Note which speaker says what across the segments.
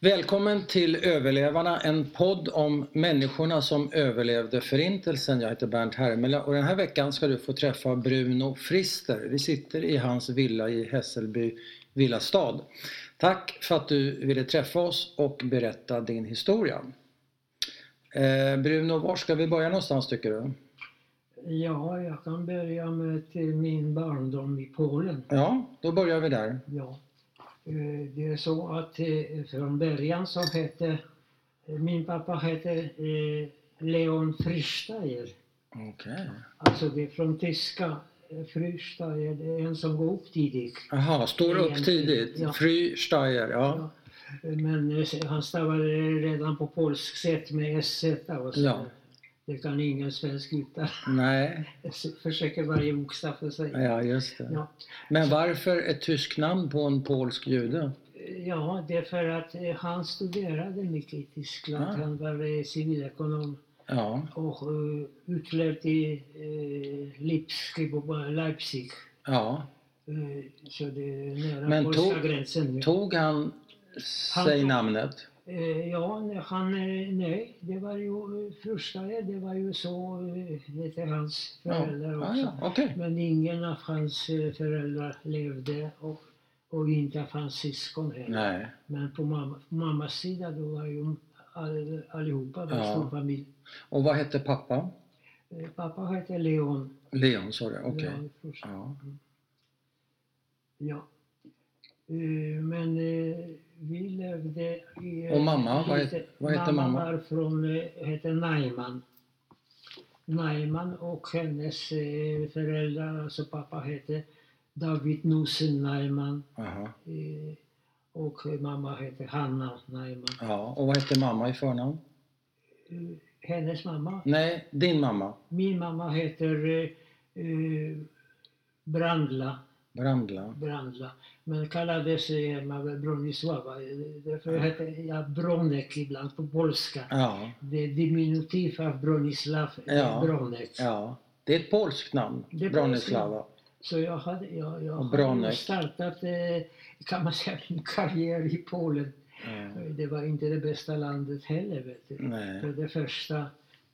Speaker 1: Välkommen till Överlevarna, en podd om människorna som överlevde Förintelsen. Jag heter Bernt Hermela och den här veckan ska du få träffa Bruno Frister. Vi sitter i hans villa i Hässelby villastad. Tack för att du ville träffa oss och berätta din historia. Eh, Bruno, var ska vi börja någonstans tycker du?
Speaker 2: Ja, jag kan börja med till min barndom i Polen.
Speaker 1: Ja, då börjar vi där.
Speaker 2: Ja. Eh, Det är så att eh, från början så hette min pappa hette eh, Leon Fristeyer.
Speaker 1: Okej.
Speaker 2: Alltså det är från tyska eh, Fristeyer, det är en som går upp tidigt.
Speaker 1: Jaha, står upp tidigt.
Speaker 2: Ja.
Speaker 1: Fry Steyer, ja.
Speaker 2: Ja. Men eh, han stavade det redan på polsk sätt med SZ. Alltså.
Speaker 1: Ja.
Speaker 2: Det kan ingen svensk uttala.
Speaker 1: Nej,
Speaker 2: Försöker varje bokstav för sig.
Speaker 1: ja just det.
Speaker 2: Ja.
Speaker 1: Men varför ett tyskt namn på en polsk jude?
Speaker 2: Ja, det är för att eh, han studerade mycket i Tyskland.
Speaker 1: Ah.
Speaker 2: Han var eh, civilekonom
Speaker 1: Ja,
Speaker 2: och eh, utlärd i eh, Lipski på Leipzig.
Speaker 1: ja.
Speaker 2: Eh, så det är nära
Speaker 1: Men
Speaker 2: polska
Speaker 1: tog-
Speaker 2: gränsen nu.
Speaker 1: Tog han
Speaker 2: Han
Speaker 1: sig
Speaker 2: tog-
Speaker 1: namnet?
Speaker 2: Eh, ja, nej, han, eh, nej, det var ju eh, frustrare. Det var ju så, eh, det är hans
Speaker 1: Ja,
Speaker 2: föräldrar också.
Speaker 1: ja, Ah, ja. okej.
Speaker 2: Men ingen av hans eh, föräldrar levde och, och inte av hans syskon heller.
Speaker 1: Nej.
Speaker 2: Men på mamma, mammas sida då var ju all, allihopa var
Speaker 1: Ja.
Speaker 2: ja. stor familj.
Speaker 1: Och vad hette pappa?
Speaker 2: Eh, Pappa hette Leon.
Speaker 1: Leon sa du, okej.
Speaker 2: Leon Forsberg.
Speaker 1: Ja.
Speaker 2: Ja. Eh, Men eh, vi levde i... eh,
Speaker 1: Och mamma, vad het- vad hette mamma?
Speaker 2: var från, eh, hette Najman. Najman och hennes eh, föräldrar, alltså pappa hette David Nussen Najman
Speaker 1: Aha.
Speaker 2: eh, och mamma hette Hanna Najman.
Speaker 1: Ja. Och vad hette mamma i förnamn?
Speaker 2: Eh, Hennes mamma
Speaker 1: Nej, din mamma.
Speaker 2: Min mamma heter eh, eh, Brandla,
Speaker 1: Brandla.
Speaker 2: Brandla, men kallades eh, hemma väl Bronisława. eh, Därför heter jag Bronek ibland på polska.
Speaker 1: Ja.
Speaker 2: Det är diminutiv av Bronislav eh,
Speaker 1: Ja.
Speaker 2: Bronek.
Speaker 1: ja. Det är ett polskt namn,
Speaker 2: Det är ett
Speaker 1: Bronislava.
Speaker 2: Så jag hade, jag, jag
Speaker 1: Och
Speaker 2: hade
Speaker 1: Bronek.
Speaker 2: ju startat, eh, kan man säga, min karriär i Polen.
Speaker 1: Ja.
Speaker 2: Det var inte det bästa landet heller, vet du. För
Speaker 1: Nej.
Speaker 2: det första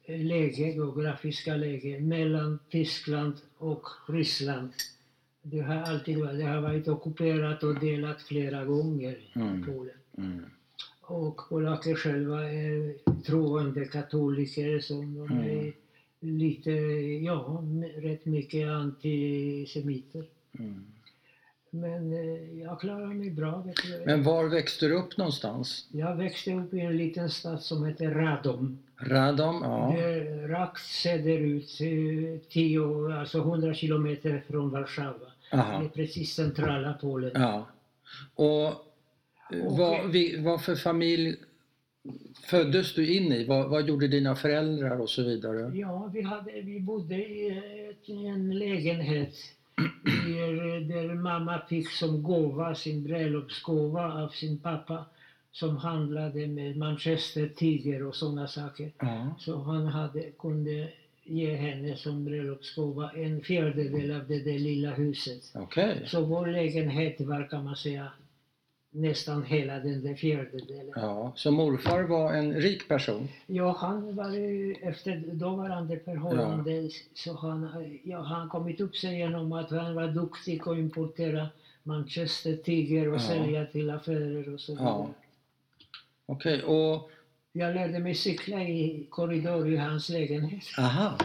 Speaker 2: eh, läge, geografiska läge mellan Tyskland och Ryssland. Det har alltid varit, det har varit ockuperat och delat flera gånger,
Speaker 1: Mm.
Speaker 2: Polen.
Speaker 1: Mm.
Speaker 2: Och polacker själva är troende katoliker som de
Speaker 1: Mm.
Speaker 2: är lite, ja, m- rätt mycket antisemiter.
Speaker 1: Mm.
Speaker 2: Men eh, jag klarar mig bra. Vet du.
Speaker 1: Men var växte du upp någonstans?
Speaker 2: Jag växte upp i en liten stad som heter Radom.
Speaker 1: Radom? Ja.
Speaker 2: Det rakt söderut, eh, 10, alltså 100 kilometer från Warszawa. Det är
Speaker 1: Aha.
Speaker 2: precis centrala Polen.
Speaker 1: Ja. Och eh, vad, vi, vad för familj föddes du in i? Vad, vad gjorde dina föräldrar och så vidare?
Speaker 2: Ja, vi, hade, vi bodde i eh, ett- i en lägenhet i, eh, där mamma fick som gåva, sin bröllopsgåva av sin pappa som handlade med Manchester Tiger och sådana saker.
Speaker 1: Ja.
Speaker 2: Så han hade, kunde ge henne som bröllopsgåva en fjärdedel av det där lilla huset.
Speaker 1: Okej.
Speaker 2: Så vår lägenhet var kan man säga nästan hela den där fjärdedelen.
Speaker 1: Ja. Så morfar var en rik person?
Speaker 2: Ja, han var ju efter dåvarande förhållande så han, ja, han kommit upp sig genom att han var duktig och importera Manchester Tiger och
Speaker 1: Ja.
Speaker 2: sälja till affärer och så vidare.
Speaker 1: Ja. Okej. Och,
Speaker 2: Jag lärde mig cykla i korridor i hans lägenhet.
Speaker 1: aha.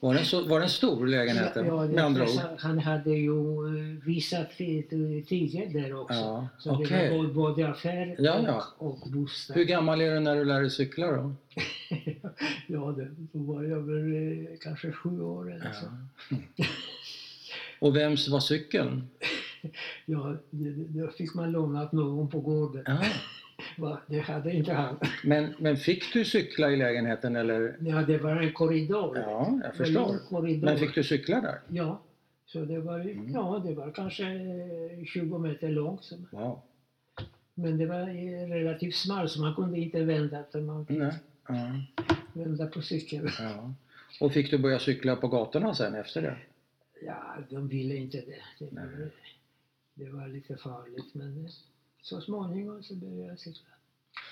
Speaker 1: Var den, så, var den stor lägenheten?
Speaker 2: Ja, det-
Speaker 1: med andra ord?
Speaker 2: Han hade ju eh, visat fi- Tiger där också.
Speaker 1: Ja.
Speaker 2: Så det
Speaker 1: Okej.
Speaker 2: var både affär
Speaker 1: Ja, ja.
Speaker 2: Och, och bostad.
Speaker 1: Hur gammal är du när du lär dig cykla då?
Speaker 2: Ja, det var jag väl eh, kanske sju år eller så.
Speaker 1: Ja. Och vems var cykeln?
Speaker 2: Ja, det, det- det fick man låna av någon på gården.
Speaker 1: Ja.
Speaker 2: Va, Det hade inte han.
Speaker 1: Men, men fick du cykla i lägenheten eller?
Speaker 2: Ja, det var en korridor.
Speaker 1: Ja, jag
Speaker 2: Det var en lång
Speaker 1: förstår.
Speaker 2: korridor.
Speaker 1: Men fick du cykla där?
Speaker 2: Ja, så det var, ju-
Speaker 1: Mm.
Speaker 2: ja, det var kanske eh, 20 meter långt. så-
Speaker 1: Wow.
Speaker 2: Men det var eh, relativt smal så man kunde inte vända utan man fick
Speaker 1: Nej. Ja.
Speaker 2: vända på cykeln.
Speaker 1: Ja. Och fick du börja cykla på gatorna sen efter det?
Speaker 2: Ja, de ville inte det. Det
Speaker 1: Nej.
Speaker 2: var, det var lite farligt men eh, så småningom så började jag cykla.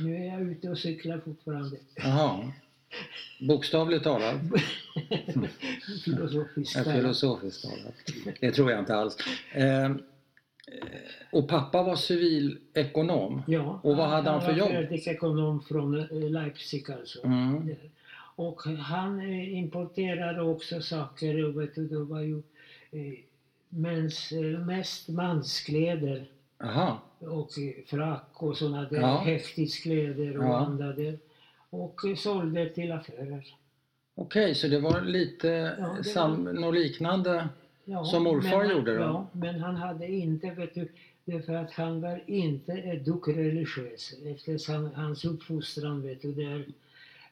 Speaker 2: Nu är jag ute och cyklar fortfarande.
Speaker 1: Jaha. Bokstavligt talat?
Speaker 2: Filosofiskt.
Speaker 1: Ja, Filosofiskt talat. Det tror jag inte alls. Eh, och pappa var civilekonom?
Speaker 2: Ja,
Speaker 1: Och vad hade han för jobb?
Speaker 2: var kreditekonom från eh, Leipzig alltså.
Speaker 1: Mm.
Speaker 2: Och han eh, importerade också saker, och vet du, det var ju eh, mens, eh, mest manskläder
Speaker 1: Aha.
Speaker 2: och eh, frack och sådana där
Speaker 1: Ja.
Speaker 2: häftiskläder och
Speaker 1: Ja.
Speaker 2: andra där. Och eh, sålde till affärer.
Speaker 1: Okej, så det var lite
Speaker 2: Ja, det var-
Speaker 1: sam- något liknande?
Speaker 2: Ja,
Speaker 1: Som morfar
Speaker 2: men,
Speaker 1: gjorde då?
Speaker 2: Ja, men han hade inte, vet du, därför att han var inte ett dugg religiös. Eftersom hans uppfostran, vet du, där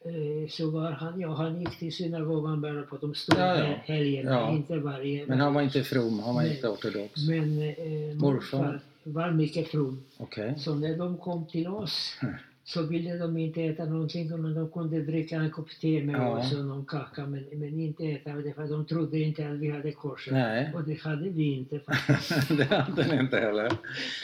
Speaker 2: eh, så var han, ja han gick till synagogan bara på de stora
Speaker 1: Ja, ja.
Speaker 2: hel- helgerna,
Speaker 1: Ja.
Speaker 2: inte varje.
Speaker 1: Men han var inte from, han var
Speaker 2: Nej.
Speaker 1: inte ortodox?
Speaker 2: men eh,
Speaker 1: Morfar.
Speaker 2: morfar var mycket from.
Speaker 1: Okej.
Speaker 2: Så när de kom till oss
Speaker 1: Mm.
Speaker 2: så ville de inte äta någonting men de kunde dricka en kopp te med
Speaker 1: Ja.
Speaker 2: oss och någon kaka men, men inte äta det för de trodde inte att vi hade korset.
Speaker 1: Nej,
Speaker 2: Och det hade vi inte.
Speaker 1: det hade ni inte heller.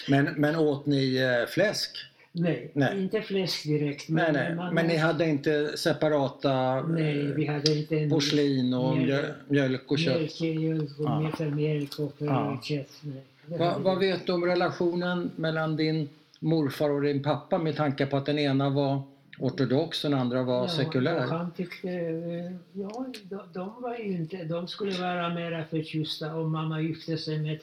Speaker 1: Men, men åt ni eh, fläsk?
Speaker 2: Nej,
Speaker 1: Nej.
Speaker 2: inte fläsk direkt.
Speaker 1: Nej, nej.
Speaker 2: man-
Speaker 1: Men ni hade inte separata eh,
Speaker 2: Nej, vi hade inte en
Speaker 1: porslin och
Speaker 2: Nej.
Speaker 1: mjö- mjölk och kött?
Speaker 2: mjölk, mjölk och
Speaker 1: Ja.
Speaker 2: metermjölk och
Speaker 1: Ja.
Speaker 2: kött. Nej, det
Speaker 1: Va,
Speaker 2: hade
Speaker 1: vad
Speaker 2: vi-
Speaker 1: vet du om relationen mellan din morfar och din pappa med tanke på att den ena var ortodox och den andra var
Speaker 2: Ja, och
Speaker 1: sekulär?
Speaker 2: Han tyckte, eh, ja, de, de var ju inte, de skulle vara mera förtjusta om mamma gifte sig med,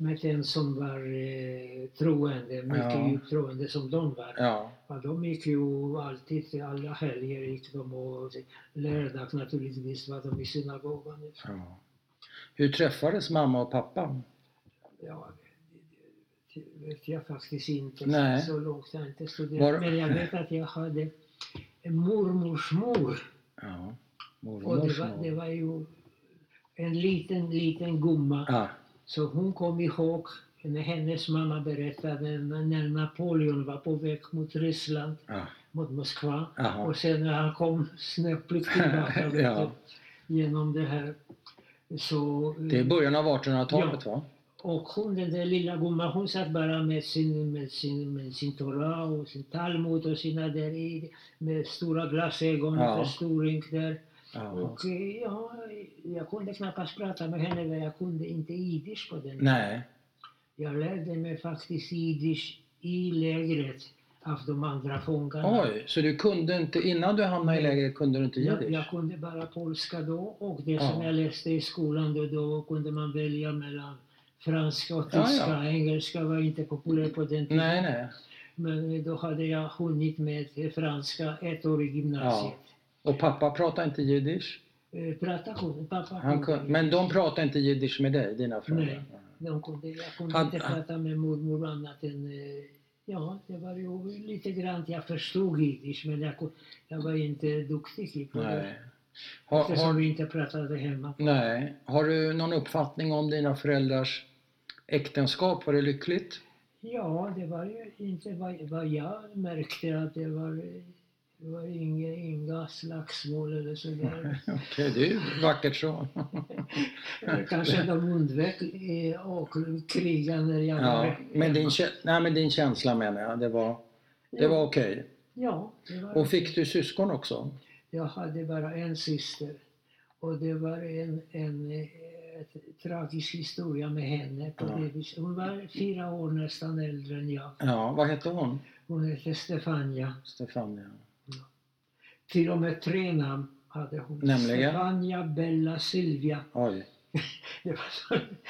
Speaker 2: med en som var eh, troende, mycket
Speaker 1: Ja.
Speaker 2: djupt troende som de var.
Speaker 1: Ja,
Speaker 2: Ja, de gick ju alltid, till alla helger gick de och lördag naturligtvis var de i synagogan.
Speaker 1: ja. Hur träffades mamma och pappa?
Speaker 2: Ja, det, det vet jag faktiskt inte.
Speaker 1: Nej.
Speaker 2: Så långt har jag inte studerat.
Speaker 1: Var-
Speaker 2: Men jag vet att jag hade en mormors mor.
Speaker 1: Ja,
Speaker 2: Och
Speaker 1: mormors
Speaker 2: det var, det
Speaker 1: mor.
Speaker 2: var ju en liten, liten gumma.
Speaker 1: Ja,
Speaker 2: Så hon kom ihåg när hennes mamma berättade när när Napoleon var på väg mot Ryssland,
Speaker 1: ja,
Speaker 2: mot Moskva.
Speaker 1: jaha.
Speaker 2: Och sen när han kom snöpligt tillbaka vet
Speaker 1: Ja.
Speaker 2: du, genom det här. Så,
Speaker 1: Det är början av 1800-talet va?
Speaker 2: och hon, den där lilla gumman, hon satt bara med sin, med sin, med sin Torah och sin Talmud och sina där i, med stora glasögon och
Speaker 1: Ja.
Speaker 2: förstoring där.
Speaker 1: Ja.
Speaker 2: Och eh, ja, jag kunde knappast prata med henne, för jag kunde inte jiddisch på den
Speaker 1: Nej,
Speaker 2: Jag lärde mig faktiskt jiddisch i lägret av de andra fångarna.
Speaker 1: oj, så du kunde inte, innan du hamnade i lägret kunde du inte
Speaker 2: Jag, jag
Speaker 1: jiddisch?
Speaker 2: kunde bara polska då och det
Speaker 1: Ja.
Speaker 2: som jag läste i skolan då, då kunde man välja mellan franska och
Speaker 1: Ja, ja.
Speaker 2: tyska. Engelska var inte populär på den tiden.
Speaker 1: Nej, nej.
Speaker 2: Men då hade jag hunnit med franska ett år i gymnasiet.
Speaker 1: Och pappa pratade inte jiddisch?
Speaker 2: Eh, Prata kunde pappa.
Speaker 1: Han kunde, men de pratade inte jiddisch med dig, dina föräldrar?
Speaker 2: Nej. De kunde, jag kunde
Speaker 1: Han-
Speaker 2: inte prata med mormor annat än... eh, Ja, det var ju lite grann. Jag förstod jiddisch men jag, kun- jag var inte duktig på det.
Speaker 1: Nej. Har, har,
Speaker 2: Eftersom vi inte pratade hemma.
Speaker 1: Nej. Har du någon uppfattning om dina föräldrars äktenskap? Var det lyckligt?
Speaker 2: Ja, det var ju inte vad, vad jag märkte att det var, det var inga, inga slagsmål eller sådär.
Speaker 1: Okej, det är ju vackert så.
Speaker 2: Kanske de undvek eh, och kriga när jag
Speaker 1: Ja,
Speaker 2: var
Speaker 1: men, din, kä- nej, men din känsla menar jag, det var, det var okej.
Speaker 2: Ja, det var
Speaker 1: Och fick du syskon också?
Speaker 2: Jag hade bara en syster. Och det var en, en eh, ett- tragisk historia med henne. På
Speaker 1: Ja.
Speaker 2: det viset. Hon var fyra år nästan äldre än jag.
Speaker 1: Ja, vad hette hon?
Speaker 2: Hon hette Stefania.
Speaker 1: Stefania.
Speaker 2: Till och med tre namn hade hon.
Speaker 1: Nämligen?
Speaker 2: Stefania, Bella, Silvia.
Speaker 1: Oj,
Speaker 2: Det var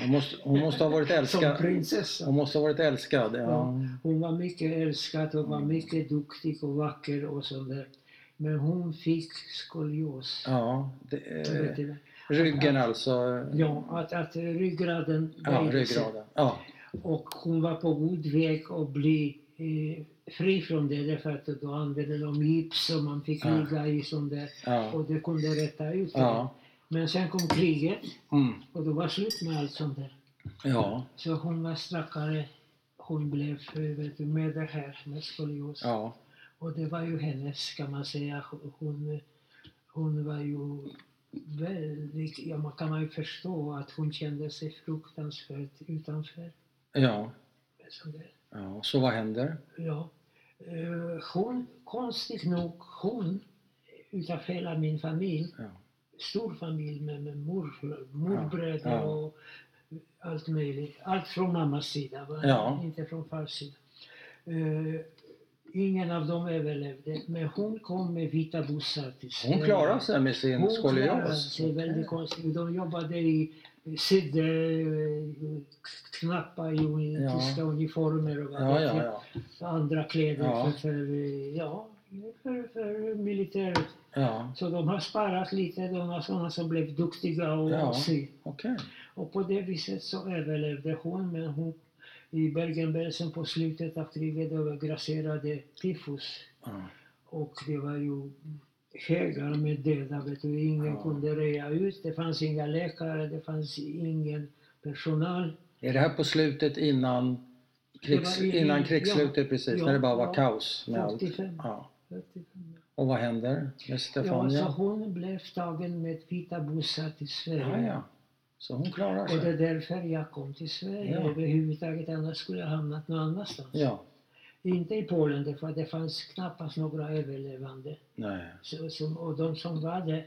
Speaker 1: hon måste, hon måste ha varit
Speaker 2: som
Speaker 1: älskad.
Speaker 2: prinsessa.
Speaker 1: Hon måste ha varit älskad, ja.
Speaker 2: Hon var mycket älskad och
Speaker 1: Mm.
Speaker 2: var mycket duktig och vacker och sånt där. Men hon fick skolios.
Speaker 1: Ja, det,
Speaker 2: Vet
Speaker 1: eh,
Speaker 2: du det?
Speaker 1: ryggen alltså.
Speaker 2: Ja, att, att ryggraden
Speaker 1: Ja,
Speaker 2: böjde sig.
Speaker 1: ryggraden. Ja,
Speaker 2: Och hon var på god väg att bli eh, fri från det därför att då använde de gips och man fick
Speaker 1: Ja.
Speaker 2: ligga i sånt där
Speaker 1: ja,
Speaker 2: och det kunde rätta ut det.
Speaker 1: ja.
Speaker 2: Men sen kom kriget
Speaker 1: Mm,
Speaker 2: och då var slut med allt sånt där.
Speaker 1: ja,
Speaker 2: Så hon var stackare. Hon blev eh, vet du, med det här med skolios.
Speaker 1: ja.
Speaker 2: Och det var ju hennes kan man säga. Hon, hon var ju väldigt, ja man kan man ju förstå att hon kände sig fruktansvärt utanför.
Speaker 1: ja.
Speaker 2: Sånt där.
Speaker 1: Ja, så vad händer?
Speaker 2: Ja. Eh, hon, konstigt nog, hon utav hela min familj,
Speaker 1: Ja.
Speaker 2: stor familj med, med morfrö- morbröder
Speaker 1: Ja, ja.
Speaker 2: och allt möjligt. Allt från mammas sida, va?
Speaker 1: Ja.
Speaker 2: inte från fars sida. Eh, ingen av dem överlevde, men hon kom med vita bussar
Speaker 1: Hon
Speaker 2: till Sverige.
Speaker 1: klarade sig med sin
Speaker 2: Hon klarade
Speaker 1: skolios.
Speaker 2: sig väldigt konstigt. De jobbade i sydde, eh, knappa i
Speaker 1: Ja.
Speaker 2: tyska uniformer och vad
Speaker 1: Ja,
Speaker 2: det
Speaker 1: ja,
Speaker 2: var
Speaker 1: ja.
Speaker 2: andra kläder
Speaker 1: Ja.
Speaker 2: för, för, eh, ja, för, för militären.
Speaker 1: ja.
Speaker 2: Så de har sparat lite, de var sådana som blev duktiga och
Speaker 1: Ja.
Speaker 2: sy.
Speaker 1: Okej.
Speaker 2: Och på det viset så överlevde hon, men hon i Bergen-Belsen på slutet av kriget övergrasserade tyfus.
Speaker 1: Ja.
Speaker 2: Och det var ju högar med döda, vet du. Ingen
Speaker 1: Ja.
Speaker 2: kunde röja ut, det fanns inga läkare, det fanns ingen personal.
Speaker 1: Är det här på slutet innan, krigs,
Speaker 2: Det var i-
Speaker 1: innan krigsslutet precis?
Speaker 2: ja,
Speaker 1: när det bara var
Speaker 2: ja.
Speaker 1: kaos med allt?
Speaker 2: 45.
Speaker 1: Ja.
Speaker 2: 45.
Speaker 1: Och vad händer med
Speaker 2: Ja, så
Speaker 1: Stefania?
Speaker 2: hon blev tagen med vita bussar till Sverige.
Speaker 1: Ja, ja. Så hon klarar
Speaker 2: Och det
Speaker 1: sig?
Speaker 2: är därför jag kom till Sverige
Speaker 1: Alltså. Ja.
Speaker 2: överhuvudtaget, annars skulle jag hamnat någon annanstans.
Speaker 1: Ja.
Speaker 2: Inte i Polen, därför att det fanns knappast några överlevande.
Speaker 1: Nej.
Speaker 2: Så, som, och de som var där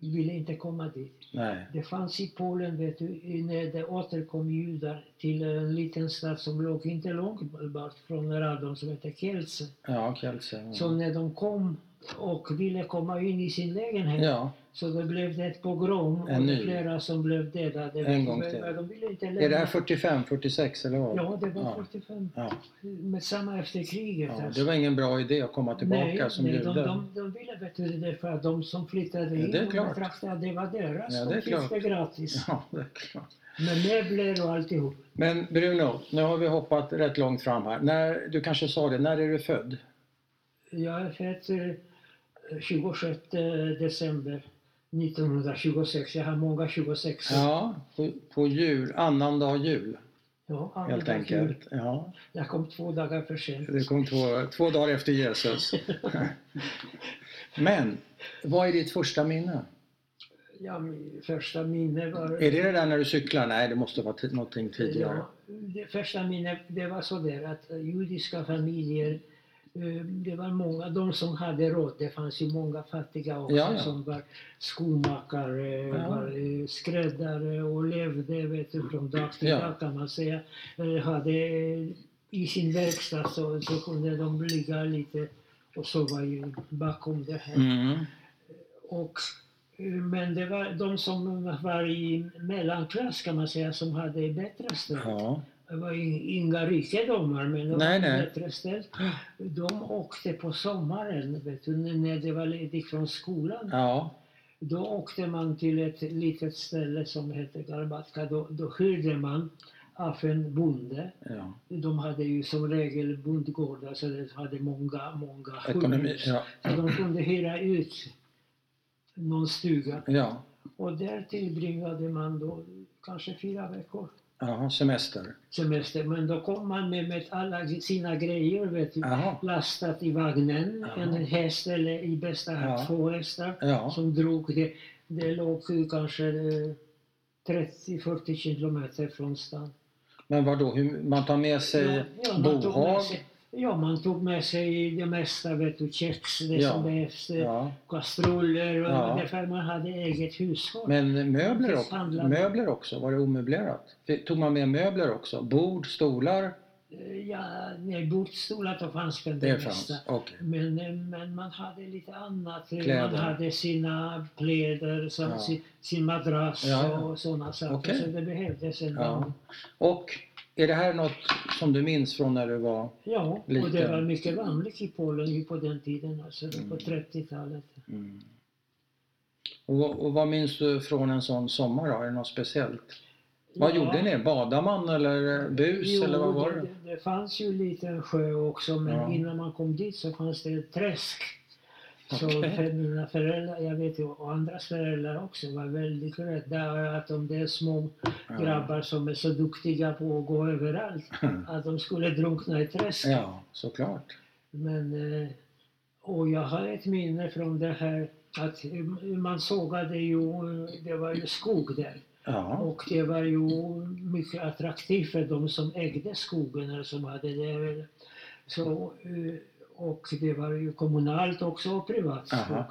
Speaker 2: ville inte komma dit.
Speaker 1: Nej.
Speaker 2: Det fanns i Polen, vet du, i- när det återkom judar till en liten stad som låg inte långt bort från Radom, som heter Kielce.
Speaker 1: Ja, Kielce. Mm.
Speaker 2: Så när de kom och ville komma in i sin lägenhet
Speaker 1: Ja.
Speaker 2: så då blev det ett pogrom och
Speaker 1: En
Speaker 2: det
Speaker 1: ny.
Speaker 2: flera som blev dödade.
Speaker 1: En gång
Speaker 2: Men
Speaker 1: till.
Speaker 2: De ville inte
Speaker 1: Är det här
Speaker 2: lämna.
Speaker 1: 45, 46 eller vad?
Speaker 2: Ja, det var
Speaker 1: Ja.
Speaker 2: 45.
Speaker 1: Ja.
Speaker 2: Med samma efter kriget.
Speaker 1: Ja,
Speaker 2: alltså.
Speaker 1: det var ingen bra idé att komma tillbaka
Speaker 2: nej,
Speaker 1: som
Speaker 2: nej,
Speaker 1: jude.
Speaker 2: de, de, de ville vet du, det för att de som flyttade
Speaker 1: Ja,
Speaker 2: in,
Speaker 1: det är
Speaker 2: de
Speaker 1: klart.
Speaker 2: betraktade det var deras.
Speaker 1: Ja, det är
Speaker 2: de fick det
Speaker 1: klart.
Speaker 2: gratis.
Speaker 1: Ja, det är klart.
Speaker 2: Med möbler och alltihop.
Speaker 1: Men Bruno, nu har vi hoppat rätt långt fram här. När, du kanske sa det, när är du född?
Speaker 2: Jag är född eh, 26 december 1926. Jag har många 26
Speaker 1: Ja, på, på jul, annandag jul
Speaker 2: Ja, andra
Speaker 1: helt
Speaker 2: jul.
Speaker 1: enkelt. Ja,
Speaker 2: Jag kom två dagar för sent.
Speaker 1: det kom två, två dagar efter Jesus. Men, vad är ditt första minne?
Speaker 2: Ja, min första minne var...
Speaker 1: Är det det där när du cyklar? Nej, det måste vara ti- någonting tidigare.
Speaker 2: Ja, det första minnet det var sådär att eh, judiska familjer, eh, det var många, de som hade råd, det fanns ju många fattiga också
Speaker 1: Ja, ja.
Speaker 2: som var skomakare,
Speaker 1: Ja.
Speaker 2: var eh, skräddare och levde vet du, från dag till
Speaker 1: Ja.
Speaker 2: dag kan man säga. Eller hade eh, i sin verkstad så, så kunde de ligga lite och sova ju bakom det här.
Speaker 1: Mm.
Speaker 2: Och, eh, men det var de som var i mellanklass kan man säga som hade bättre ställt.
Speaker 1: Ja.
Speaker 2: Det var in- inga rikedomar men de
Speaker 1: Nej,
Speaker 2: var
Speaker 1: nej.
Speaker 2: bättre ställt. De åkte på sommaren, vet du, n- när det var ledigt från skolan.
Speaker 1: ja.
Speaker 2: Då åkte man till ett litet ställe som hette Garbatka. Då, då hyrde man av en bonde.
Speaker 1: ja.
Speaker 2: De hade ju som regel bondgårdar så de hade många, många
Speaker 1: Ekonomi.
Speaker 2: hus.
Speaker 1: Ja.
Speaker 2: Så de kunde hyra ut någon stuga.
Speaker 1: ja.
Speaker 2: Och där tillbringade man då kanske fyra veckor
Speaker 1: Jaha, semester.
Speaker 2: semester. Men då kom man med, med alla sina grejer, vet du.
Speaker 1: Jaha.
Speaker 2: Lastat i vagnen,
Speaker 1: Ja.
Speaker 2: en häst eller i bästa fall
Speaker 1: Ja.
Speaker 2: två hästar
Speaker 1: Ja.
Speaker 2: som drog. Det, det låg ju kanske eh, 30-40 kilometer från stan.
Speaker 1: Men vadå, hur, man tar med sig
Speaker 2: man tog med
Speaker 1: bohag?
Speaker 2: sig- Ja, man tog med sig det mesta, vet du, kex, det
Speaker 1: Ja.
Speaker 2: som behövs, eh,
Speaker 1: Ja.
Speaker 2: kastruller, och
Speaker 1: Ja.
Speaker 2: därför man hade eget hushåll.
Speaker 1: Men möbler också,
Speaker 2: Handlade.
Speaker 1: möbler också? Var det omöblerat? Fick- Tog man med möbler också? Bord, stolar?
Speaker 2: Eh, Ja, nej, bordstolar då fanns väl det,
Speaker 1: Det
Speaker 2: mesta.
Speaker 1: fanns? Okej.
Speaker 2: Men, eh, men man hade lite annat. Man
Speaker 1: Kläder.
Speaker 2: hade sina kläder, som
Speaker 1: Ja.
Speaker 2: sin, sin madrass
Speaker 1: Ja, ja.
Speaker 2: och sådana saker.
Speaker 1: Okej.
Speaker 2: Så det behövdes en
Speaker 1: Ja.
Speaker 2: ja.
Speaker 1: Och är det här något som du minns från när du var...
Speaker 2: ja, och det
Speaker 1: Lite.
Speaker 2: var mycket vanligt i Polen ju på den tiden, alltså det
Speaker 1: Mm.
Speaker 2: på 30-talet.
Speaker 1: Mm. Och, och vad minns du från en sån sommar då? Är det något speciellt? Vad
Speaker 2: Ja.
Speaker 1: gjorde ni? Badade man eller bus
Speaker 2: Jo,
Speaker 1: eller vad var det?
Speaker 2: det? Det fanns ju en liten sjö också, men
Speaker 1: Ja.
Speaker 2: innan man kom dit så fanns det ett träsk. Så
Speaker 1: Okej.
Speaker 2: för mina föräldrar, jag vet ju, och andras föräldrar också, var väldigt rädda att om det är små grabbar som är så duktiga på att gå överallt, att de skulle drunkna i träsk.
Speaker 1: Ja, såklart.
Speaker 2: Men, eh, och jag har ett minne från det här att eh, man sågade ju, eh, det var ju skog där.
Speaker 1: Ja.
Speaker 2: Och det var ju mycket alltså attraktivt för de som ägde skogen eller som hade det. Så, eh, och och det var ju kommunalt också och privat
Speaker 1: Aha.
Speaker 2: språk.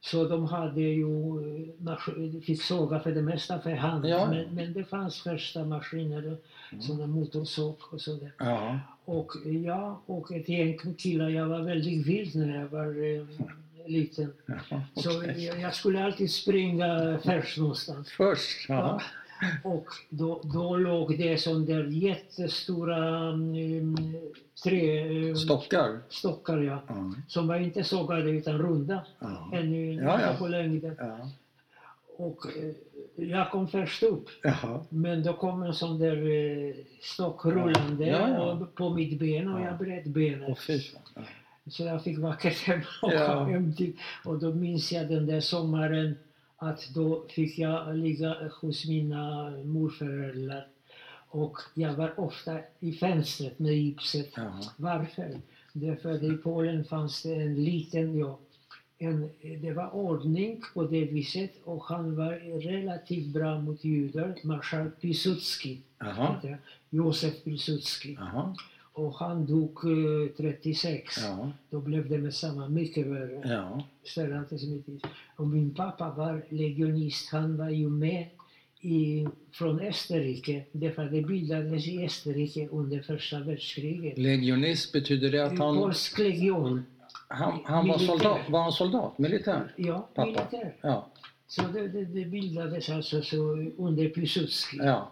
Speaker 2: Så de hade ju, eh, maskin- fick såga för det mesta för hand.
Speaker 1: Ja.
Speaker 2: Men, men det fanns första maskiner, mm. sådana motorsåg och sådär.
Speaker 1: Ja.
Speaker 2: Och jag och ett gäng killar, jag var väldigt vild när jag var eh, liten.
Speaker 1: Ja,
Speaker 2: Så
Speaker 1: okej.
Speaker 2: jag, jag skulle alltid springa först någonstans.
Speaker 1: Först, ja.
Speaker 2: Och då, då låg det som där jättestora um, tre eh,
Speaker 1: Stockar.
Speaker 2: stockar ja,
Speaker 1: Ja.
Speaker 2: som var inte sågade utan runda.
Speaker 1: Ja.
Speaker 2: Ännu
Speaker 1: Ja, ja.
Speaker 2: på längden.
Speaker 1: Ja.
Speaker 2: Och eh, jag kom först upp.
Speaker 1: Jaha.
Speaker 2: Men då kom en sån där eh, stock rullande
Speaker 1: Ja, ja.
Speaker 2: Och på mitt ben och
Speaker 1: Ja.
Speaker 2: jag bröt benet.
Speaker 1: Åh fy fan. Ja.
Speaker 2: Så jag fick vackert hem och
Speaker 1: Ja.
Speaker 2: kom hem till. Och då minns jag den där sommaren att då fick jag ligga hos mina morföräldrar. Och jag var ofta i fönstret med gipset.
Speaker 1: Jaha.
Speaker 2: Varför? Därför att i Polen fanns det en liten, ja, en, det var ordning på det viset och han var relativt bra mot judar, marskal Piłsudski,
Speaker 1: Jaha.
Speaker 2: heter han, Josef Piłsudski.
Speaker 1: Jaha.
Speaker 2: Och han dog eh, 36.
Speaker 1: Ja.
Speaker 2: Då blev det med samma mycket värre.
Speaker 1: Ja.
Speaker 2: Större antisemitism. Och min pappa var legionist. Han var ju med i, från Österrike. Därför att det bildades i Österrike under första världskriget.
Speaker 1: Legionist, betyder det att han,
Speaker 2: Polsk legion.
Speaker 1: han, han var
Speaker 2: Militär.
Speaker 1: soldat? Var han soldat? Militär?
Speaker 2: Ja,
Speaker 1: Pappa.
Speaker 2: militär.
Speaker 1: Ja.
Speaker 2: Så det, det, det bildades alltså så under Piłsudski.
Speaker 1: Ja.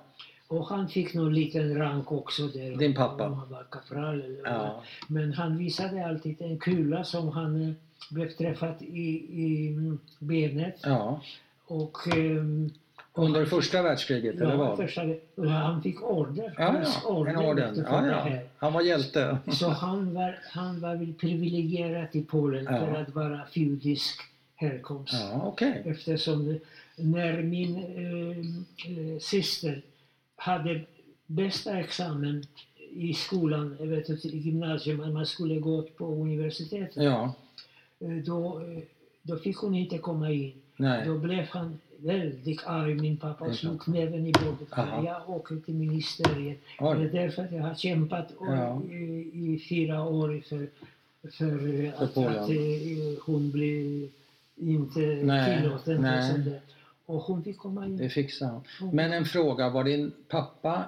Speaker 2: Och han fick någon liten rank också där.
Speaker 1: Din pappa.
Speaker 2: Om han var kapral eller vad det var.
Speaker 1: Ja.
Speaker 2: Men han visade alltid en kula som han eh, blev träffad i, i mm, benet.
Speaker 1: ja.
Speaker 2: Och, ehm,
Speaker 1: Under första världskriget, eller
Speaker 2: ja,
Speaker 1: vad?
Speaker 2: första, och han fick order.
Speaker 1: Ja,
Speaker 2: hans
Speaker 1: ja. En orden.
Speaker 2: efter
Speaker 1: Ja,
Speaker 2: det
Speaker 1: ja.
Speaker 2: här.
Speaker 1: Han var hjälte.
Speaker 2: Så han var, han var väl privilegierad i Polen
Speaker 1: Ja.
Speaker 2: för att vara judisk härkomst.
Speaker 1: Ja, okej.
Speaker 2: Eftersom det- när min eh, eh, syster hade bästa examen i skolan, jag vet, inte, i gymnasiet, men man skulle gå på universitetet,
Speaker 1: Ja.
Speaker 2: eh, då, eh, då fick hon inte komma in.
Speaker 1: Nej.
Speaker 2: Då blev han väldigt arg, min pappa, och
Speaker 1: Just det.
Speaker 2: slog näven i bordet.
Speaker 1: Aha.
Speaker 2: Jag åker till ministeriet. Det är
Speaker 1: Oj.
Speaker 2: därför att jag har kämpat och,
Speaker 1: Ja.
Speaker 2: i, i fyra år för, för, eh, att,
Speaker 1: Polen.
Speaker 2: att eh, hon blev inte
Speaker 1: Nej,
Speaker 2: tillåten.
Speaker 1: nej.
Speaker 2: och sånt där. Och hon fick komma in.
Speaker 1: Det fixade han.
Speaker 2: Hon-
Speaker 1: Men en fråga, var din pappa,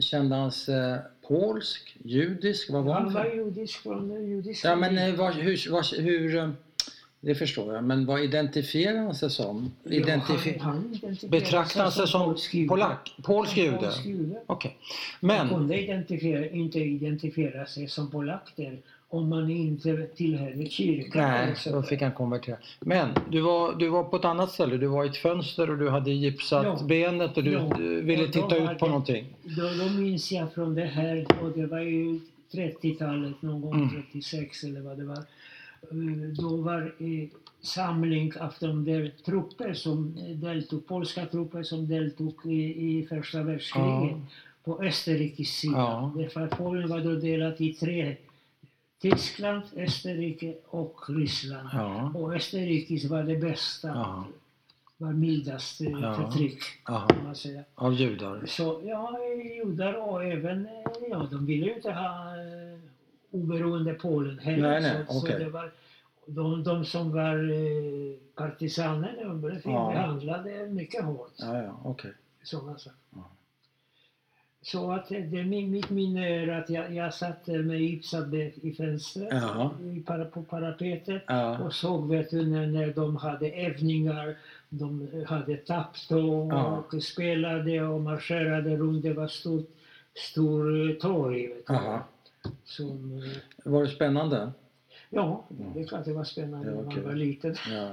Speaker 1: kände han sig eh, polsk, judisk? Vad var
Speaker 2: han
Speaker 1: han
Speaker 2: var
Speaker 1: för?
Speaker 2: judisk från eh, judisk
Speaker 1: Ja men
Speaker 2: familj.
Speaker 1: eh, vad, hur, vad, hur, eh, det förstår jag, men vad identifierar han sig som? Identifi-
Speaker 2: Ja, han, han identifierade
Speaker 1: Betraktar han sig som
Speaker 2: jude.
Speaker 1: polack? Polsk
Speaker 2: Som
Speaker 1: jude?
Speaker 2: polsk jude.
Speaker 1: Okej.
Speaker 2: Man
Speaker 1: Men,
Speaker 2: kunde identifiera, inte identifiera sig som polack där om man inte tillhörde kyrkan. Alltså,
Speaker 1: nej,
Speaker 2: eller så
Speaker 1: då
Speaker 2: där.
Speaker 1: fick han konvertera. Men du var, du var på ett annat ställe, du var i ett fönster och du hade gipsat
Speaker 2: Ja.
Speaker 1: benet och du
Speaker 2: Ja.
Speaker 1: eh, ville
Speaker 2: Och då
Speaker 1: titta
Speaker 2: var
Speaker 1: ut på
Speaker 2: det-
Speaker 1: någonting.
Speaker 2: Då, då minns jag från det här, och det var ju 30-talet, någon gång
Speaker 1: Mm.
Speaker 2: 36 eller vad det var. Eh, Då var eh, samling av de där trupper som deltog, polska trupper som deltog i, i första världskriget
Speaker 1: Ja.
Speaker 2: på Österrikes sida.
Speaker 1: Ja.
Speaker 2: Därför att Polen var då delat i tre, Tyskland, Österrike och Ryssland.
Speaker 1: Ja.
Speaker 2: Och Österrikes var det bästa,
Speaker 1: Ja.
Speaker 2: var mildast eh,
Speaker 1: Ja.
Speaker 2: förtryck
Speaker 1: Aha.
Speaker 2: kan man säga.
Speaker 1: Av judar.
Speaker 2: Så ja, judar och även, eh, ja de ville ju inte ha eh, oberoende Polen heller.
Speaker 1: Nej, nej,
Speaker 2: så,
Speaker 1: okej.
Speaker 2: så det var, de, de som var eh, partisaner, de blev
Speaker 1: Ja.
Speaker 2: behandlade mycket hårt.
Speaker 1: Ja, ja, okej.
Speaker 2: Som man sa.
Speaker 1: Ja.
Speaker 2: Så att eh, det, är min- mitt minne är att jag, jag satt eh, med Ipsad i fönstret,
Speaker 1: Ja.
Speaker 2: i, para- på parapetet
Speaker 1: Ja.
Speaker 2: och såg vet du, när, när de hade övningar, de hade tapptåg
Speaker 1: Ja.
Speaker 2: och spelade och marscherade runt. Det var stort, stor eh, torg. Vet du,
Speaker 1: Aha.
Speaker 2: som, eh,
Speaker 1: Var det spännande?
Speaker 2: ja, det är klart det var spännande
Speaker 1: Ja,
Speaker 2: när
Speaker 1: okej.
Speaker 2: man var liten.
Speaker 1: Ja.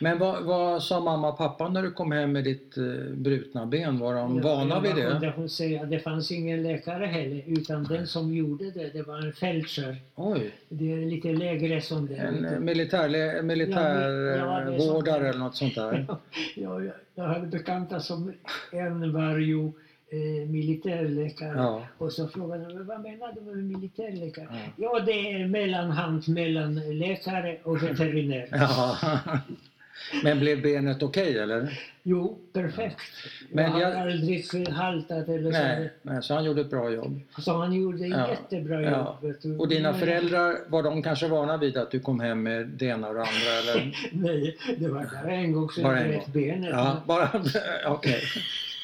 Speaker 1: Men vad, vad sa mamma och pappa när du kom hem med ditt eh, brutna ben? Var de
Speaker 2: Ja,
Speaker 1: vana
Speaker 2: ja,
Speaker 1: vid
Speaker 2: vad Kunde
Speaker 1: det?
Speaker 2: hon säga, det fanns ingen läkare heller, utan den som gjorde det, det var en fältscher.
Speaker 1: Oj,
Speaker 2: Det är lite lägre som det.
Speaker 1: en eh, militär,
Speaker 2: Ja, det- ja, det är
Speaker 1: militärvårdare
Speaker 2: sånt.
Speaker 1: eller något sånt där?
Speaker 2: jag, jag, jag hade bekanta som en var ju eh, militärläkare.
Speaker 1: Ja.
Speaker 2: Och så frågade de vad menar du med militärläkare?
Speaker 1: Ja.
Speaker 2: Ja.
Speaker 1: Mm.
Speaker 2: det är mellanhand mellan läkare och veterinär.
Speaker 1: Ja. Men blev benet okej eller?
Speaker 2: Jo, perfekt.
Speaker 1: Men
Speaker 2: jag
Speaker 1: jag-
Speaker 2: har aldrig haltat eller
Speaker 1: Nej, nej, så han gjorde ett bra jobb.
Speaker 2: så. Så han gjorde
Speaker 1: Ja,
Speaker 2: jättebra
Speaker 1: ja.
Speaker 2: jobb. vet du.
Speaker 1: Och dina
Speaker 2: Men-
Speaker 1: föräldrar, var de kanske vana vid att du kom hem med det ena och det andra? Eller?
Speaker 2: Nej, det var bara en gång som
Speaker 1: Bara
Speaker 2: jag
Speaker 1: en
Speaker 2: bröt
Speaker 1: gång.
Speaker 2: benet.
Speaker 1: Ja, bara okej.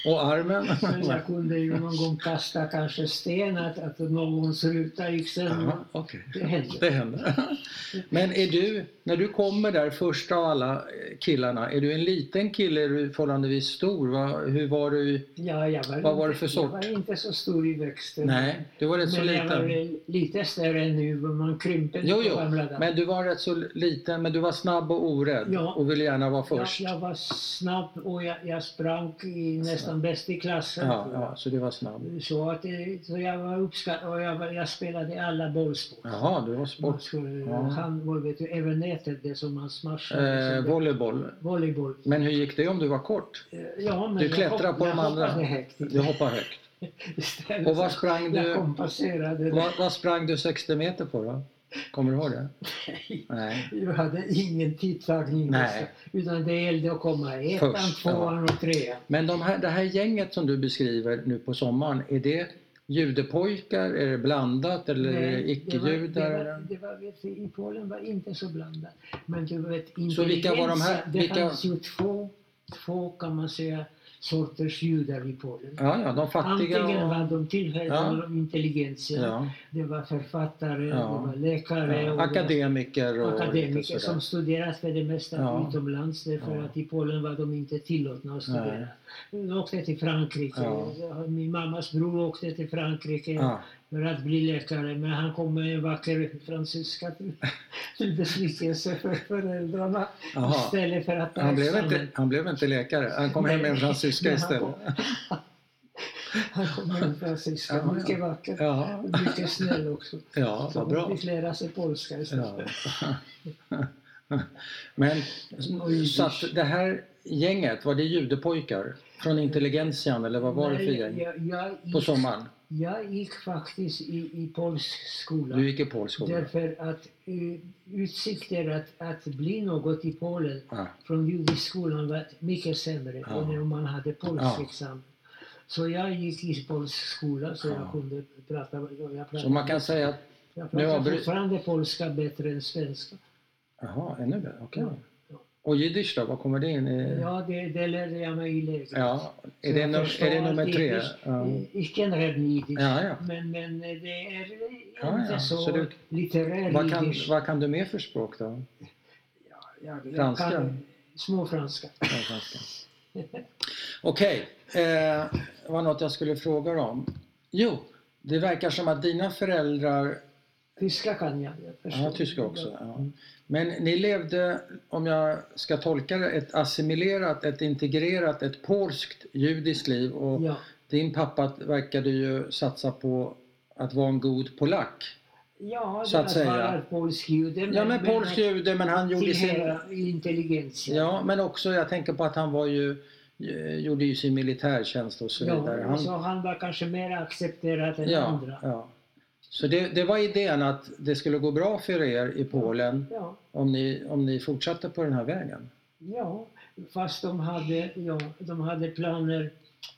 Speaker 1: Och armen?
Speaker 2: Men jag kunde ju någon gång kasta kanske sten, att, att någons ruta gick sönder.
Speaker 1: Jaha, okej.
Speaker 2: Mm. Det hände.
Speaker 1: Det händer. Men är du, när du kommer där första av alla eh, killarna, är du en liten kille? Är du förhållandevis stor? Va? Hur var du?
Speaker 2: Ja, jag var
Speaker 1: Vad var
Speaker 2: inte-
Speaker 1: det för
Speaker 2: Jag
Speaker 1: sort?
Speaker 2: var inte så stor i växten.
Speaker 1: Nej, du var rätt så
Speaker 2: Men jag var
Speaker 1: liten.
Speaker 2: väl lite större än nu, men man krympte inte
Speaker 1: Jo,
Speaker 2: på
Speaker 1: jo,
Speaker 2: gamla dagar.
Speaker 1: men du var rätt så liten, men du var snabb och orädd
Speaker 2: Ja.
Speaker 1: och ville gärna vara
Speaker 2: jag,
Speaker 1: först.
Speaker 2: jag var snabb och jag, jag sprang i, nästan bäst i klassen.
Speaker 1: Ja,
Speaker 2: tror jag.
Speaker 1: ja, så du var snabb.
Speaker 2: Så, att, det- så jag var uppskattad och jag, var, jag spelade i alla bollsport.
Speaker 1: Jaha, du var
Speaker 2: Man
Speaker 1: sport.
Speaker 2: skulle,
Speaker 1: Ja.
Speaker 2: Handboll, vet du, även nätet, det som man smashade.
Speaker 1: Eh,
Speaker 2: som det-
Speaker 1: volleyboll.
Speaker 2: volleyboll.
Speaker 1: Men hur gick det om du var kort?
Speaker 2: Eh, Ja, men
Speaker 1: Du
Speaker 2: jag
Speaker 1: klättrade
Speaker 2: hopp-
Speaker 1: på de andra.
Speaker 2: Jag hoppade högt
Speaker 1: Du hoppar högt.
Speaker 2: istället.
Speaker 1: Och vad sprang
Speaker 2: Jag
Speaker 1: du,
Speaker 2: kompenserade. det.
Speaker 1: vad, vad sprang du 60 meter på då? Kommer du ihåg det? Nej.
Speaker 2: Jag hade ingen tidtagning.
Speaker 1: Nej.
Speaker 2: Utan det gällde att komma i ettan,
Speaker 1: Först, ja.
Speaker 2: tvåan och trean.
Speaker 1: Men de här, det här gänget som du beskriver nu på sommaren, är det judepojkar? Är det blandat eller är det
Speaker 2: Nej,
Speaker 1: icke-judar?
Speaker 2: Det var, det var,
Speaker 1: eller?
Speaker 2: det var, vet du, I Polen var inte så blandat. Men du vet,
Speaker 1: Så vilka var de här?
Speaker 2: intelligensen- Det
Speaker 1: Vilka-
Speaker 2: fanns ju två, två, kan man säga, sorters judar i Polen.
Speaker 1: Ja, ja, de fattiga
Speaker 2: Antingen
Speaker 1: och...
Speaker 2: var de tillhörde
Speaker 1: Ja.
Speaker 2: de intelligensen,
Speaker 1: Ja,
Speaker 2: det var författare,
Speaker 1: Ja.
Speaker 2: det var läkare
Speaker 1: ja,
Speaker 2: och
Speaker 1: akademiker
Speaker 2: det var
Speaker 1: och
Speaker 2: akademiker
Speaker 1: lite sådär.
Speaker 2: som studerat för det mesta
Speaker 1: Ja.
Speaker 2: utomlands därför
Speaker 1: Ja.
Speaker 2: att i Polen var de inte tillåtna att studera. De åkte till Frankrike.
Speaker 1: Ja.
Speaker 2: Min mammas bror åkte till Frankrike
Speaker 1: Ja,
Speaker 2: för att bli läkare, men han kom med en vacker fransyska till, till besvikelse för föräldrarna.
Speaker 1: aha.
Speaker 2: Istället för att ta
Speaker 1: Han blev,
Speaker 2: examen.
Speaker 1: inte, han blev inte läkare, han kom hem med en fransyska
Speaker 2: Men han
Speaker 1: istället.
Speaker 2: kom- Han kom med en fransyska,
Speaker 1: Ja, ja.
Speaker 2: mycket vacker.
Speaker 1: Ja,
Speaker 2: och Mycket snäll också.
Speaker 1: ja
Speaker 2: Så
Speaker 1: vad
Speaker 2: hon
Speaker 1: bra.
Speaker 2: fick lära sig polska istället.
Speaker 1: Ja. Men så att det här gänget, var det judepojkar från intelligensian eller vad var det för
Speaker 2: Nej,
Speaker 1: gäng?
Speaker 2: Jag, jag, gick,
Speaker 1: På sommaren?
Speaker 2: jag gick faktiskt i, i polsk skola.
Speaker 1: Du gick i polsk skola?
Speaker 2: Därför att eh, utsikter att, att bli något i Polen
Speaker 1: Ja.
Speaker 2: från judisk skolan var mycket sämre
Speaker 1: Ja.
Speaker 2: än om man hade polsk
Speaker 1: Ja.
Speaker 2: examen. Så jag gick i polsk skola så
Speaker 1: Ja.
Speaker 2: jag kunde prata. Jag pratade,
Speaker 1: Så man kan säga att,
Speaker 2: jag
Speaker 1: nu
Speaker 2: pratade
Speaker 1: avbry-
Speaker 2: fortfarande polska bättre än svenska.
Speaker 1: jaha, ännu bättre, okej.
Speaker 2: Ja.
Speaker 1: Och jiddisch då, vad kommer det in i?
Speaker 2: Ja, det, det lärde jag mig i lägret.
Speaker 1: Mm. Ja, är
Speaker 2: Så
Speaker 1: det,
Speaker 2: jag
Speaker 1: num-
Speaker 2: förstår
Speaker 1: är det nummer
Speaker 2: att
Speaker 1: tre?
Speaker 2: jiddisch-
Speaker 1: Ja.
Speaker 2: Ich kenne redan jiddisch.
Speaker 1: Ja, ja.
Speaker 2: Men, men det är
Speaker 1: Ja,
Speaker 2: inte
Speaker 1: ja.
Speaker 2: så,
Speaker 1: Så du-
Speaker 2: litterär
Speaker 1: Vad kan,
Speaker 2: jiddisch.
Speaker 1: vad kan du mer för språk då?
Speaker 2: Jag, jag
Speaker 1: franska?
Speaker 2: kan småfranska.
Speaker 1: Ja, ganska. Okej, eh, det var något jag skulle fråga dig om. Jo, det verkar som att dina föräldrar
Speaker 2: Tyska kan jag. jag förstår. Mm.
Speaker 1: Ja, tyska också. Ja. Men ni levde, om jag ska tolka det, ett assimilerat, ett integrerat, ett polskt judiskt liv och
Speaker 2: Ja,
Speaker 1: din pappa verkade ju satsa på att vara en god polack. Så
Speaker 2: ja
Speaker 1: att
Speaker 2: det alltså
Speaker 1: säga.
Speaker 2: var polsk jude.
Speaker 1: Ja, men polsk jude, men han gjorde sin...
Speaker 2: tillhör intelligensen.
Speaker 1: Ja, men också jag tänker på att han var ju, eh, gjorde ju sin militärtjänst och så vidare.
Speaker 2: Ja,
Speaker 1: Han,
Speaker 2: så han var kanske mer accepterad än
Speaker 1: ja,
Speaker 2: andra.
Speaker 1: ja. Så det, det var idén att det skulle gå bra för er i Polen
Speaker 2: Ja,
Speaker 1: om ni, om ni fortsatte på den här vägen.
Speaker 2: ja, fast de hade, ja, de hade planer.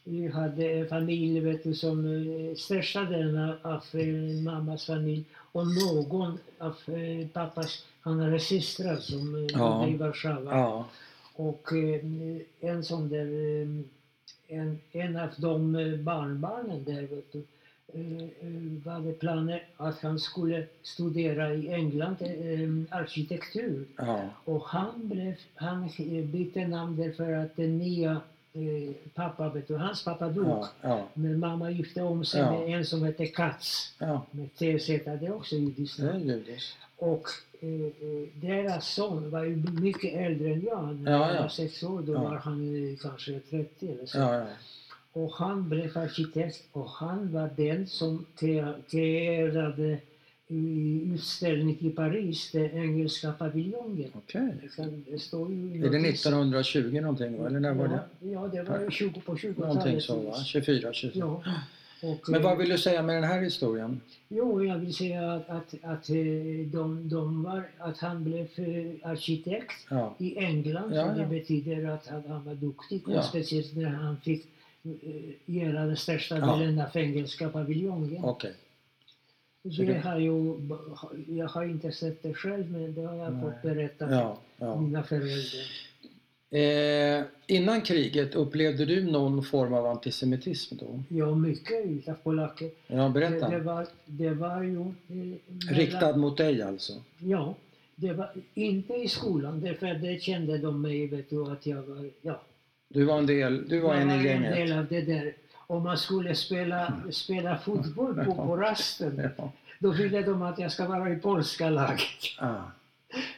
Speaker 2: Vi hade en familj vet du, som eh, största delen av, av eh, mammas familj och någon av eh, pappas, han hade systrar som eh,
Speaker 1: Ja.
Speaker 2: bodde i Warszawa.
Speaker 1: Ja,
Speaker 2: Och eh, en sån där, eh, en, en av de eh, barnbarnen där vet du, eh, eh, hade planer att han skulle studera i England eh, arkitektur.
Speaker 1: ja.
Speaker 2: Och han, blev, han eh, bytte namn därför att den nya eh, pappa, vet du, hans pappa dog.
Speaker 1: Ja, ja,
Speaker 2: Men mamma gifte om sig
Speaker 1: Ja.
Speaker 2: med en som hette Katz,
Speaker 1: ja.
Speaker 2: med TZ, det är också judiskt
Speaker 1: Det är
Speaker 2: namn.
Speaker 1: judiskt.
Speaker 2: Och eh, eh, deras son var ju mycket äldre än jag. När
Speaker 1: Ja,
Speaker 2: jag
Speaker 1: ja.
Speaker 2: var sex år, då
Speaker 1: Ja.
Speaker 2: var han eh, kanske 30 eller så.
Speaker 1: Ja, ja.
Speaker 2: Och han blev arkitekt och han var den som kre- kreerade i utställning i Paris, den engelska paviljongen.
Speaker 1: Okej.
Speaker 2: Det kan- Det står ju i
Speaker 1: Är det
Speaker 2: notis.
Speaker 1: 1920 någonting va? Eller när var det?
Speaker 2: Ja, ja det var ju 20, på
Speaker 1: Någonting
Speaker 2: 20-talet.
Speaker 1: så va? 24, 25?
Speaker 2: Ja. Och,
Speaker 1: Men
Speaker 2: eh,
Speaker 1: vad vill du säga med den här historien?
Speaker 2: Jo, jag vill säga att, att, att, eh, de, de var, att han blev eh, arkitekt
Speaker 1: Ja,
Speaker 2: i England.
Speaker 1: Ja,
Speaker 2: så det
Speaker 1: ja.
Speaker 2: betyder att, att han var duktig.
Speaker 1: Ja.
Speaker 2: Och speciellt när han fick eh, göra den största
Speaker 1: Ja.
Speaker 2: delen av engelska paviljongen.
Speaker 1: okej.
Speaker 2: Det har ju, jag har inte sett det själv men det har jag
Speaker 1: Nej.
Speaker 2: fått berättat
Speaker 1: Ja,
Speaker 2: för
Speaker 1: ja.
Speaker 2: mina föräldrar.
Speaker 1: Eh, innan kriget, upplevde du någon form av antisemitism då?
Speaker 2: Ja, mycket utav polacker.
Speaker 1: Ja,
Speaker 2: Det, det,
Speaker 1: berätta.
Speaker 2: var, det var ju... eh, mellan-
Speaker 1: Riktad mot dig alltså?
Speaker 2: Ja. Det var inte i skolan, därför det kände de mig, vet du, att jag var... Ja,
Speaker 1: Du var en del, du var
Speaker 2: Jag
Speaker 1: en i
Speaker 2: en del
Speaker 1: gänget?
Speaker 2: av det där. Om man skulle spela, spela fotboll på, på rasten,
Speaker 1: Ja.
Speaker 2: då ville de att jag ska vara i polska laget.
Speaker 1: Ah.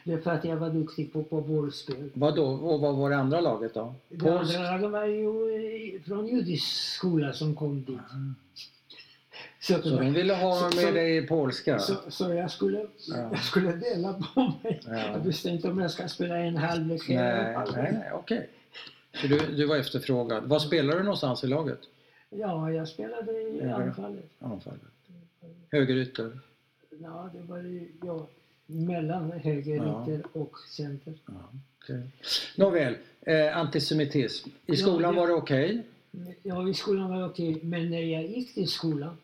Speaker 2: Det är för att jag var duktig på, på bollspel.
Speaker 1: Vadå, och vad var det andra laget då?
Speaker 2: Det
Speaker 1: Polsk?
Speaker 2: andra laget var ju eh, från judisk skola som kom dit. Så,
Speaker 1: Så de ville ha
Speaker 2: Så-
Speaker 1: med
Speaker 2: så-
Speaker 1: dig i polska?
Speaker 2: så, så jag, skulle,
Speaker 1: Ja.
Speaker 2: jag skulle dela på mig.
Speaker 1: Ja.
Speaker 2: Jag visste inte om jag ska spela en halvlek
Speaker 1: Nej,
Speaker 2: eller en halvlek.
Speaker 1: nej, nej, okej. Så du, du var efterfrågad. Var spelar du någonstans i laget?
Speaker 2: Ja, jag spelade i
Speaker 1: Ja.
Speaker 2: anfallet.
Speaker 1: Anfallet. Högerytter?
Speaker 2: Ja, det var ju ja, mellan höger,
Speaker 1: Ja.
Speaker 2: ytter och center.
Speaker 1: Ja, okej. Nåväl, eh, antisemitism. I
Speaker 2: Ja,
Speaker 1: skolan
Speaker 2: det-
Speaker 1: var det okej?
Speaker 2: Ja, i skolan var det okej, men när jag gick till skolan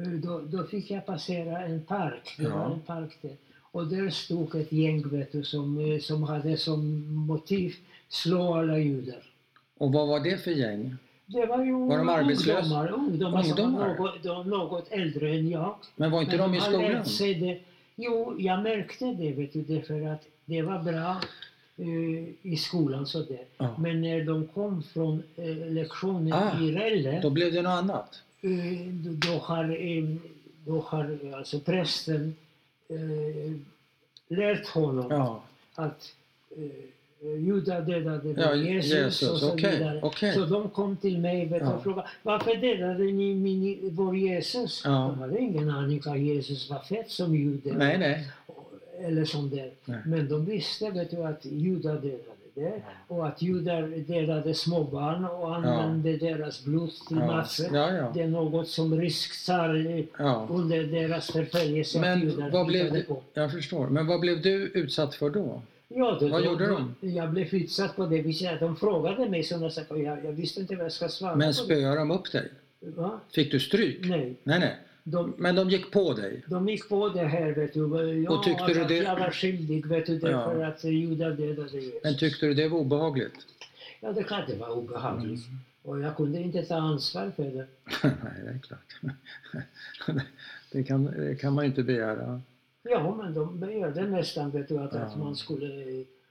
Speaker 2: eh, då, då fick jag passera en park. Det var
Speaker 1: Ja.
Speaker 2: en park där. Och där stod ett gäng vet du, som, eh, som hade som motiv slå alla judar.
Speaker 1: Och vad var det för gäng?
Speaker 2: Det var ju
Speaker 1: Var de arbetslösa?
Speaker 2: ungdomar, ungdomar, som var
Speaker 1: Ungdomar?
Speaker 2: något, de, något äldre än jag.
Speaker 1: Men var inte
Speaker 2: Men
Speaker 1: de i
Speaker 2: har
Speaker 1: skolan?
Speaker 2: lärt sig det. Jo, jag märkte det, vet du, därför att det var bra eh, i skolan sådär.
Speaker 1: Ja.
Speaker 2: Men när de kom från eh, lektionen
Speaker 1: Ah,
Speaker 2: i Relle,
Speaker 1: Då blev det något annat?
Speaker 2: eh, då, då har, eh, då har eh, alltså prästen eh, lärt honom
Speaker 1: Ja,
Speaker 2: att eh, judar dödade
Speaker 1: ja
Speaker 2: Jesus, och
Speaker 1: Jesus,
Speaker 2: så
Speaker 1: okej.
Speaker 2: vidare.
Speaker 1: okej.
Speaker 2: Så de kom till mig vet, du,
Speaker 1: Ja.
Speaker 2: och frågade varför dödade ni min, vår Jesus?
Speaker 1: Ja.
Speaker 2: De hade ingen aning om Jesus var fett som jude
Speaker 1: Nej, nej.
Speaker 2: eller som det.
Speaker 1: Nej.
Speaker 2: Men de visste vet du, att judar dödade det och att judar dödade småbarn och använde deras blod till
Speaker 1: Ja,
Speaker 2: massor.
Speaker 1: ja. ja.
Speaker 2: Det är något som rysk tsar eh,
Speaker 1: ja.
Speaker 2: under deras förföljelse att
Speaker 1: Men
Speaker 2: judar
Speaker 1: vad blev
Speaker 2: hittade
Speaker 1: du, jag förstår. Men vad blev du utsatt för då?
Speaker 2: Ja, det,
Speaker 1: Vad
Speaker 2: då-
Speaker 1: gjorde
Speaker 2: då- Jag blev utsatt på det viset att de frågade mig sådana saker och jag, jag visste inte vad jag ska svara
Speaker 1: Men
Speaker 2: på. det.
Speaker 1: spöade de upp dig?
Speaker 2: Va?
Speaker 1: Fick du stryk?
Speaker 2: Nej,
Speaker 1: Nej, nej.
Speaker 2: de,
Speaker 1: Men de gick på dig?
Speaker 2: de gick på det här vet du. Ja,
Speaker 1: Och tyckte du
Speaker 2: att
Speaker 1: det-
Speaker 2: jag var skyldig vet du, därför
Speaker 1: Ja.
Speaker 2: att judar dödade Jesus.
Speaker 1: Men tyckte du det var obehagligt?
Speaker 2: Ja, det kan det vara obehagligt.
Speaker 1: Mm.
Speaker 2: Och jag kunde inte ta ansvar för det.
Speaker 1: Nej, det är klart. Det kan, det kan man ju inte begära.
Speaker 2: Ja, men de begärde nästan vet du, att,
Speaker 1: Ja.
Speaker 2: att man skulle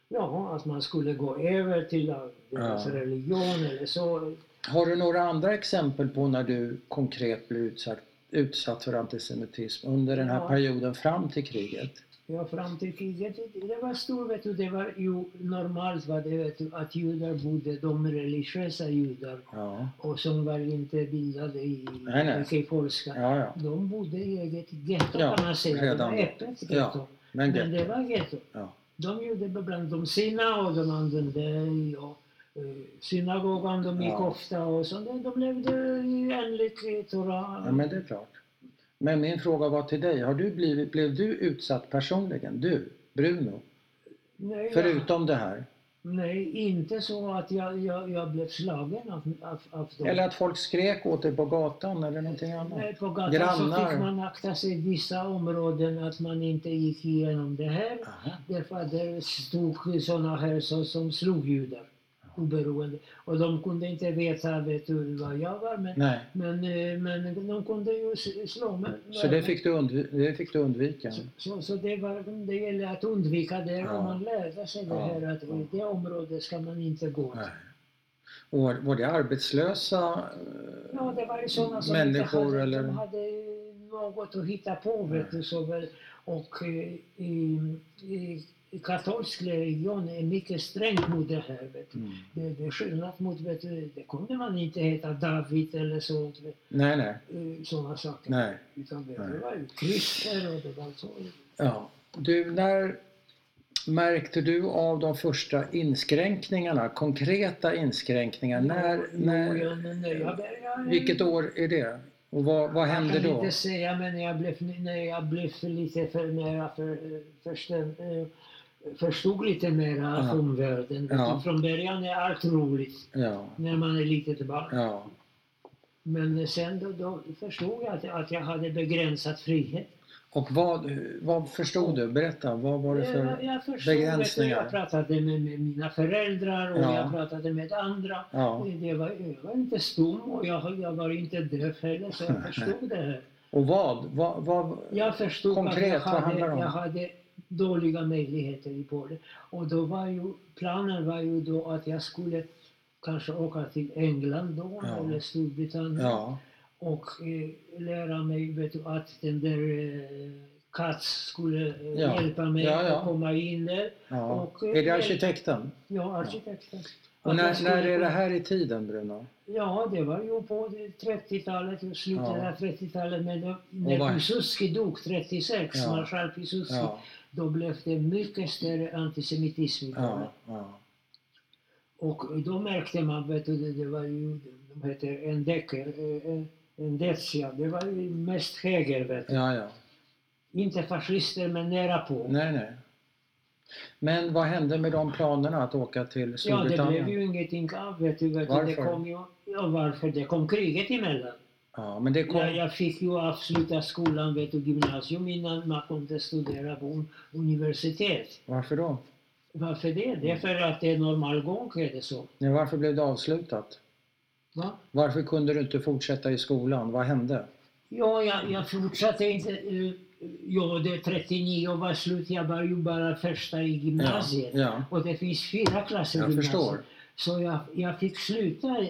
Speaker 2: Ja, att man skulle gå över till eh, deras
Speaker 1: Ja.
Speaker 2: religion eller så.
Speaker 1: Har du några andra exempel på när du konkret blev utsatt, utsatt för antisemitism under den här
Speaker 2: Ja.
Speaker 1: perioden fram till kriget?
Speaker 2: Ja, fram till kriget, det var stort, vet du, det var ju normalt var det, vet du, att judar bodde, de religiösa judar,
Speaker 1: Ja,
Speaker 2: och som var inte bildade i,
Speaker 1: Nej, nej.
Speaker 2: i polska,
Speaker 1: ja, ja.
Speaker 2: de bodde i eget getto
Speaker 1: Ja,
Speaker 2: kan man säga, det
Speaker 1: redan
Speaker 2: var
Speaker 1: då.
Speaker 2: öppet getto.
Speaker 1: Ja, Men
Speaker 2: Men det
Speaker 1: det...
Speaker 2: var getto.
Speaker 1: Ja.
Speaker 2: De gjorde bland de sina och de använde ja, eh, synagogan, de gick
Speaker 1: Ja.
Speaker 2: ofta och så. De de levde enligt eh, Torah.
Speaker 1: ja, men det är klart. Men min fråga var till dig. Har du blivit, blev du utsatt personligen? Du, Bruno?
Speaker 2: Nej, jag-
Speaker 1: Förutom det här?
Speaker 2: Nej, inte så att jag, jag, jag blev slagen av, av, av dem.
Speaker 1: Eller att folk skrek åt dig på gatan eller någonting annat?
Speaker 2: Nej, på gatan så
Speaker 1: Grannar.
Speaker 2: fick man akta sig i vissa områden att man inte gick igenom det här.
Speaker 1: Aha.
Speaker 2: Därför att det stod sådana här som, som slog judar oberoende. Och de kunde inte veta vet du, vad jag var men,
Speaker 1: Nej.
Speaker 2: men, eh, men de kunde ju s- slå mig.
Speaker 1: Så det fick du, undvi- det fick du undvika?
Speaker 2: Så, så, så det, var, det gäller att undvika det
Speaker 1: Ja.
Speaker 2: och man lärde sig det
Speaker 1: Ja.
Speaker 2: här att i det området ska man inte gå.
Speaker 1: Nej. Och var- var det arbetslösa? eh,
Speaker 2: Ja, det var ju sådana som
Speaker 1: Människor
Speaker 2: inte hade,
Speaker 1: eller-
Speaker 2: de hade något att hitta på. Vet du, så väl. Och eh, i, i, i katolsk religion är mycket strängt mot det här. Vet du.
Speaker 1: Mm.
Speaker 2: Det, det är skillnad mot, vet du, det kunde man inte heta David eller sånt,
Speaker 1: Nej, nej,
Speaker 2: eh, sådana saker.
Speaker 1: nej.
Speaker 2: Utan det,
Speaker 1: Nej.
Speaker 2: det var ju krister och det var så.
Speaker 1: Ja. Du, när mmärkte du av de första inskränkningarna, konkreta inskränkningar? När,
Speaker 2: Jo, jo,
Speaker 1: när,
Speaker 2: jag- när jag började-
Speaker 1: vilket år är det? Och vad, vad hände
Speaker 2: jag kan
Speaker 1: då?
Speaker 2: inte säga, men jag blev, när jag blev för lite för mera för, förstå, förstod lite mera
Speaker 1: Ja.
Speaker 2: av omvärlden.
Speaker 1: Ja.
Speaker 2: Från början är allt roligt
Speaker 1: Ja,
Speaker 2: när man är litet barn.
Speaker 1: ja,
Speaker 2: Men sen då, då förstod jag att, att jag hade begränsad frihet.
Speaker 1: Och vad, vad förstod du? Berätta, vad var det
Speaker 2: jag,
Speaker 1: för...
Speaker 2: jag förstod
Speaker 1: begränsningar?
Speaker 2: att jag pratade med, med mina föräldrar och
Speaker 1: Ja.
Speaker 2: jag pratade med andra.
Speaker 1: Ja.
Speaker 2: Det var, jag var inte stum och jag, jag var inte döv heller så jag förstod det här.
Speaker 1: Och vad? vad, vad
Speaker 2: Jag förstod
Speaker 1: Konkret,
Speaker 2: att
Speaker 1: vad
Speaker 2: jag hade,
Speaker 1: handlar det om?
Speaker 2: jag hade dåliga möjligheter i Polen. Och då var ju, planen var ju då att jag skulle kanske åka till England då,
Speaker 1: Ja.
Speaker 2: eller Storbritannien
Speaker 1: ja,
Speaker 2: och eh, lära mig vet du, att den där eh, Katz skulle eh,
Speaker 1: Ja.
Speaker 2: hjälpa mig
Speaker 1: Ja, ja.
Speaker 2: att komma in där.
Speaker 1: ja.
Speaker 2: Och, eh,
Speaker 1: Är det arkitekten?
Speaker 2: Ja, arkitekten.
Speaker 1: Och
Speaker 2: Att jag
Speaker 1: när,
Speaker 2: skulle
Speaker 1: när är det
Speaker 2: kunna-
Speaker 1: här i tiden, Bruno?
Speaker 2: Ja, det var ju på 30-talet, i slutet
Speaker 1: Ja.
Speaker 2: av 30-talet. Men då,
Speaker 1: Och vad-
Speaker 2: när Piłsudski dog 36,
Speaker 1: Ja.
Speaker 2: marskalk Piłsudski,
Speaker 1: Ja,
Speaker 2: då blev det mycket större antisemitism i Polen.
Speaker 1: ja, ja.
Speaker 2: Och då märkte man, vet du, det- det var ju, de heter Endecker, Endetia, det var ju mest höger, vet du.
Speaker 1: ja, ja.
Speaker 2: Inte fascister, men nära på.
Speaker 1: Nej, nej. Men vad hände med de planerna att åka till
Speaker 2: Ja, det blev
Speaker 1: Storbritannien?
Speaker 2: ju ingenting av, vet du. Vet du. Det
Speaker 1: Varför?
Speaker 2: kom ju, ja, varför? Det kom kriget emellan.
Speaker 1: Ja, men det kom...
Speaker 2: Jag, jag fick ju avsluta skolan, vet du, gymnasium innan man kunde studera på un- universitet.
Speaker 1: Varför då?
Speaker 2: Varför det? Det
Speaker 1: Mm.
Speaker 2: är för att det är normal gång, är det så.
Speaker 1: Nej, varför blev det avslutat?
Speaker 2: Va?
Speaker 1: Varför kunde du inte fortsätta i skolan? Vad hände?
Speaker 2: Ja, jag, jag fortsatte inte. eh, Ja, det 39 var slut. Jag var ju bara första i
Speaker 1: Ja,
Speaker 2: gymnasiet.
Speaker 1: ja.
Speaker 2: Och det finns fyra klasser i
Speaker 1: Jag
Speaker 2: gymnasiet.
Speaker 1: förstår.
Speaker 2: Så jag, jag fick sluta.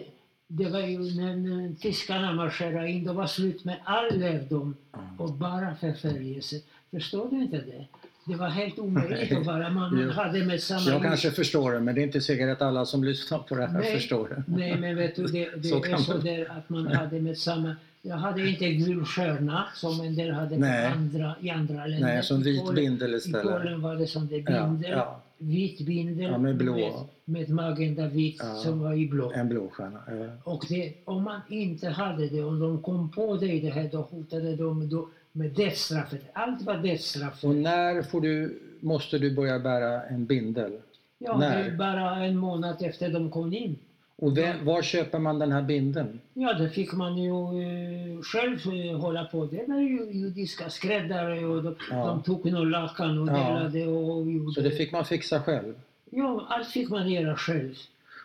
Speaker 2: Det var ju när, när tyskarna marscherade in, det var slut med all lärdom och bara förföljelse. Förstår du inte det? Det var helt omöjligt att vara man, man
Speaker 1: Jo.
Speaker 2: hade med samma...
Speaker 1: Jag kanske förstår det, men det är inte säkert att alla som lyssnar på det här
Speaker 2: Nej.
Speaker 1: förstår det.
Speaker 2: Nej, men vet du, det, det
Speaker 1: Så
Speaker 2: är
Speaker 1: kan
Speaker 2: så
Speaker 1: man-
Speaker 2: där att man hade med samma... Jag hade inte gul stjärna som en del hade på
Speaker 1: Nej.
Speaker 2: andra, i andra länder.
Speaker 1: Nej, som
Speaker 2: I
Speaker 1: vit
Speaker 2: Polen-
Speaker 1: bindel
Speaker 2: I
Speaker 1: istället.
Speaker 2: Polen var det som det
Speaker 1: Ja,
Speaker 2: bindel,
Speaker 1: ja.
Speaker 2: vit bindel
Speaker 1: Ja, med blå.
Speaker 2: Med, med magenta vit
Speaker 1: Ja.
Speaker 2: som var i blå.
Speaker 1: En blå stjärna. eh.
Speaker 2: Och det, om man inte hade det, om de kom på dig det här, då hotade de då med dödsstraffet. Allt var dödsstraff.
Speaker 1: Och när får du, måste du börja bära en bindel?
Speaker 2: Ja, det
Speaker 1: när?
Speaker 2: är bara en månad efter de kom in.
Speaker 1: Och vem, var köper man den här bindeln?
Speaker 2: Ja, det fick man ju eh, själv eh, hålla på. Det var ju judiska skräddare och de,
Speaker 1: Ja.
Speaker 2: de tog någon lakan och
Speaker 1: Ja.
Speaker 2: delade och gjorde.
Speaker 1: Så det fick man fixa själv.
Speaker 2: Ja, allt fick man göra själv.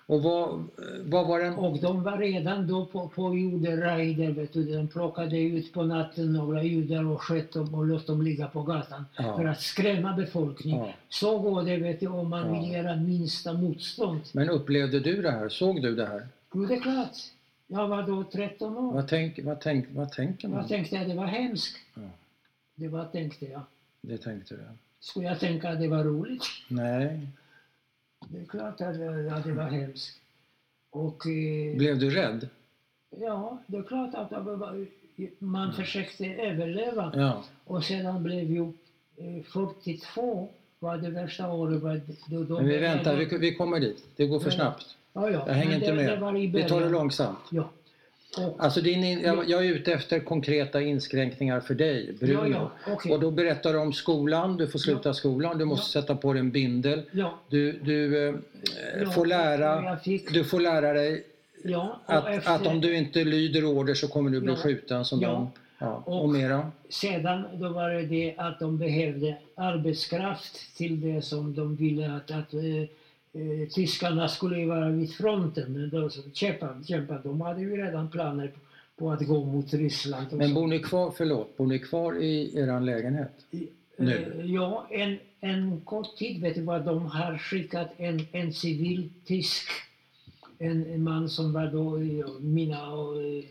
Speaker 1: Och vad, vad var den...
Speaker 2: Och de var redan då på, på juderaider, vet du. De plockade ut på natten några judar och sköt dem och lät dem ligga på gatan
Speaker 1: Ja.
Speaker 2: för att skrämma befolkningen.
Speaker 1: Ja.
Speaker 2: Så går det, vet du, om man
Speaker 1: Ja.
Speaker 2: vill göra minsta motstånd.
Speaker 1: Men upplevde du det här? Såg du det här?
Speaker 2: Jo, det är klart. Jag var då 13 år.
Speaker 1: Vad, tänk, vad, tänk, vad tänker man?
Speaker 2: Jag tänkte att det var hemskt.
Speaker 1: Ja.
Speaker 2: Det var, tänkte jag.
Speaker 1: Det tänkte du?
Speaker 2: Skulle jag tänka att det var roligt?
Speaker 1: Nej.
Speaker 2: Det är klart att ja, det var hemskt. Och eh,
Speaker 1: Blev du rädd?
Speaker 2: ja, det är klart att det var- man försökte överleva.
Speaker 1: Ja.
Speaker 2: Och sedan blev ju eh, 42 var det värsta året. Var det- då, då
Speaker 1: Men vi
Speaker 2: började-
Speaker 1: väntar, vi, vi kommer dit. Det går för
Speaker 2: Ja.
Speaker 1: snabbt.
Speaker 2: ja, ja.
Speaker 1: Jag hänger
Speaker 2: men
Speaker 1: inte
Speaker 2: det, Det var i
Speaker 1: med. Vi tar det
Speaker 2: början.
Speaker 1: långsamt.
Speaker 2: Ja. Och,
Speaker 1: Alltså din in, jag, jag är ute efter konkreta inskränkningar för dig, Bruno.
Speaker 2: ja, ja, okej.
Speaker 1: Och då berättar du om skolan, du får sluta skolan, du måste sätta på dig en bindel.
Speaker 2: ja,
Speaker 1: Du, du eh,
Speaker 2: ja,
Speaker 1: får
Speaker 2: och
Speaker 1: lära,
Speaker 2: Jag fick,
Speaker 1: du får lära dig
Speaker 2: ja, och
Speaker 1: att,
Speaker 2: efter,
Speaker 1: att om du inte lyder order så kommer du bli
Speaker 2: Ja.
Speaker 1: skjuten som
Speaker 2: Ja.
Speaker 1: dem. Ja. Och,
Speaker 2: Och-
Speaker 1: mera.
Speaker 2: Sedan då var det det att de behövde arbetskraft till det som de ville att, att eh, eh, tyskarna skulle vara vid fronten. De som kämpade, kämpade. De hade ju redan planer på, på att gå mot Ryssland. och
Speaker 1: Men
Speaker 2: så.
Speaker 1: bor ni kvar, förlåt, bor ni kvar i eran lägenhet? nu?
Speaker 2: Eh, ja, en, en kort tid vet du vad de har skickat en, en civil tysk. En, en man som var då, eh, mina, och, eh,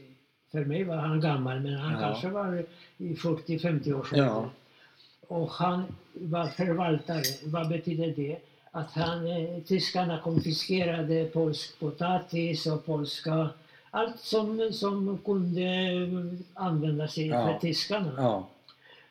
Speaker 2: för mig var han gammal men han
Speaker 1: Ja.
Speaker 2: kanske var i 40-50 års ålder.
Speaker 1: Ja.
Speaker 2: Och han var förvaltare. Vad betyder det? Att han, eh, tyskarna konfiskerade polsk potatis och polska... Allt som, som kunde eh, användas i-
Speaker 1: Ja.
Speaker 2: för tyskarna.
Speaker 1: ja.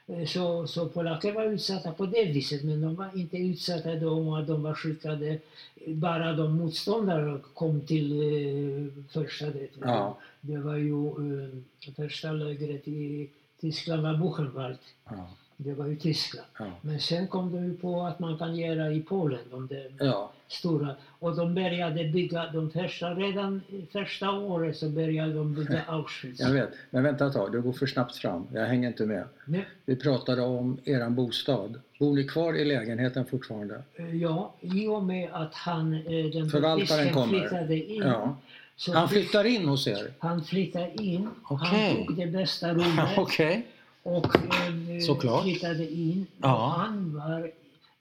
Speaker 2: Eh, Så, så polacker var utsatta på det viset, men de var inte utsatta då om att de var skickade, bara de motståndare kom till eh, första det.
Speaker 1: Ja.
Speaker 2: Det var ju eh, första lägret i Tyskland var Buchenwald,
Speaker 1: Ja.
Speaker 2: det var ju Tyskland.
Speaker 1: Ja.
Speaker 2: Men sen kom de ju på att man kan göra i Polen, de där
Speaker 1: ja.
Speaker 2: stora. Och de började bygga, de första, redan första året så började de bygga Auschwitz.
Speaker 1: Jag vet. Men vänta ett tag, du går för snabbt fram. Jag hänger inte med.
Speaker 2: Men,
Speaker 1: Vi pratade om eran bostad. Bor ni kvar i lägenheten fortfarande?
Speaker 2: eh, ja, i och med att han, eh, den där
Speaker 1: Förvaltaren
Speaker 2: fisken
Speaker 1: kommer.
Speaker 2: flyttade in.
Speaker 1: Ja.
Speaker 2: Så
Speaker 1: Han
Speaker 2: fick-
Speaker 1: flyttar in hos er?
Speaker 2: han flyttade in,
Speaker 1: Okej.
Speaker 2: han tog det bästa rummet.
Speaker 1: Okej.
Speaker 2: och eh,
Speaker 1: Såklart.
Speaker 2: flyttade in.
Speaker 1: Ja.
Speaker 2: Och han var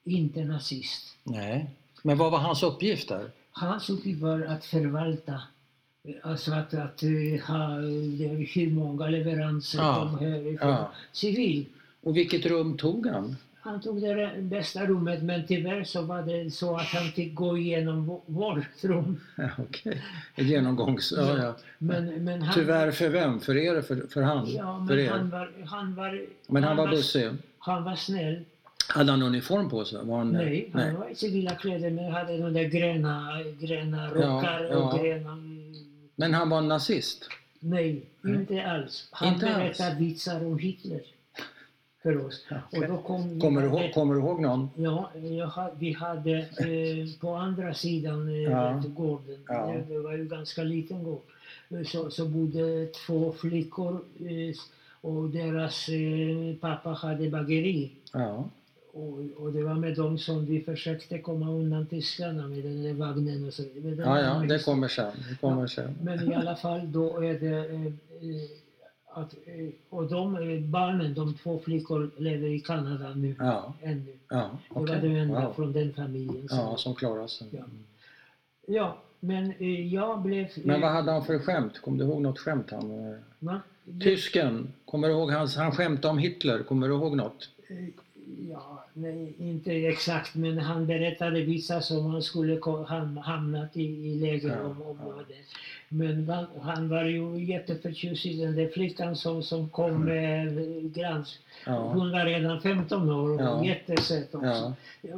Speaker 2: inte nazist.
Speaker 1: Nej. Men vad var hans uppgift där?
Speaker 2: Hans uppgift var att förvalta, eh, alltså att, att eh, ha eh, hur många leveranser
Speaker 1: Ja.
Speaker 2: kom härifrån.
Speaker 1: Ja.
Speaker 2: Civil.
Speaker 1: Och vilket rum tog han?
Speaker 2: Han tog det där bästa rummet men tyvärr så var det så att han fick gå igenom vå- vårt rum.
Speaker 1: Ja, Okej. Ett Genomgångs... Ja, ja.
Speaker 2: Men, men han,
Speaker 1: Tyvärr för vem? För er? För, för han?
Speaker 2: Ja,
Speaker 1: för
Speaker 2: men
Speaker 1: er.
Speaker 2: han var, han var...
Speaker 1: men han var
Speaker 2: var-
Speaker 1: bussig?
Speaker 2: Han var snäll.
Speaker 1: Hade han uniform på sig? Var han,
Speaker 2: Nej,
Speaker 1: nej.
Speaker 2: han var i civila kläder men hade de där gröna, gröna rockar
Speaker 1: ja.
Speaker 2: och gröna...
Speaker 1: Men han var nazist?
Speaker 2: Nej,
Speaker 1: Nej.
Speaker 2: inte alls. Han
Speaker 1: Inte alls.
Speaker 2: berättade vitsar om Hitler för oss. Och då kom
Speaker 1: Kommer du, ihåg, kommer du ihåg någon?
Speaker 2: Ja, jag, ha- vi hade eh, på andra sidan eh,
Speaker 1: Ja.
Speaker 2: gården,
Speaker 1: Ja.
Speaker 2: det var ju ganska liten gård, eh, så, så bodde två flickor eh, och deras eh, pappa hade bageri.
Speaker 1: Ja.
Speaker 2: Och, och det var med dem som vi försökte komma undan tyskarna med den där vagnen och så vidare. Men den
Speaker 1: Ja, ja,
Speaker 2: var
Speaker 1: det
Speaker 2: just-
Speaker 1: kommer sen. Det kommer sen.
Speaker 2: Men i alla fall då är det eh, eh, att, eh, och de eh, barnen, de två flickor lever i Kanada nu,
Speaker 1: Ja,
Speaker 2: ännu.
Speaker 1: ja.
Speaker 2: Det
Speaker 1: okej.
Speaker 2: var det enda
Speaker 1: Wow.
Speaker 2: från den familjen. som-
Speaker 1: Ja, som klarar sig.
Speaker 2: Ja. ja, men eh, jag blev... eh,
Speaker 1: Men vad hade han för skämt? Kommer du ihåg något skämt han? eh,
Speaker 2: va? Det-
Speaker 1: Tysken, kommer du ihåg hans, han skämtade om Hitler, kommer du ihåg något?
Speaker 2: eh, Ja, nej, inte exakt, men han berättade vissa som han skulle ko- ham- hamnat i, i läger
Speaker 1: Ja,
Speaker 2: om, om
Speaker 1: ja.
Speaker 2: det. Men va- han var ju jätteförtjust i den där flickan som, som kom med eh, granns.
Speaker 1: Mm. Ja.
Speaker 2: Hon var redan 15 år och
Speaker 1: Ja.
Speaker 2: jättesöt också.
Speaker 1: Ja,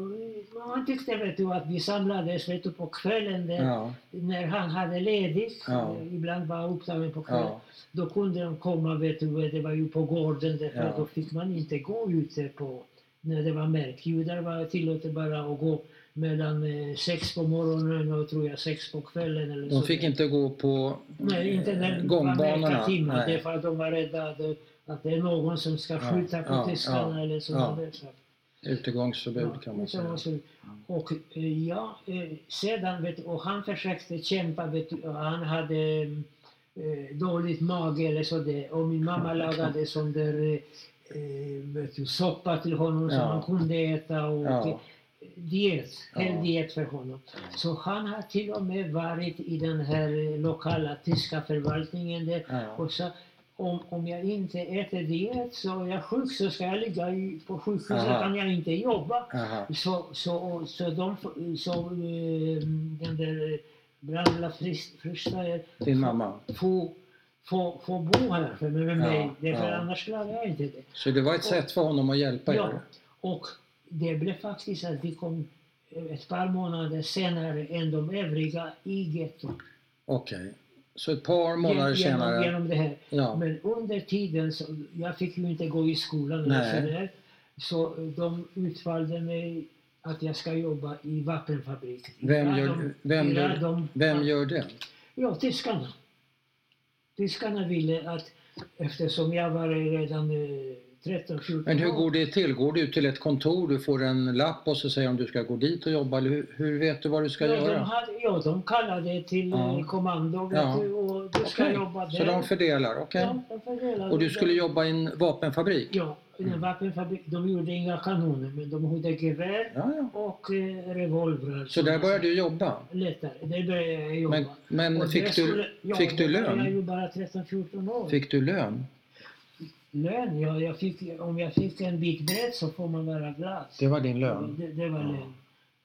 Speaker 2: Ja, Han tyckte vet du, att vi samlades vet du, på kvällen där,
Speaker 1: ja,
Speaker 2: när han hade ledigt.
Speaker 1: Ja.
Speaker 2: Eh, Ibland var han upptagen på kvällen.
Speaker 1: ja,
Speaker 2: Då kunde de komma, vet du, det var ju på gården därför
Speaker 1: Ja.
Speaker 2: att då fick man inte gå ute på när det var mörkt. Judar var tillåtet bara att gå mellan eh, sex på morgonen och tror jag sex på kvällen eller
Speaker 1: de
Speaker 2: så.
Speaker 1: fick inte gå på
Speaker 2: Nej, inte när
Speaker 1: eh,
Speaker 2: det var mörka
Speaker 1: gångbanorna.
Speaker 2: timmar
Speaker 1: Nej.
Speaker 2: därför att de var rädda att, att det är någon som ska
Speaker 1: Ja,
Speaker 2: skjuta på
Speaker 1: ja,
Speaker 2: tyskarna
Speaker 1: ja,
Speaker 2: eller
Speaker 1: ja.
Speaker 2: sådana där saker.
Speaker 1: Utegångsförbud
Speaker 2: Ja,
Speaker 1: kan man
Speaker 2: utan
Speaker 1: säga.
Speaker 2: vad som- Och eh, ja, eh, sedan vet du, och han försökte kämpa, vet du, och han hade eh, dåligt mage eller så det, och min mamma lagade sån där eh, vet du, soppa till honom som
Speaker 1: Ja.
Speaker 2: han kunde äta och
Speaker 1: Ja.
Speaker 2: diet, hel
Speaker 1: Ja.
Speaker 2: diet för honom. Så han har till och med varit i den här eh, lokala tyska förvaltningen där
Speaker 1: Ja.
Speaker 2: och så, om, om jag inte äter diet så är jag sjuk så ska jag ligga i, på sjukhus så
Speaker 1: Aha.
Speaker 2: kan jag inte jobba.
Speaker 1: Aha.
Speaker 2: Så, så, så, de, f- så eh, den där Brandla Fristajer
Speaker 1: Din mamma.
Speaker 2: får, får, får bo här för med mig.
Speaker 1: Ja,
Speaker 2: Därför
Speaker 1: ja.
Speaker 2: annars klarar jag inte det.
Speaker 1: Så det var ett sätt för honom att hjälpa
Speaker 2: Ja,
Speaker 1: er?
Speaker 2: och det blev faktiskt att vi kom eh, ett par månader senare än de övriga i gettot.
Speaker 1: Okej. Så ett par månader
Speaker 2: genom,
Speaker 1: senare?
Speaker 2: genom det här.
Speaker 1: Ja.
Speaker 2: Men under tiden, så, jag fick ju inte gå i skolan
Speaker 1: Nej.
Speaker 2: eller sådär. Så de utvalde mig att jag ska jobba i vapenfabrik.
Speaker 1: Vem
Speaker 2: Iran
Speaker 1: gör,
Speaker 2: de-
Speaker 1: vem
Speaker 2: Iran
Speaker 1: gör,
Speaker 2: de-
Speaker 1: vem gör det?
Speaker 2: Ja, tyskarna. Tyskarna ville att, eftersom jag var redan eh, 13-14
Speaker 1: Men hur går det till? Går du till ett kontor, du får en lapp och så säger de om du ska gå dit och jobba? Eller hur, hur vet du vad du ska
Speaker 2: ja, De
Speaker 1: göra?
Speaker 2: hade, ja, de kallade till eh,
Speaker 1: Ja.
Speaker 2: kommando vet
Speaker 1: Ja.
Speaker 2: du, och du ska
Speaker 1: Okej,
Speaker 2: jobba där.
Speaker 1: Så de fördelar, okej.
Speaker 2: Ja, de fördelade
Speaker 1: Och du
Speaker 2: det.
Speaker 1: skulle jobba Mm. i en vapenfabrik?
Speaker 2: Ja, i en vapenfabrik. De gjorde inga kanoner, men de hade gevär.
Speaker 1: Ja, ja.
Speaker 2: och eh, revolvrar.
Speaker 1: Så där började du jobba?
Speaker 2: Lättare. Det började jag jobba.
Speaker 1: Men, men
Speaker 2: Och det
Speaker 1: fick,
Speaker 2: skulle-
Speaker 1: du,
Speaker 2: ja,
Speaker 1: fick du
Speaker 2: då var Jag
Speaker 1: lön?
Speaker 2: ju bara 13-14 år.
Speaker 1: Fick du lön?
Speaker 2: Lön? Ja, jag fick, om jag fick en bit bröd så får man vara glad.
Speaker 1: Det var din lön?
Speaker 2: Det, det var
Speaker 1: Ja.
Speaker 2: lön.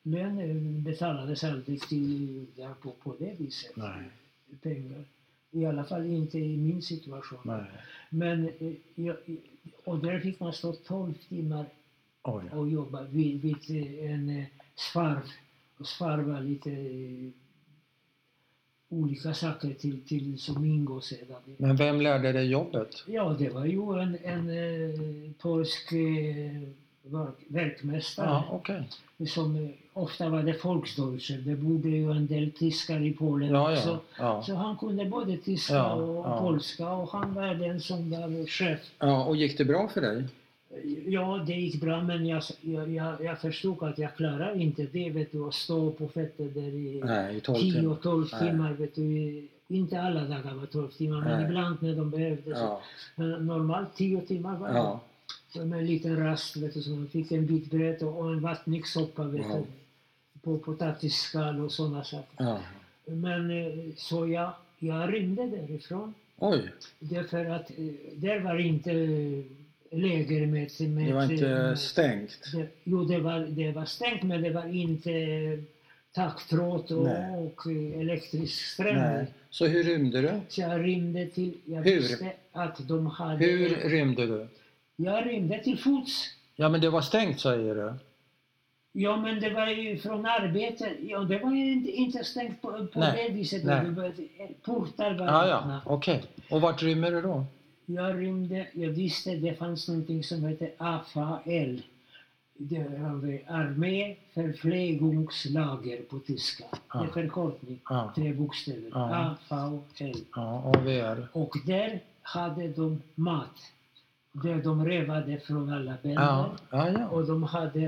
Speaker 2: Lön eh, betalades aldrig till, ja, på, på det viset.
Speaker 1: Nej.
Speaker 2: Pengar. I alla fall inte i min situation.
Speaker 1: Nej.
Speaker 2: Men, eh, jag, och där fick man stå 12 timmar
Speaker 1: Oj.
Speaker 2: och jobba vid, vid eh, en eh, svarv och svarva lite eh, olika saker till, till Somingo sedan.
Speaker 1: Men vem lärde dig jobbet?
Speaker 2: Ja, det var ju en, en eh, polsk eh, verk, verkmästare
Speaker 1: Ja, okej.
Speaker 2: som eh, ofta var det Volksdeutscher. Det bodde ju en del tyskar i Polen
Speaker 1: Ja,
Speaker 2: också.
Speaker 1: ja. ja.
Speaker 2: Så han kunde både tyska
Speaker 1: Ja,
Speaker 2: och
Speaker 1: ja.
Speaker 2: polska och han var den som var chef.
Speaker 1: Ja, och gick det bra för dig?
Speaker 2: Ja, det gick bra men jag, jag, jag, jag förstod att jag klarar inte det vet du, att stå på fötter där i
Speaker 1: Nej, i 12 timmar.
Speaker 2: 10-12
Speaker 1: Nej.
Speaker 2: timmar. Vet du, i- inte alla dagar var 12 timmar men
Speaker 1: Nej.
Speaker 2: ibland när de behövde. så-
Speaker 1: Ja,
Speaker 2: Men normalt 10 timmar var det.
Speaker 1: ja.
Speaker 2: med en liten rast vet du, så man fick en bit bröd och och en vattningssoppa vet
Speaker 1: Ja.
Speaker 2: du, på potatisskal och sådana saker.
Speaker 1: ja.
Speaker 2: Men eh, så jag, jag rymde därifrån
Speaker 1: Oj,
Speaker 2: därför att eh, där var inte eh, läger med... med
Speaker 1: det var inte
Speaker 2: med-
Speaker 1: stängt.
Speaker 2: det, jo, det var, det var stängt men det var inte taggtråd
Speaker 1: Nej.
Speaker 2: och, och eh, elektrisk ström.
Speaker 1: Nej. Så hur rymde du?
Speaker 2: Så jag rymde till... Jag
Speaker 1: Hur?
Speaker 2: visste att de hade...
Speaker 1: Hur rymde du?
Speaker 2: Jag rymde till fots.
Speaker 1: Ja, men det var stängt säger du.
Speaker 2: Ja, men det var ju från arbetet. Ja, det var ju inte, inte stängt på, på
Speaker 1: Nej,
Speaker 2: det viset.
Speaker 1: nej.
Speaker 2: Det var- Portar var
Speaker 1: Ja, ja,
Speaker 2: öppna.
Speaker 1: okej. Och vart rymmer du då?
Speaker 2: Jag rymde. Jag visste det fanns någonting som hette AFAL. Det var Arméverpflegungslager på tyska.
Speaker 1: Ja.
Speaker 2: Det är förkortning.
Speaker 1: Ja,
Speaker 2: Tre bokstäver.
Speaker 1: Ja.
Speaker 2: AFAL.
Speaker 1: ja AVR.
Speaker 2: Och där hade de mat. Där de rövade från alla bönder.
Speaker 1: Ja, ja, ja.
Speaker 2: Och de hade,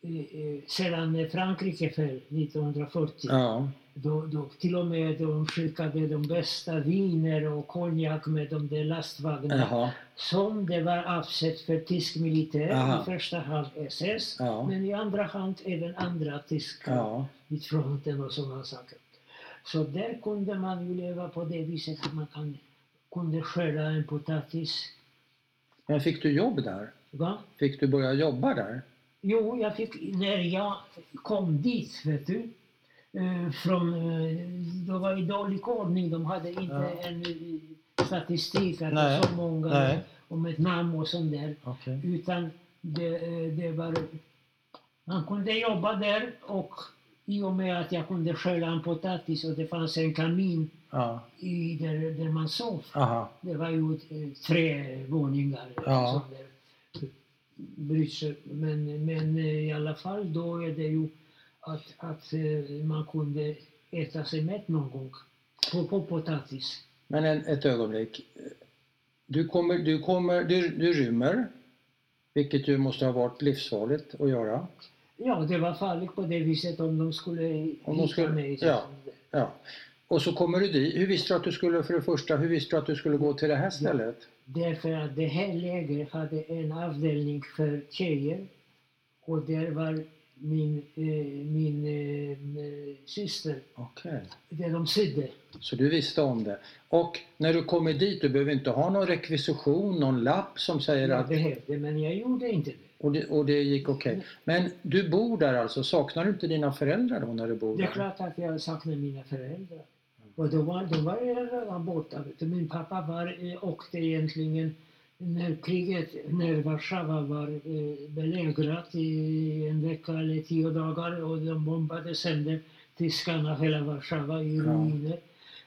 Speaker 2: eh, eh, sedan Frankrike föll 1940,
Speaker 1: Ja,
Speaker 2: då, då till och med de skickade de bästa viner och konjak med de där lastvagnarna.
Speaker 1: jaha.
Speaker 2: Som det var avsett för tysk militär,
Speaker 1: Aha.
Speaker 2: i första hand SS,
Speaker 1: Ja,
Speaker 2: men i andra hand även andra tyskar
Speaker 1: ja.
Speaker 2: vid fronten och sådana saker. Så där kunde man ju leva på det viset att man kan, kunde skörda en potatis.
Speaker 1: Men fick du jobb där?
Speaker 2: Va?
Speaker 1: Fick du börja jobba där?
Speaker 2: Jo, jag fick, när jag kom dit, vet du, eh, från, eh, det var i dålig ordning, de hade inte
Speaker 1: Ja.
Speaker 2: en eh, statistik, att
Speaker 1: Nej,
Speaker 2: det så många
Speaker 1: nej.
Speaker 2: om ett namn och sånt där,
Speaker 1: Okej.
Speaker 2: utan det, eh, det var, man kunde jobba där och i och med att jag kunde skälla en potatis och det fanns en kamin
Speaker 1: Ja,
Speaker 2: i, där, där man sov,
Speaker 1: aha.
Speaker 2: det var ju eh, tre våningar.
Speaker 1: Ja.
Speaker 2: som det bryr sig. Men, men eh, i alla fall då är det ju att, att eh, man kunde äta sig mätt någon gång. På, på potatis.
Speaker 1: Men en, ett ögonblick. Du, kommer, du, kommer, du, du rymmer, vilket ju måste ha varit livsfarligt att göra.
Speaker 2: Ja, det var farligt på det viset om de skulle
Speaker 1: Om de skulle-
Speaker 2: hitta mig.
Speaker 1: ja. Ja. Och så kommer du dit. Hur visste du att du skulle, för det första, hur visste du att du skulle gå till det här stället?
Speaker 2: Därför att det här lägret hade en avdelning för tjejer och där var min, eh, min eh, syster,
Speaker 1: Okej.
Speaker 2: där de sydde.
Speaker 1: Så du visste om det. Och när du kommer dit, du behöver inte ha någon rekvisition, någon lapp som säger
Speaker 2: Jag
Speaker 1: att...
Speaker 2: behövde, men jag gjorde inte det.
Speaker 1: Och det, och det gick okej.
Speaker 2: Mm.
Speaker 1: Men du bor där alltså. Saknar du inte dina föräldrar då när du bor
Speaker 2: Det är
Speaker 1: där?
Speaker 2: klart att jag saknar mina föräldrar. Och de var, de var ju redan borta. vet du. Min pappa var, eh, åkte egentligen när kriget, när Warszawa var eh, belägrat i en vecka eller tio dagar och de bombade sönder tyskarna hela Warszawa i
Speaker 1: Ja.
Speaker 2: ruiner.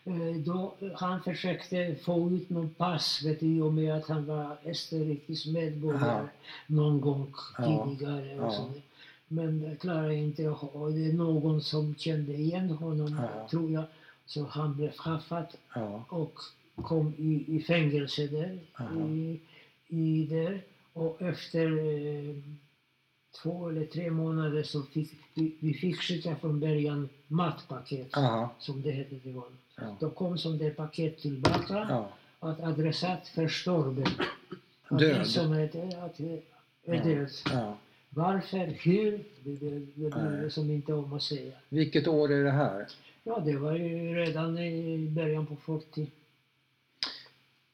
Speaker 2: Eh, Då han försökte få ut någon pass vet du, i och med att han var österrikisk medborgare någon gång
Speaker 1: Ja.
Speaker 2: tidigare.
Speaker 1: Ja.
Speaker 2: Och sådär. Men klarade inte av- och det är någon som kände igen honom
Speaker 1: Ja.
Speaker 2: tror jag. Så han blev straffad
Speaker 1: Ja.
Speaker 2: och kom i, i fängelse där.
Speaker 1: Aha.
Speaker 2: I, i där. Och efter eh, två eller tre månader så fick vi, vi fick skicka från början matpaket
Speaker 1: Aha.
Speaker 2: som det hette till honom.
Speaker 1: Ja.
Speaker 2: Då kom som det paket tillbaka
Speaker 1: ja.
Speaker 2: att adressat förstorben. Att
Speaker 1: Död.
Speaker 2: den Som är död. Att, är
Speaker 1: Ja.
Speaker 2: död.
Speaker 1: ja.
Speaker 2: Varför, hur, det, det, det bryr
Speaker 1: Nej.
Speaker 2: vi som inte om att säga.
Speaker 1: Vilket år är det här?
Speaker 2: Ja, det var ju redan i början på 40.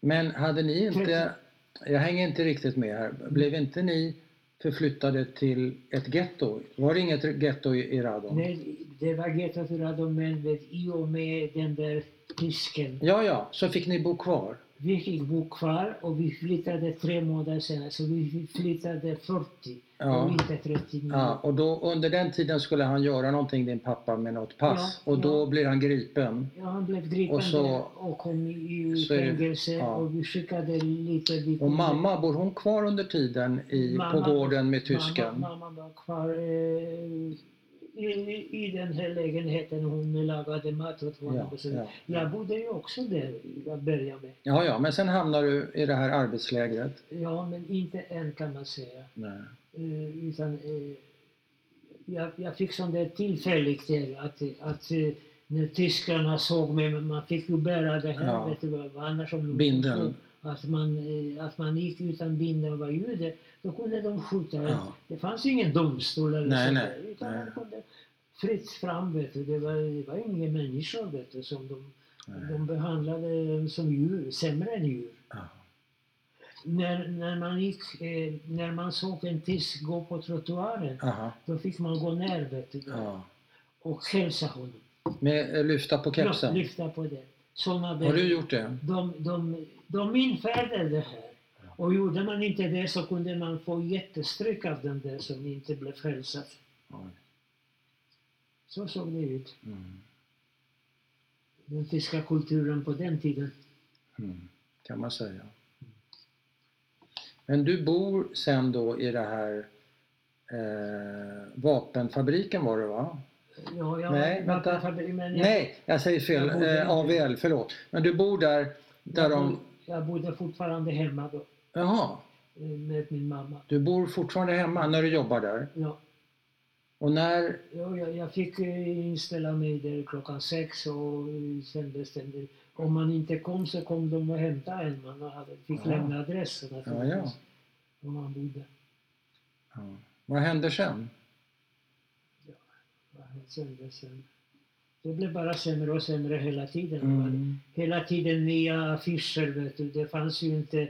Speaker 1: Men hade ni inte,
Speaker 2: Trettio.
Speaker 1: jag hänger inte riktigt med här, blev inte ni förflyttade till ett getto. Var det inget getto i i Radom?
Speaker 2: Nej, det var gettot i Radom, men vet, i och med den där tysken.
Speaker 1: Ja, ja, så fick ni bo kvar.
Speaker 2: Vi fick bo kvar och vi flyttade tre månader senare, så vi flyttade 40 och
Speaker 1: Ja.
Speaker 2: inte 39.
Speaker 1: Ja, och då, under den tiden skulle han göra någonting, din pappa, med något pass.
Speaker 2: Ja,
Speaker 1: och då
Speaker 2: ja.
Speaker 1: blir han gripen.
Speaker 2: Ja, han blev gripen
Speaker 1: Och
Speaker 2: och,
Speaker 1: så-
Speaker 2: och kom i
Speaker 1: så är det-
Speaker 2: fängelse
Speaker 1: ja.
Speaker 2: och vi skickade lite... Vi
Speaker 1: Och mamma, bor hon kvar under tiden i,
Speaker 2: Mm. Mamma-
Speaker 1: på gården med tysken?
Speaker 2: Mamma, mamma var kvar eh, i, i den här lägenheten. Hon lagade mat åt honom.
Speaker 1: Ja,
Speaker 2: och så.
Speaker 1: ja.
Speaker 2: Jag bodde ju också där till att börja med.
Speaker 1: ja, ja, men sen hamnar du i det här arbetslägret.
Speaker 2: Ja, men inte än kan man säga.
Speaker 1: Nej.
Speaker 2: Eh, utan, eh, jag, jag fick sånt där tillfälligt där att, att eh, när tyskarna såg mig, men man fick ju bära det här,
Speaker 1: Ja.
Speaker 2: vet du vad, vad annars om de
Speaker 1: Bindeln.
Speaker 2: Att man, eh, att man gick utan bindel och var jude, då kunde de skjuta en.
Speaker 1: Ja.
Speaker 2: Det fanns ingen domstol eller
Speaker 1: Nej,
Speaker 2: så
Speaker 1: nej,
Speaker 2: där, utan
Speaker 1: nej.
Speaker 2: man kunde fritt fram, vet du. Det var, det var inga människor, vet du, som de,
Speaker 1: Nej.
Speaker 2: de behandlade som djur, sämre än djur
Speaker 1: Ja.
Speaker 2: när, när, man gick, eh, när man såg en tysk gå på trottoaren,
Speaker 1: Aha.
Speaker 2: då fick man gå ner vet du,
Speaker 1: Ja.
Speaker 2: och hälsa honom.
Speaker 1: Med eh, lyfta på
Speaker 2: Ja,
Speaker 1: kepsen.
Speaker 2: Lyfta på det. Såna
Speaker 1: Har du
Speaker 2: där.
Speaker 1: gjort det?
Speaker 2: De, de, de införde det här. Och gjorde man inte det så kunde man få jättestryk av den där som inte blev hälsad.
Speaker 1: Oj.
Speaker 2: Så såg det ut.
Speaker 1: Mm.
Speaker 2: Den tyska kulturen på den tiden.
Speaker 1: Mm. Kan man säga. Men du bor sen då i det här eh, vapenfabriken var det va?
Speaker 2: Ja, jag,
Speaker 1: Nej, vänta.
Speaker 2: Men jag,
Speaker 1: Nej, jag säger fel.
Speaker 2: Jag bodde
Speaker 1: Eh,
Speaker 2: inte.
Speaker 1: AVL, förlåt. Men du bor där, där
Speaker 2: jag,
Speaker 1: de...
Speaker 2: bo- jag bodde fortfarande hemma då,
Speaker 1: Jaha,
Speaker 2: eh, med min mamma.
Speaker 1: du bor fortfarande hemma när du jobbar där.
Speaker 2: Ja.
Speaker 1: Och när...
Speaker 2: Ja, jag, jag fick eh, inställa mig där klockan sex och eh, sen bestämde Om man inte kom så kom de och hämtade en. Man hade, fick
Speaker 1: Ja.
Speaker 2: lämna adressen naturligtvis.
Speaker 1: Ja,
Speaker 2: Om man bodde.
Speaker 1: Ja. Vad händer sen?
Speaker 2: Ja, Sen, det sen. Det blev bara sämre och sämre hela tiden.
Speaker 1: Mm.
Speaker 2: Hela tiden nya affischer, vet du. Det fanns ju inte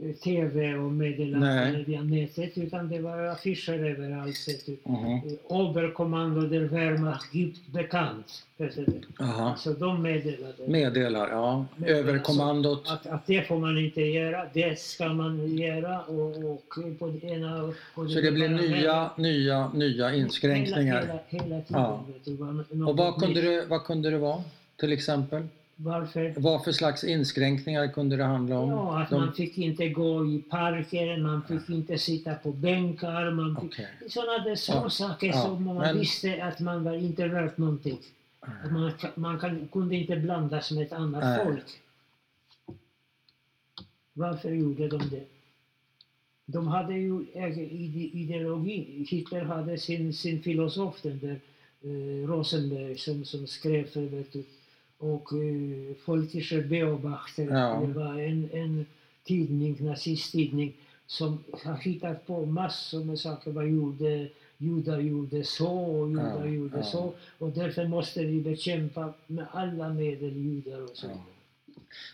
Speaker 2: eh, TV och
Speaker 1: Nej.
Speaker 2: meddelanden via nätet utan det var affischer överallt. Vet du.
Speaker 1: Mhm.
Speaker 2: Eh, Oberkommando der Wehrmacht gibt bekannt. heter det.
Speaker 1: Aha.
Speaker 2: Så de meddelade.
Speaker 1: Meddelar, ja.
Speaker 2: Meddelar,
Speaker 1: Överkommandot.
Speaker 2: Att, att det får man inte göra, det ska man göra och, och på det ena... och på
Speaker 1: Så det blir
Speaker 2: andra.
Speaker 1: nya, nya, nya
Speaker 2: Hela,
Speaker 1: inskränkningar.
Speaker 2: hela, hela tiden.
Speaker 1: Ja.
Speaker 2: Vet du, var något
Speaker 1: Och vad kunde
Speaker 2: nytt.
Speaker 1: det, vad kunde det vara, till exempel?
Speaker 2: Varför?
Speaker 1: Vad för slags inskränkningar kunde det handla om?
Speaker 2: Ja, att
Speaker 1: De-
Speaker 2: man fick inte gå i parker, man fick inte sitta på bänkar, man fick...
Speaker 1: Okej.
Speaker 2: Sådana där små
Speaker 1: Ja.
Speaker 2: saker
Speaker 1: Ja.
Speaker 2: som man
Speaker 1: Men-
Speaker 2: visste att man var inte värt någonting. Att man, man kan, kunde inte blandas med ett annat
Speaker 1: Nej.
Speaker 2: folk. Varför gjorde de det? De hade ju egen ide- ideologi. Hitler hade sin, sin filosof, den där eh, Rosenberg, som, som skrev för vet du, och eh, Folkischer Beobachter.
Speaker 1: Ja.
Speaker 2: Det var en, en tidning, nazisttidning, som har hittat på massor med saker. Vad gjorde judar gjorde så och judar
Speaker 1: Ja,
Speaker 2: gjorde
Speaker 1: ja.
Speaker 2: så. Och därför måste vi bekämpa med alla medel judar och så
Speaker 1: Ja.
Speaker 2: vidare.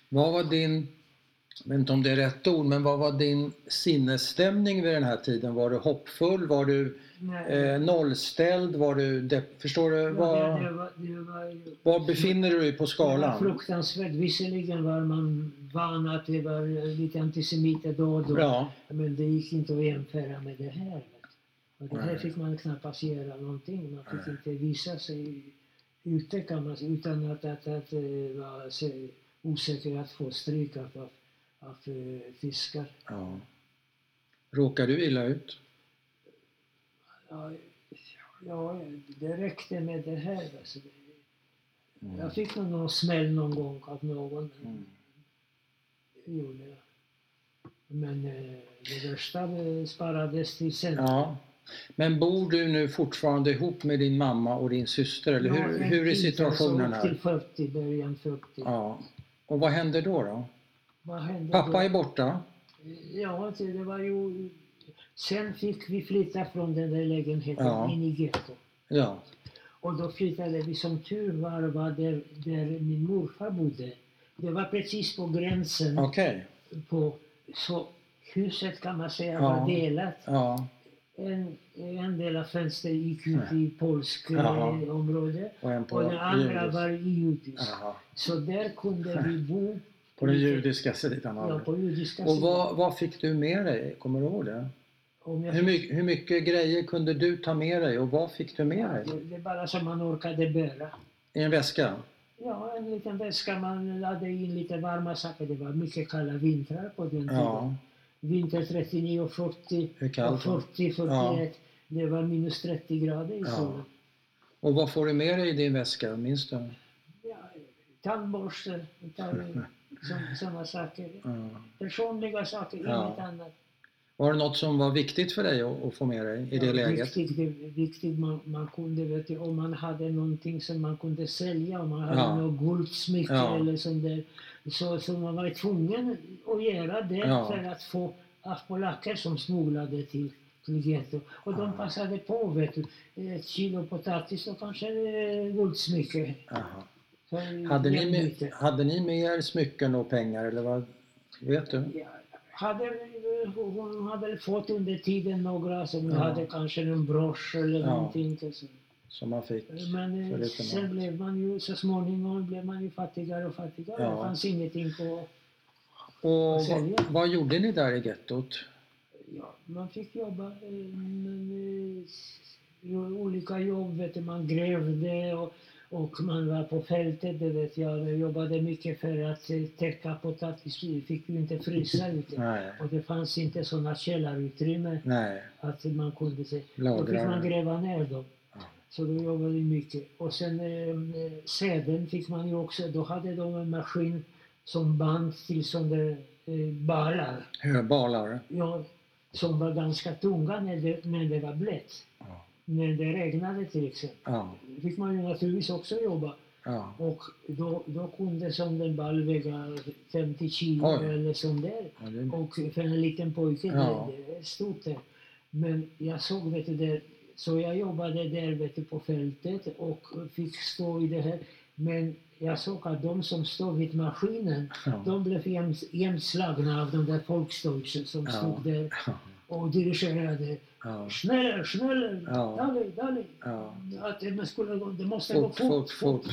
Speaker 1: Vad var din, jag vet inte om det är rätt ord, men vad var din sinnesstämning vid den här tiden? Var du hoppfull? Var du
Speaker 2: Nej,
Speaker 1: eh, nollställd? Var du depp, förstår du?
Speaker 2: det, var, det,
Speaker 1: Vad,
Speaker 2: var, det, var,
Speaker 1: vad befinner du dig på
Speaker 2: det var
Speaker 1: skalan?
Speaker 2: fruktansvärt. Visserligen var man van att det var eh, lite antisemiter då och då.
Speaker 1: Ja,
Speaker 2: Men det gick inte att jämföra med det här. vet du. Och det här
Speaker 1: Nej.
Speaker 2: fick man knappast göra någonting. Man fick
Speaker 1: Nej.
Speaker 2: inte visa sig ute kan man säga, utan att, att, att eh, vara se- osäker att få stryk av, av, av eh, fiskar.
Speaker 1: ja. Råkar du illa ut?
Speaker 2: Ja, ja, det räckte med det här. Alltså. Jag fick nog någon smäll någon gång av någon.
Speaker 1: Mm.
Speaker 2: Det gjorde jag. Men eh, det värsta eh, sparades till sen.
Speaker 1: Ja. Men bor du nu fortfarande ihop med din mamma och din syster? Eller
Speaker 2: Ja,
Speaker 1: hur,
Speaker 2: en
Speaker 1: hur är
Speaker 2: tid,
Speaker 1: situationen
Speaker 2: alltså, Upp
Speaker 1: här?
Speaker 2: till 40, början 40.
Speaker 1: Ja. Och vad händer då? då?
Speaker 2: Vad hände då?
Speaker 1: Pappa är borta?
Speaker 2: Ja, alltså, det var ju... Sen fick vi flytta från den där lägenheten
Speaker 1: Ja.
Speaker 2: in i gettot.
Speaker 1: Ja.
Speaker 2: Och då flyttade vi som tur var, var där, där min morfar bodde. Det var precis på gränsen.
Speaker 1: Okej.
Speaker 2: På, så huset kan man säga
Speaker 1: Ja.
Speaker 2: var delat.
Speaker 1: Ja.
Speaker 2: En, en del av fönstret gick ut
Speaker 1: Ja.
Speaker 2: i polskt eh,
Speaker 1: Jaha.
Speaker 2: område
Speaker 1: Och en på
Speaker 2: och den andra
Speaker 1: judisk.
Speaker 2: var judisk.
Speaker 1: Jaha.
Speaker 2: Så där kunde vi bo
Speaker 1: På den judiska sidan av
Speaker 2: ja,
Speaker 1: det.
Speaker 2: på judiska
Speaker 1: Och
Speaker 2: sidan.
Speaker 1: vad, vad fick du med dig? Kommer du ihåg det?
Speaker 2: Om jag
Speaker 1: Hur mycket, hur mycket grejer kunde du ta med dig och vad fick du med dig?
Speaker 2: Det, det är bara som man orkade bära.
Speaker 1: I en väska?
Speaker 2: Ja, en liten väska. Man lade in lite varma saker. Det var mycket kalla vintrar på den tiden.
Speaker 1: Ja,
Speaker 2: Vinter 39 och 40.
Speaker 1: hur
Speaker 2: Och
Speaker 1: kallt? var det?
Speaker 2: 40, 41. Det var minus 30 grader i
Speaker 1: Ja.
Speaker 2: solen.
Speaker 1: Och vad får du med dig i din väska? Minns du?
Speaker 2: Ja, tandborste, tand, sådana saker.
Speaker 1: Ja.
Speaker 2: Personliga saker,
Speaker 1: Ja.
Speaker 2: inget annat.
Speaker 1: Var det något som var viktigt för dig att, att få med dig i det
Speaker 2: Ja,
Speaker 1: läget?
Speaker 2: Viktigt, det, viktigt man, man kunde, vet du, om man hade någonting som man kunde sälja, om man hade
Speaker 1: Ja.
Speaker 2: något guldsmycke
Speaker 1: Ja.
Speaker 2: eller sånt där. Så, så man var tvungen att göra det
Speaker 1: Ja.
Speaker 2: för att få av polacker som smugglade till, till ghetto. Och de
Speaker 1: Ja.
Speaker 2: passade på, vet du, ett kilo potatis och kanske eh, guldsmycke.
Speaker 1: Jaha.
Speaker 2: för
Speaker 1: Hade, ni med,
Speaker 2: jämbyte.
Speaker 1: hade ni med er smycken och pengar eller vad? Vet du?
Speaker 2: Ja, hade, hon hade väl fått under tiden några som
Speaker 1: Ja.
Speaker 2: hade kanske en brosch eller
Speaker 1: Ja.
Speaker 2: någonting. Så.
Speaker 1: Som man fick?
Speaker 2: Men
Speaker 1: För
Speaker 2: eh,
Speaker 1: lite
Speaker 2: sen
Speaker 1: mat.
Speaker 2: blev man ju, så småningom blev man ju fattigare och fattigare.
Speaker 1: Ja.
Speaker 2: Det fanns ingenting på...
Speaker 1: Och
Speaker 2: Vad säger
Speaker 1: vad,
Speaker 2: jag?
Speaker 1: vad gjorde ni där i gettot?
Speaker 2: Ja, man fick jobba, eh, men, eh, s- jo- olika jobb. Vet du, man grävde och, och man var på fältet. Det vet jag. Jag jobbade mycket för att eh, täcka potatis. Vi fick ju inte frysa ute.
Speaker 1: Nej.
Speaker 2: Och det fanns inte sådana källarutrymmen
Speaker 1: Nej.
Speaker 2: att man kunde se. Då fick man
Speaker 1: Lagrar.
Speaker 2: gräva ner dem.
Speaker 1: Ja.
Speaker 2: Så då jobbade vi mycket. Och sen eh, eh, säden fick man ju också. Då hade de en maskin som band till sådana där eh, balar.
Speaker 1: Höbalar.
Speaker 2: Ja, som var ganska tunga när det, när det var blött.
Speaker 1: Ja.
Speaker 2: När det regnade till exempel.
Speaker 1: Ja.
Speaker 2: fick man ju naturligtvis också jobba.
Speaker 1: ja.
Speaker 2: Och då, då kunde som den ball väga 50 kilo
Speaker 1: Oj.
Speaker 2: eller sånt där.
Speaker 1: Ja, det-
Speaker 2: Och för en liten pojke,
Speaker 1: Ja.
Speaker 2: det, det är stort det. Men jag såg, vet du, det, så jag jobbade där vet du, på fältet och fick stå i det här. Men jag såg att de som stod vid maskinen,
Speaker 1: ja.
Speaker 2: de blev jäms- jämslagna av de där folkstolsen som
Speaker 1: Ja.
Speaker 2: stod där
Speaker 1: Ja.
Speaker 2: och dirigerade.
Speaker 1: Ja.
Speaker 2: Snälla, snälla,
Speaker 1: Ja.
Speaker 2: dalej, dalej.
Speaker 1: Ja.
Speaker 2: Att det skulle gå, det måste gå
Speaker 1: Fort,
Speaker 2: fort,
Speaker 1: fort, fort.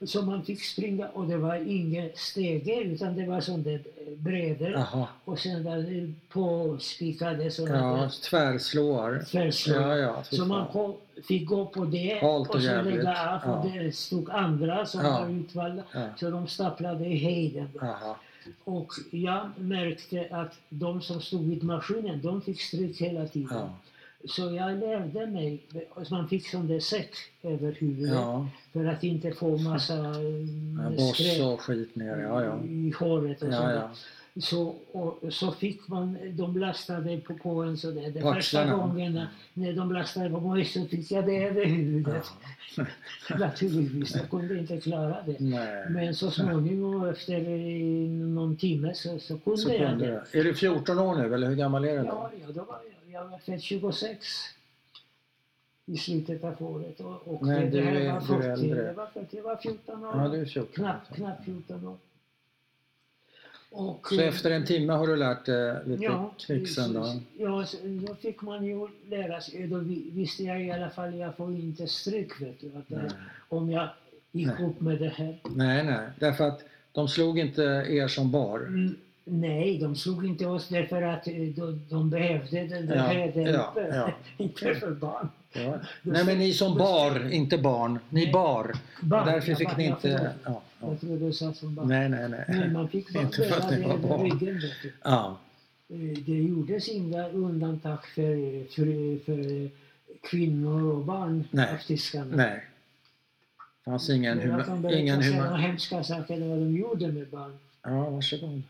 Speaker 1: Ja.
Speaker 2: Så man fick springa och det var inga stege utan det var sånt där eh, brädor.
Speaker 1: Jaha.
Speaker 2: Och sen var det påspikade sådana
Speaker 1: Ja,
Speaker 2: där
Speaker 1: tvärslår.
Speaker 2: fällslor.
Speaker 1: Ja, ja. fy
Speaker 2: Så man
Speaker 1: fan.
Speaker 2: kom, fick gå på det
Speaker 1: Halt och
Speaker 2: och så
Speaker 1: jävligt.
Speaker 2: lägga av. Och
Speaker 1: Ja.
Speaker 2: det stod andra som
Speaker 1: Ja.
Speaker 2: var utvalda.
Speaker 1: Ja.
Speaker 2: Så de staplade i hejden.
Speaker 1: Jaha.
Speaker 2: Och jag märkte att de som stod vid maskinen, de fick stryk hela tiden.
Speaker 1: Ja.
Speaker 2: Så jag lärde mig, och man fick sån där säck över huvudet
Speaker 1: Ja.
Speaker 2: för att inte få massa
Speaker 1: Ja,
Speaker 2: eh,
Speaker 1: Boss
Speaker 2: skräp
Speaker 1: och skit ner. Ja, ja.
Speaker 2: i håret och sånt
Speaker 1: Ja,
Speaker 2: där.
Speaker 1: ja.
Speaker 2: Så, och, så fick man, de lastade på, på en sådär. Det
Speaker 1: På
Speaker 2: första
Speaker 1: axlarna.
Speaker 2: gången när- när de lastade på mig så fick jag det över huvudet. Naturligtvis, jag kunde inte klara det.
Speaker 1: Nej.
Speaker 2: Men så småningom, efter eh, någon timme, så, så kunde
Speaker 1: Så
Speaker 2: jag
Speaker 1: kunde
Speaker 2: det.
Speaker 1: du. Är du 14 år nu eller hur gammal är du? nu?
Speaker 2: Ja, ja, då var jag, jag var född 26 i slutet av året. Och, och
Speaker 1: Nej,
Speaker 2: det,
Speaker 1: du
Speaker 2: det här
Speaker 1: är-
Speaker 2: var
Speaker 1: du är
Speaker 2: 40,
Speaker 1: äldre.
Speaker 2: det var 40, jag var 14 år.
Speaker 1: Ja, du är 14.
Speaker 2: Knappt, knappt 14 år. Och,
Speaker 1: Så
Speaker 2: eh,
Speaker 1: efter en timme har du lärt dig lite
Speaker 2: Ja,
Speaker 1: knixen
Speaker 2: så-
Speaker 1: då?
Speaker 2: så- Ja, så- då fick man ju lära sig. Då vi- visste jag i alla fall, jag får inte stryk vet du. Att det,
Speaker 1: Nej.
Speaker 2: här- om jag gick
Speaker 1: Nej.
Speaker 2: upp med det här.
Speaker 1: nej, nej. Därför att de slog inte er som bar?
Speaker 2: Mm, nej, de slog inte oss därför att eh, de, de behövde den där
Speaker 1: Ja,
Speaker 2: häden.
Speaker 1: ja,
Speaker 2: för-
Speaker 1: ja.
Speaker 2: inte för barn.
Speaker 1: Ja. Nej, men ni som bar, inte barn. Ni
Speaker 2: Nej.
Speaker 1: bar.
Speaker 2: barn
Speaker 1: Därför
Speaker 2: jag
Speaker 1: fick
Speaker 2: var-
Speaker 1: ni
Speaker 2: jag
Speaker 1: inte...
Speaker 2: förlåt.
Speaker 1: Ja, ja.
Speaker 2: Jag trodde du sa som barn.
Speaker 1: Nej, nej,
Speaker 2: Men
Speaker 1: nej.
Speaker 2: man fick bara
Speaker 1: Inte för att
Speaker 2: bära det
Speaker 1: ni var
Speaker 2: över
Speaker 1: barn.
Speaker 2: ryggen. Vet du.
Speaker 1: Ja,
Speaker 2: Eh, Det gjordes inga undantag för, för, för eh, kvinnor och barn
Speaker 1: Nej.
Speaker 2: av tyskarna.
Speaker 1: nej. Det fanns ingen
Speaker 2: Men jag kan
Speaker 1: humör.
Speaker 2: berätta
Speaker 1: Ingen
Speaker 2: sådana
Speaker 1: humör.
Speaker 2: hemska saker vad de gjorde med barn.
Speaker 1: Ja, varsågod.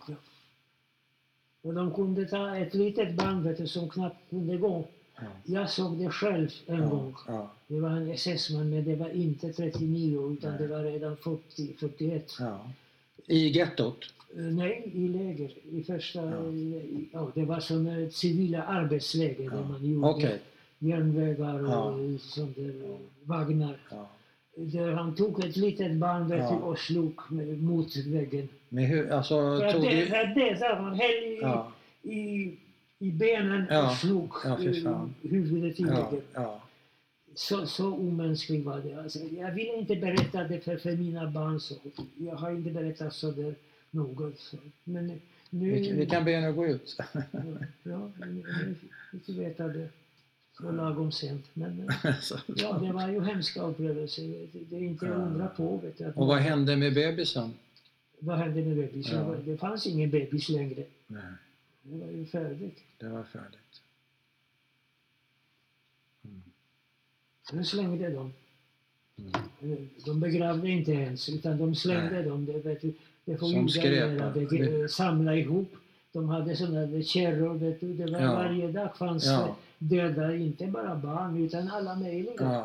Speaker 2: Och de kunde ta ett litet barn vet du, som knappt kunde gå.
Speaker 1: Ja,
Speaker 2: Jag såg det själv en
Speaker 1: ja,
Speaker 2: gång.
Speaker 1: ja,
Speaker 2: Det var en SS-man men det var inte 39 utan
Speaker 1: Nej.
Speaker 2: det var redan 40, 41.
Speaker 1: ja. I gettot?
Speaker 2: Eh, Nej, i läger. I första,
Speaker 1: Ja.
Speaker 2: eh, ja, det var som eh, civila arbetsläger där
Speaker 1: Ja.
Speaker 2: man gjorde
Speaker 1: Okej.
Speaker 2: järnvägar
Speaker 1: Ja.
Speaker 2: och eh, sånt där, eh, vagnar.
Speaker 1: Ja.
Speaker 2: Där han tog ett litet barn vet du,
Speaker 1: Ja.
Speaker 2: och slog med- mot väggen.
Speaker 1: Men hur, alltså
Speaker 2: För att
Speaker 1: tog
Speaker 2: det,
Speaker 1: du...
Speaker 2: för att det sa man, häll i,
Speaker 1: Ja,
Speaker 2: i, i i benen
Speaker 1: Ja,
Speaker 2: och slog
Speaker 1: ja, fy fan.
Speaker 2: eh, huvudet i
Speaker 1: Ja,
Speaker 2: väggen.
Speaker 1: ja.
Speaker 2: Så, så omänsklig var det. Alltså, jag vill inte berätta det för, för mina barn. Så. Jag har inte berättat så där något. Så. Men nu...
Speaker 1: Vi, vi kan be henne att gå ut.
Speaker 2: Ja, nu nu fick vi veta det. Så lagom sent. Men, eh,
Speaker 1: Alltså.
Speaker 2: ja, det var ju hemska upplevelser. Det- Det är inte att undra på. Vet du, att
Speaker 1: Och vad hände med bebisen?
Speaker 2: Vad hände med bebisen?
Speaker 1: Ja.
Speaker 2: Det fanns ingen bebis längre.
Speaker 1: Nej,
Speaker 2: Det var ju färdigt.
Speaker 1: det var färdigt. Mm.
Speaker 2: Nu slängde de. Eh,
Speaker 1: Mm.
Speaker 2: De begravde inte ens, utan de slängde
Speaker 1: Nej.
Speaker 2: dem. Det, vet du, det får
Speaker 1: Som
Speaker 2: ju
Speaker 1: skräp,
Speaker 2: göra.
Speaker 1: ja.
Speaker 2: Det- eh, Samla ihop. De hade sådana där kärror. Vet du. Det var
Speaker 1: Ja.
Speaker 2: Varje dag fanns
Speaker 1: Ja,
Speaker 2: det döda, inte bara barn, utan alla möjliga.
Speaker 1: ja,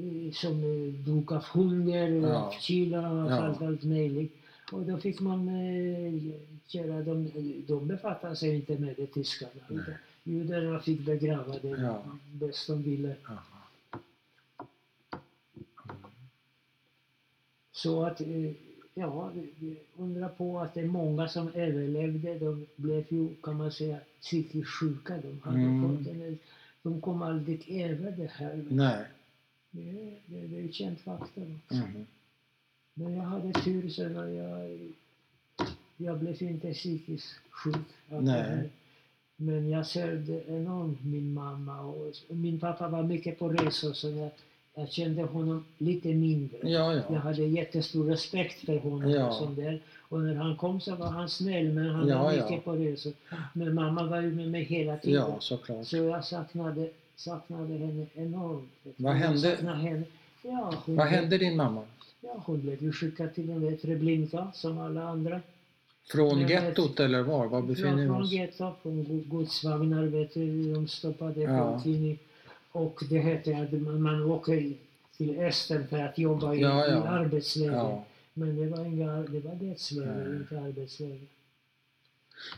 Speaker 2: eh, som eh, dog av hunger och
Speaker 1: Ja.
Speaker 2: av kyla och
Speaker 1: Ja.
Speaker 2: allt, allt möjligt. Och då fick man eh, köra, de, de befattade sig inte med det tyskarna.
Speaker 1: Nej.
Speaker 2: utan Judarna fick begrava det
Speaker 1: Ja.
Speaker 2: bäst de ville.
Speaker 1: ja.
Speaker 2: Så att, eh, ja, det- det- undra på att det är många som överlevde. De blev ju, kan man säga, psykiskt sjuka. De, hade
Speaker 1: Mm.
Speaker 2: fått en, de kom aldrig över det här.
Speaker 1: Nej.
Speaker 2: Det, är- det, det är ett känt faktum.
Speaker 1: Mhm.
Speaker 2: Men jag hade tur så jag, jag, jag blev inte psykiskt sjuk. av det här.
Speaker 1: Nej.
Speaker 2: Men jag sörjde enormt min mamma och och min pappa var mycket på resor så jag, jag kände honom lite mindre.
Speaker 1: Ja,
Speaker 2: Jag
Speaker 1: ja.
Speaker 2: hade jättestor respekt för honom.
Speaker 1: Ja.
Speaker 2: Och, sånt där. och när han kom så var han snäll men han
Speaker 1: Ja,
Speaker 2: var
Speaker 1: ja.
Speaker 2: mycket på resor. Men mamma var ju med mig hela tiden.
Speaker 1: Ja, såklart.
Speaker 2: Så jag saknade, saknade henne enormt.
Speaker 1: Vad
Speaker 2: Jag
Speaker 1: hände?
Speaker 2: saknade Henne. Ja,
Speaker 1: Vad
Speaker 2: hon blev-
Speaker 1: hände din mamma?
Speaker 2: Ja, hon blev ju skickad till en Treblinka som alla andra.
Speaker 1: Från
Speaker 2: Jag vet-
Speaker 1: gettot eller var? Var befinner vi
Speaker 2: Från
Speaker 1: oss?
Speaker 2: gettot, från go- godsvagnar, vet du, de stoppade
Speaker 1: Ja.
Speaker 2: folk in i. Och det hette att man, man åker till östern för att jobba i,
Speaker 1: Ja, ja.
Speaker 2: i arbetsläger.
Speaker 1: Ja.
Speaker 2: Men det var, inga, det var dödsläger,
Speaker 1: Nej.
Speaker 2: inte arbetsläger.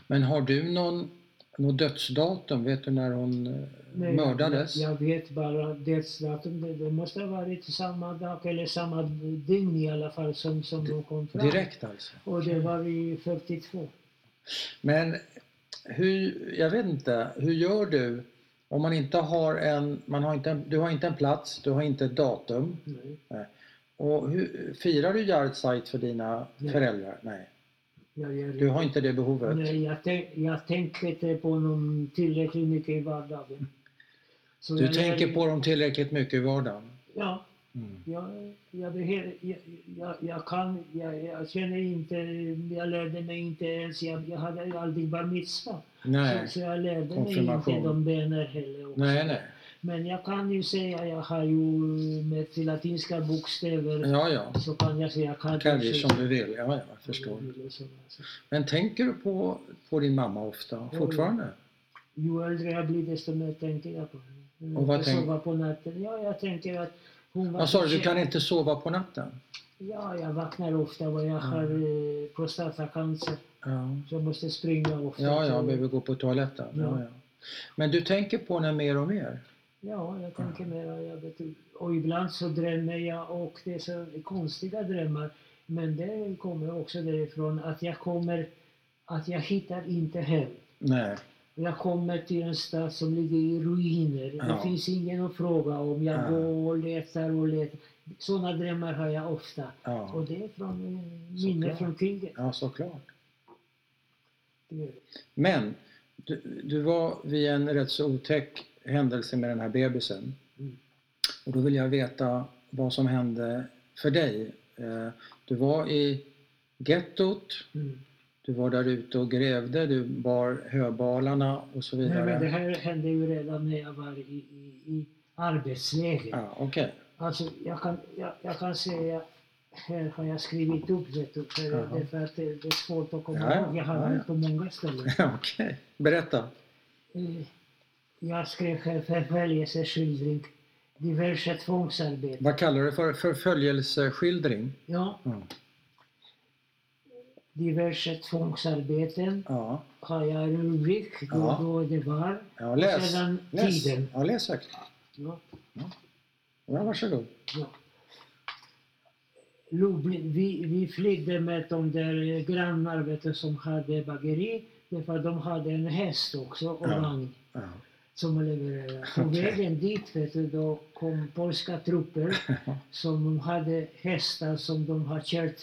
Speaker 1: Men har du någon, någon dödsdatum? Vet du när hon eh,
Speaker 2: Nej,
Speaker 1: mördades?
Speaker 2: Jag, jag vet bara dödsdatum. Det, det måste ha varit samma dag eller samma dygn i alla fall som, som de kom fram.
Speaker 1: Direkt alltså?
Speaker 2: Och det var i 42.
Speaker 1: Men hur, jag vet inte, hur gör du om man inte har en, man har inte en du har inte en plats, du har inte ett datum.
Speaker 2: Nej.
Speaker 1: Och hur, firar du Yardsite för dina
Speaker 2: Nej.
Speaker 1: föräldrar? Nej.
Speaker 2: Jag gör
Speaker 1: Du har inte det behovet?
Speaker 2: Nej, jag, tänk, jag tänker inte på dem tillräckligt mycket i vardagen. Så
Speaker 1: Du
Speaker 2: jag-
Speaker 1: tänker på dem tillräckligt mycket i vardagen?
Speaker 2: Ja, Mm. jag, jag, behöver, jag, jag, jag kan, jag, jag känner inte, jag lärde mig inte ens, jag, jag hade ju aldrig bar mitzva. Så,
Speaker 1: Nej.
Speaker 2: så jag lärde mig
Speaker 1: Konfirmation.
Speaker 2: inte de böner heller. Också.
Speaker 1: Nej, nej.
Speaker 2: Men jag kan ju säga, jag har ju med latinska bokstäver
Speaker 1: Ja, ja.
Speaker 2: så kan jag säga
Speaker 1: Kalli som du vill. Ja, ja, jag förstår. Men tänker du på, på din mamma ofta?
Speaker 2: ja.
Speaker 1: Fortfarande?
Speaker 2: Ju äldre jag blir desto mer tänker jag på henne.
Speaker 1: Och vad
Speaker 2: jag
Speaker 1: tänk-
Speaker 2: sover på natten. Ja, jag tänker att hon var...
Speaker 1: Vad sa du? Du
Speaker 2: förtjänt-
Speaker 1: kan inte sova på natten?
Speaker 2: Ja, jag vaknar ofta och jag har eh, prostatacancer.
Speaker 1: Ja.
Speaker 2: Så jag måste springa ofta.
Speaker 1: Ja,
Speaker 2: Så-
Speaker 1: jag behöver gå på toaletten. Ja,
Speaker 2: Ja.
Speaker 1: ja. Men du tänker på henne mer och mer?
Speaker 2: ja, jag tänker mer. Jag vet, och ibland så drömmer jag och det är så konstiga drömmar. Men det kommer också därifrån att jag kommer... Att jag hittar inte hem.
Speaker 1: Nej.
Speaker 2: Jag kommer till en stad som ligger i ruiner.
Speaker 1: Ja.
Speaker 2: Det finns ingen att fråga om. Jag
Speaker 1: Ja.
Speaker 2: går och letar och letar. Sådana drömmar har jag ofta.
Speaker 1: Ja,
Speaker 2: Och det är från eh,
Speaker 1: Såklart.
Speaker 2: minne från kriget.
Speaker 1: ja såklart. Mm.
Speaker 2: Det-
Speaker 1: Men du, du var vid en rätt så otäck händelse med den här bebisen.
Speaker 2: Mm.
Speaker 1: Och då vill jag veta vad som hände för dig. Eh, Du var i gettot,
Speaker 2: Mm.
Speaker 1: du var där ute och grävde, du bar höbalarna och så
Speaker 2: Nej, men det
Speaker 1: vidare.
Speaker 2: här hände ju redan när jag var i, i, i arbetsläger.
Speaker 1: Ja, okej.
Speaker 2: Alltså, jag kan, jag, jag kan säga, här har jag skrivit upp det, för,
Speaker 1: Jaha.
Speaker 2: det, för att det, det är svårt att komma
Speaker 1: Ja, ja.
Speaker 2: ihåg. Jag har
Speaker 1: Ja, ja.
Speaker 2: varit på många ställen.
Speaker 1: Okej. Berätta.
Speaker 2: Eh, Jag skrev här förföljelseskildring, diverse tvångsarbete.
Speaker 1: Vad kallar du det för? Förföljelseskildring?
Speaker 2: Ja,
Speaker 1: Mm.
Speaker 2: diverse tvångsarbeten
Speaker 1: Ja.
Speaker 2: har jag en rubrik då,
Speaker 1: Ja.
Speaker 2: då det var.
Speaker 1: Ja, läs.
Speaker 2: Sedan
Speaker 1: läs.
Speaker 2: tiden.
Speaker 1: Ja, läs högt.
Speaker 2: Ja,
Speaker 1: Ja, varsågod.
Speaker 2: ja. Lublin, vi, vi flydde med de där eh, grannar vet du, som hade bageri. Därför att de hade en häst också och
Speaker 1: Ja.
Speaker 2: vagn
Speaker 1: Ja.
Speaker 2: som levererade. På
Speaker 1: Okej.
Speaker 2: vägen dit vet du, då kom polska trupper som de hade hästar som de har kört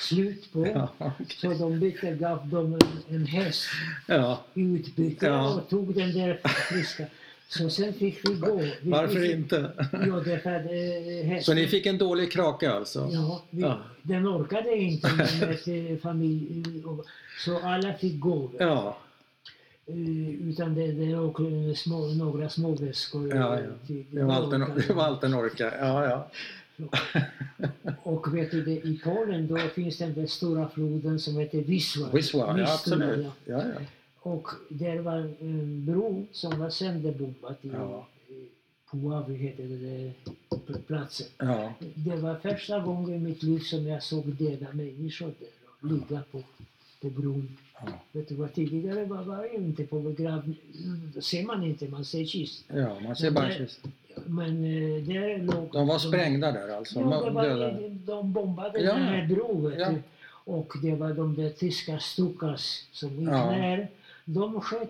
Speaker 2: slut på.
Speaker 1: Ja.
Speaker 2: Så de bytte, gav dem en, en häst
Speaker 1: ja.
Speaker 2: i utbyte
Speaker 1: Ja.
Speaker 2: och tog den där friska. Så sen fick vi gå. Vi
Speaker 1: Varför
Speaker 2: fick,
Speaker 1: inte?
Speaker 2: Jo, därför att eh, hästen...
Speaker 1: Så ni fick en dålig krake alltså?
Speaker 2: Ja, vi,
Speaker 1: Ja.
Speaker 2: den orkade inte med eh, familj. och- Så alla fick gå.
Speaker 1: Ja.
Speaker 2: Eh, Utan det, det åkte en små, några små väskor. eh,
Speaker 1: Ja, ja.
Speaker 2: till-
Speaker 1: Det var allt en, det var allt en orka. Ja, ja.
Speaker 2: Och vet du, det, i Polen då finns den där stora floden som heter Wisła.
Speaker 1: Wiswa, ja
Speaker 2: Wisła,
Speaker 1: absolut.
Speaker 2: ja.
Speaker 1: Ja, ja.
Speaker 2: Och där var en bro som var sönderbombad. i-
Speaker 1: Ja.
Speaker 2: i Puławy heter det, där platsen.
Speaker 1: ja.
Speaker 2: Det var första gången i mitt liv som jag såg döda människor där, ligga på, på bron.
Speaker 1: ja.
Speaker 2: Vet du vad, tidigare var, var jag inte på begravning, då ser man inte, man ser kist.
Speaker 1: ja man ser bara kist.
Speaker 2: Men eh, där låg...
Speaker 1: De var sprängda där alltså?
Speaker 2: Jo, det var,
Speaker 1: Döda.
Speaker 2: de bombade
Speaker 1: Ja.
Speaker 2: den här bron. vet
Speaker 1: Ja.
Speaker 2: du. Och det var de där tyska Stukas som gick
Speaker 1: Ja.
Speaker 2: ner. De sköt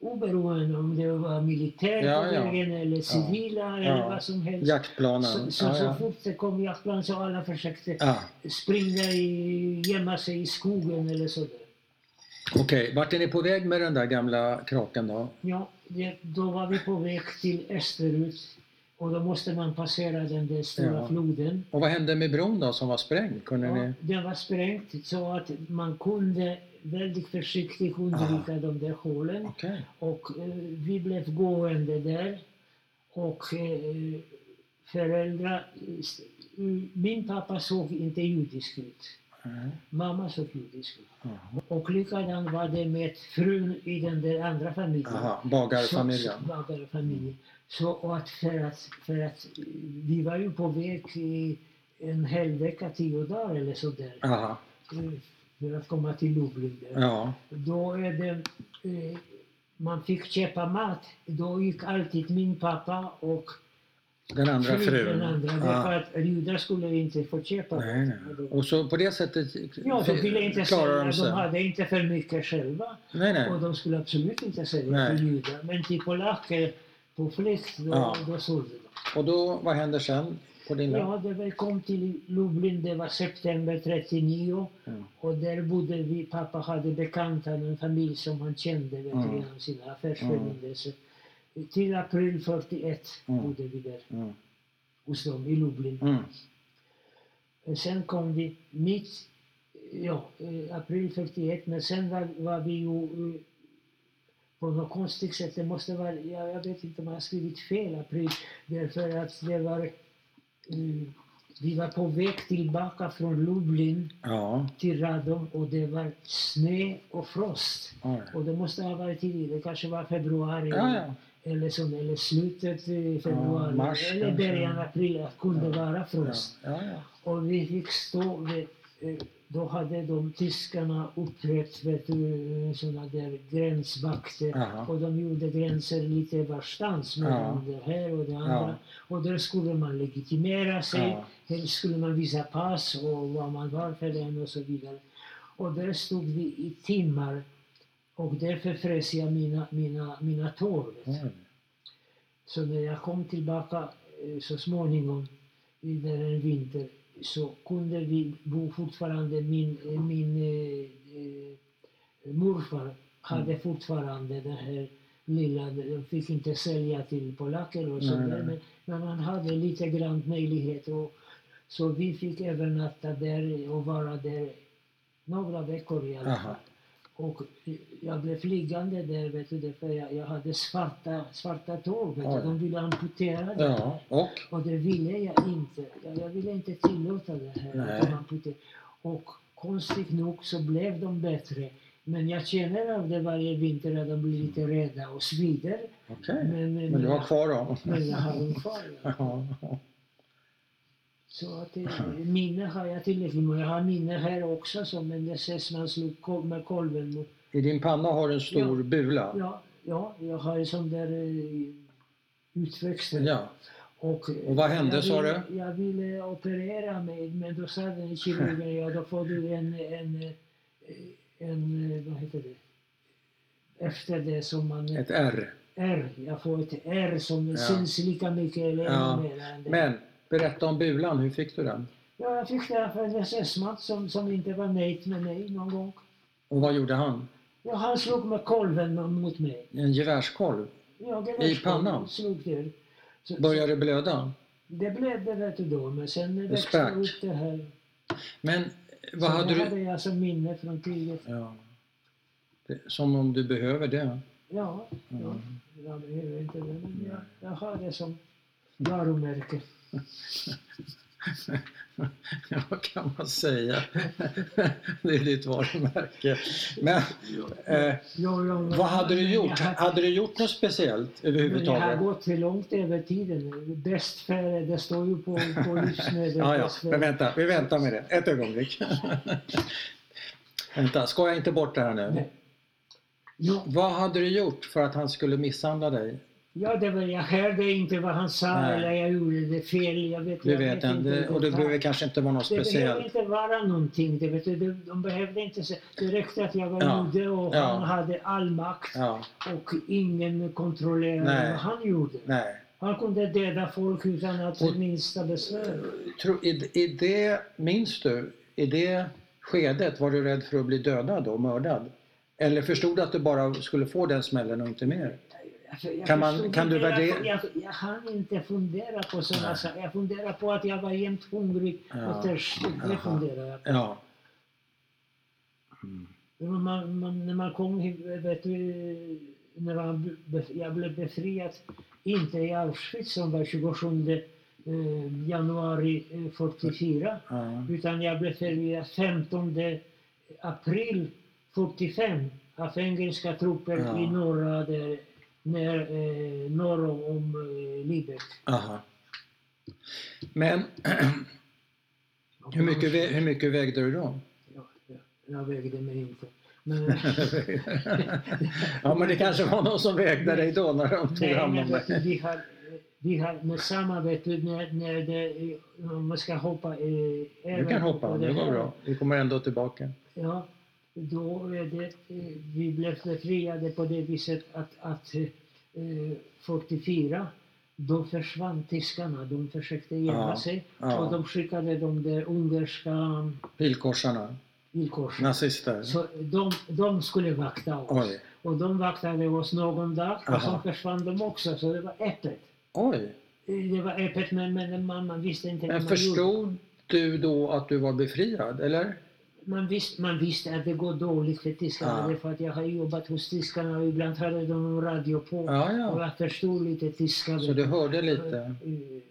Speaker 2: oberoende om det var militär
Speaker 1: Ja,
Speaker 2: på
Speaker 1: ja.
Speaker 2: vägen eller civila eller
Speaker 1: Ja.
Speaker 2: vad som helst. Så,
Speaker 1: Jaktplanen?
Speaker 2: så, så
Speaker 1: Ja, ja.
Speaker 2: fort det kom jaktplan så alla försökte
Speaker 1: ja.
Speaker 2: springa, i, gömma sig i skogen eller sådär.
Speaker 1: Okej, vart är ni på väg med den där gamla kraken då?
Speaker 2: Ja, det, då var vi på väg till österut och då måste man passera den där stora
Speaker 1: Ja.
Speaker 2: floden.
Speaker 1: Och vad hände med bron då som var sprängd? Kunde
Speaker 2: Ja,
Speaker 1: ni...
Speaker 2: den var sprängt så att man kunde väldigt försiktigt undvika de där hålen.
Speaker 1: Okej.
Speaker 2: Och eh, vi blev gående där. Och eh, föräldrar... eh, Min pappa såg inte judisk ut.
Speaker 1: Mm.
Speaker 2: Mamma såg judisk ut.
Speaker 1: Jaha.
Speaker 2: Och likadant var det med frun i den där andra familjen.
Speaker 1: Aha,
Speaker 2: Så,
Speaker 1: bagarfamiljen.
Speaker 2: så, bagarfamiljen. Så och att för att, för att eh, vi var ju på väg i en hel vecka, tio dagar eller sådär.
Speaker 1: Aha,
Speaker 2: Eh, för att komma till Lublin. där.
Speaker 1: ja.
Speaker 2: Då är det, eh, man fick köpa mat. Då gick alltid min pappa och
Speaker 1: Den andra frun.
Speaker 2: den andra. Därför
Speaker 1: Ja.
Speaker 2: att judar skulle inte få köpa
Speaker 1: Nej,
Speaker 2: mat.
Speaker 1: nej. Och så på det sättet
Speaker 2: Ja, de ville inte
Speaker 1: klarar
Speaker 2: sälja.
Speaker 1: de
Speaker 2: De
Speaker 1: sig?
Speaker 2: hade inte för mycket själva.
Speaker 1: Nej, nej.
Speaker 2: Och de skulle absolut inte sälja
Speaker 1: Nej.
Speaker 2: till judar. Men till polacker på flykt, då,
Speaker 1: Ja.
Speaker 2: då sålde de.
Speaker 1: Och då, vad händer sen? På din
Speaker 2: Ja, det var, kom till Lublin, det var september 39
Speaker 1: Mm.
Speaker 2: och där bodde vi, pappa hade bekanta, en familj som han kände vet,
Speaker 1: Mm.
Speaker 2: du, genom sina affärsförbindelser. Till april 41
Speaker 1: Mm.
Speaker 2: bodde vi där
Speaker 1: Mm.
Speaker 2: hos dem i Lublin.
Speaker 1: Mm.
Speaker 2: Sen kom vi mitt, ja, eh, april 41, men sen var, var vi ju eh, på något konstigt sätt, det måste vara, jag, jag vet inte om jag har skrivit fel april, därför att det var, eh, vi var på väg tillbaka från Lublin
Speaker 1: Ja.
Speaker 2: till Radom och det var snö och frost.
Speaker 1: Ja,
Speaker 2: Och det måste ha varit tidigt, det kanske var februari
Speaker 1: ja.
Speaker 2: eller, så, eller slutet eh, februari,
Speaker 1: mars
Speaker 2: eller
Speaker 1: kanske.
Speaker 2: början april, att kunde
Speaker 1: Ja.
Speaker 2: vara
Speaker 1: ja.
Speaker 2: frost.
Speaker 1: ja, ja.
Speaker 2: Och vi fick stå vid, eh, då hade de tyskarna upprätt vet du, såna där gränsvakter.
Speaker 1: Aha.
Speaker 2: Och de gjorde gränser lite varstans mellan det här och det andra. Och där skulle man legitimera sig,
Speaker 1: Ja.
Speaker 2: här skulle man visa pass och vad man var för en och så vidare. Och där stod vi i timmar och därför frös jag mina, mina, mina tår. vet du.
Speaker 1: Oj.
Speaker 2: Så när jag kom tillbaka eh, så småningom, i den här vintern, så kunde vi bo fortfarande, min, eh, min eh, eh, morfar hade
Speaker 1: Mm.
Speaker 2: fortfarande den här lilla, de fick inte sälja till polacker och sådär,
Speaker 1: Nej, nej.
Speaker 2: men, men han hade lite grann möjlighet. Och, så vi fick övernatta där och vara där några veckor i alla
Speaker 1: Aha.
Speaker 2: fall. Och jag blev liggande där, vet du, för jag, jag hade svarta, svarta tår. Vet
Speaker 1: Oj.
Speaker 2: du. De ville amputera det.
Speaker 1: Ja, och?
Speaker 2: Och det ville jag inte. Jag, jag ville inte tillåta det här.
Speaker 1: Nej.
Speaker 2: att de amputerade. Och konstigt nog så blev de bättre. Men jag känner av det varje vinter att de blir lite rädda och svider.
Speaker 1: Okej.
Speaker 2: Men,
Speaker 1: Men du har kvar dem?
Speaker 2: men jag har dem kvar. ja.
Speaker 1: Ja.
Speaker 2: Så att, eh, minne har jag tillräckligt med. Jag har minne här också, så, men det ses man slog kol- med kolven mot
Speaker 1: I din panna har du en stor bula?
Speaker 2: Ja, ja, jag har en sån där eh, utväxt. där.
Speaker 1: Ja.
Speaker 2: Och, eh,
Speaker 1: Och vad hände,
Speaker 2: jag
Speaker 1: sa
Speaker 2: ville- Jag ville operera mig men då sa den kirurgen ja då får du en, en, eh, en eh, vad heter det, efter det som man...
Speaker 1: Ett R.
Speaker 2: R. Jag får ett R som
Speaker 1: Ja.
Speaker 2: syns lika mycket eller
Speaker 1: Ja.
Speaker 2: ännu mer än det.
Speaker 1: Men berätta om bulan, hur fick du den?
Speaker 2: Ja, jag fick det här för en SS-match som, som inte var nöjd med mig någon gång.
Speaker 1: Och vad gjorde han?
Speaker 2: Ja, han slog med kolven mot mig.
Speaker 1: En gevärskolv?
Speaker 2: Ja, det var
Speaker 1: I
Speaker 2: så.
Speaker 1: pannan?
Speaker 2: Slog det. Så,
Speaker 1: Började det blöda?
Speaker 2: så, det blödde vet du då, men sen växte
Speaker 1: sprack.
Speaker 2: det upp det här.
Speaker 1: Men vad
Speaker 2: så
Speaker 1: hade
Speaker 2: det
Speaker 1: du...
Speaker 2: hade jag som minne från kriget.
Speaker 1: Ja. Det- Som om du behöver det.
Speaker 2: Ja, ja.
Speaker 1: Mm.
Speaker 2: jag behöver inte det, men jag, jag har det som varumärke.
Speaker 1: Ja, vad kan man säga? Det är ditt varumärke. Men eh,
Speaker 2: Jo, jo,
Speaker 1: vad hade du
Speaker 2: men
Speaker 1: gjort?
Speaker 2: jag-
Speaker 1: Hade du gjort något speciellt
Speaker 2: Men det har
Speaker 1: överhuvudtaget?
Speaker 2: gått för långt över tiden. Bäst före, det står ju på, på livsmedel.
Speaker 1: Ja, ja,
Speaker 2: bäst före.
Speaker 1: men vänta, vi väntar med det. Ett ögonblick. Vänta, ska jag inte bort det här nu?
Speaker 2: Nej. Ja,
Speaker 1: Vad hade du gjort för att han skulle misshandla dig?
Speaker 2: ja, det var, jag hörde inte vad han sa
Speaker 1: Nej.
Speaker 2: eller jag gjorde det fel. Jag vet,
Speaker 1: Du
Speaker 2: jag
Speaker 1: vet inte,
Speaker 2: i
Speaker 1: och det
Speaker 2: detalj.
Speaker 1: behöver kanske inte vara något
Speaker 2: det behövde
Speaker 1: speciellt.
Speaker 2: inte vara någonting. Det vet du, de- de behövde inte se. Det räckte att jag var
Speaker 1: Ja.
Speaker 2: jude och
Speaker 1: Ja.
Speaker 2: han hade all makt
Speaker 1: Ja,
Speaker 2: och ingen kontrollerade
Speaker 1: Nej.
Speaker 2: vad han gjorde.
Speaker 1: nej.
Speaker 2: Han kunde döda folk utan att
Speaker 1: Och-
Speaker 2: minsta besvär.
Speaker 1: Tro- I, I det, minns du, i det skedet var du rädd för att bli dödad och mördad? Eller förstod du att du bara skulle få den smällen och inte mer?
Speaker 2: Alltså, jag
Speaker 1: Kan man-
Speaker 2: förstod
Speaker 1: kan du
Speaker 2: inte, jag-
Speaker 1: värdera-
Speaker 2: Jag, jag hann inte fundera på sådana
Speaker 1: Nej.
Speaker 2: saker. Jag funderade på att jag var jämt hungrig
Speaker 1: Ja.
Speaker 2: och törstig. Det
Speaker 1: Jaha.
Speaker 2: funderade jag på.
Speaker 1: Ja.
Speaker 2: Men man, man, när man kom hit, vet du, när man, be- jag blev befriad, inte i Auschwitz som var 27 eh, januari eh, 44,
Speaker 1: ja.
Speaker 2: utan jag blev befriad 15 april 45 av engelska trupper
Speaker 1: Ja.
Speaker 2: i norra, där, när, eh, norr om, om eh, Lübeck.
Speaker 1: Aha. Men hur mycket, vä- hur mycket vägde du då?
Speaker 2: Ja, ja, jag vägde mig inte. Men,
Speaker 1: ja men det kanske var någon som vägde dig då när de tog
Speaker 2: Nej,
Speaker 1: hand
Speaker 2: men
Speaker 1: om
Speaker 2: vet du,
Speaker 1: dig.
Speaker 2: vi har, vi har med samma, vet du, när, när det, om man ska hoppa... Eh,
Speaker 1: Du kan hoppa,
Speaker 2: på
Speaker 1: det var
Speaker 2: här,
Speaker 1: bra. Vi kommer ändå tillbaka.
Speaker 2: Ja, då är det, eh, vi blev befriade på det viset att, att eh, eh, 44, då försvann tyskarna. De försökte gömma
Speaker 1: Ja,
Speaker 2: sig och
Speaker 1: Ja,
Speaker 2: de skickade de där ungerska
Speaker 1: pilkorsarna,
Speaker 2: villkorsen.
Speaker 1: nazister.
Speaker 2: Så de, de skulle vakta oss.
Speaker 1: Oj,
Speaker 2: Och de vaktade oss någon dag och
Speaker 1: Aha.
Speaker 2: så försvann de också, så det var öppet.
Speaker 1: oj.
Speaker 2: Det var öppet men, men man, man visste inte
Speaker 1: Men
Speaker 2: vad man gjorde.
Speaker 1: Eh, förstod du då att du var befriad, eller?
Speaker 2: Man visste, man visste att det går dåligt för tyskarna
Speaker 1: Ja.
Speaker 2: därför att jag har jobbat hos tyskarna och ibland hade de radio på.
Speaker 1: Ja,
Speaker 2: Och
Speaker 1: ja.
Speaker 2: jag förstod lite tyska.
Speaker 1: Så du hörde lite?
Speaker 2: Eh,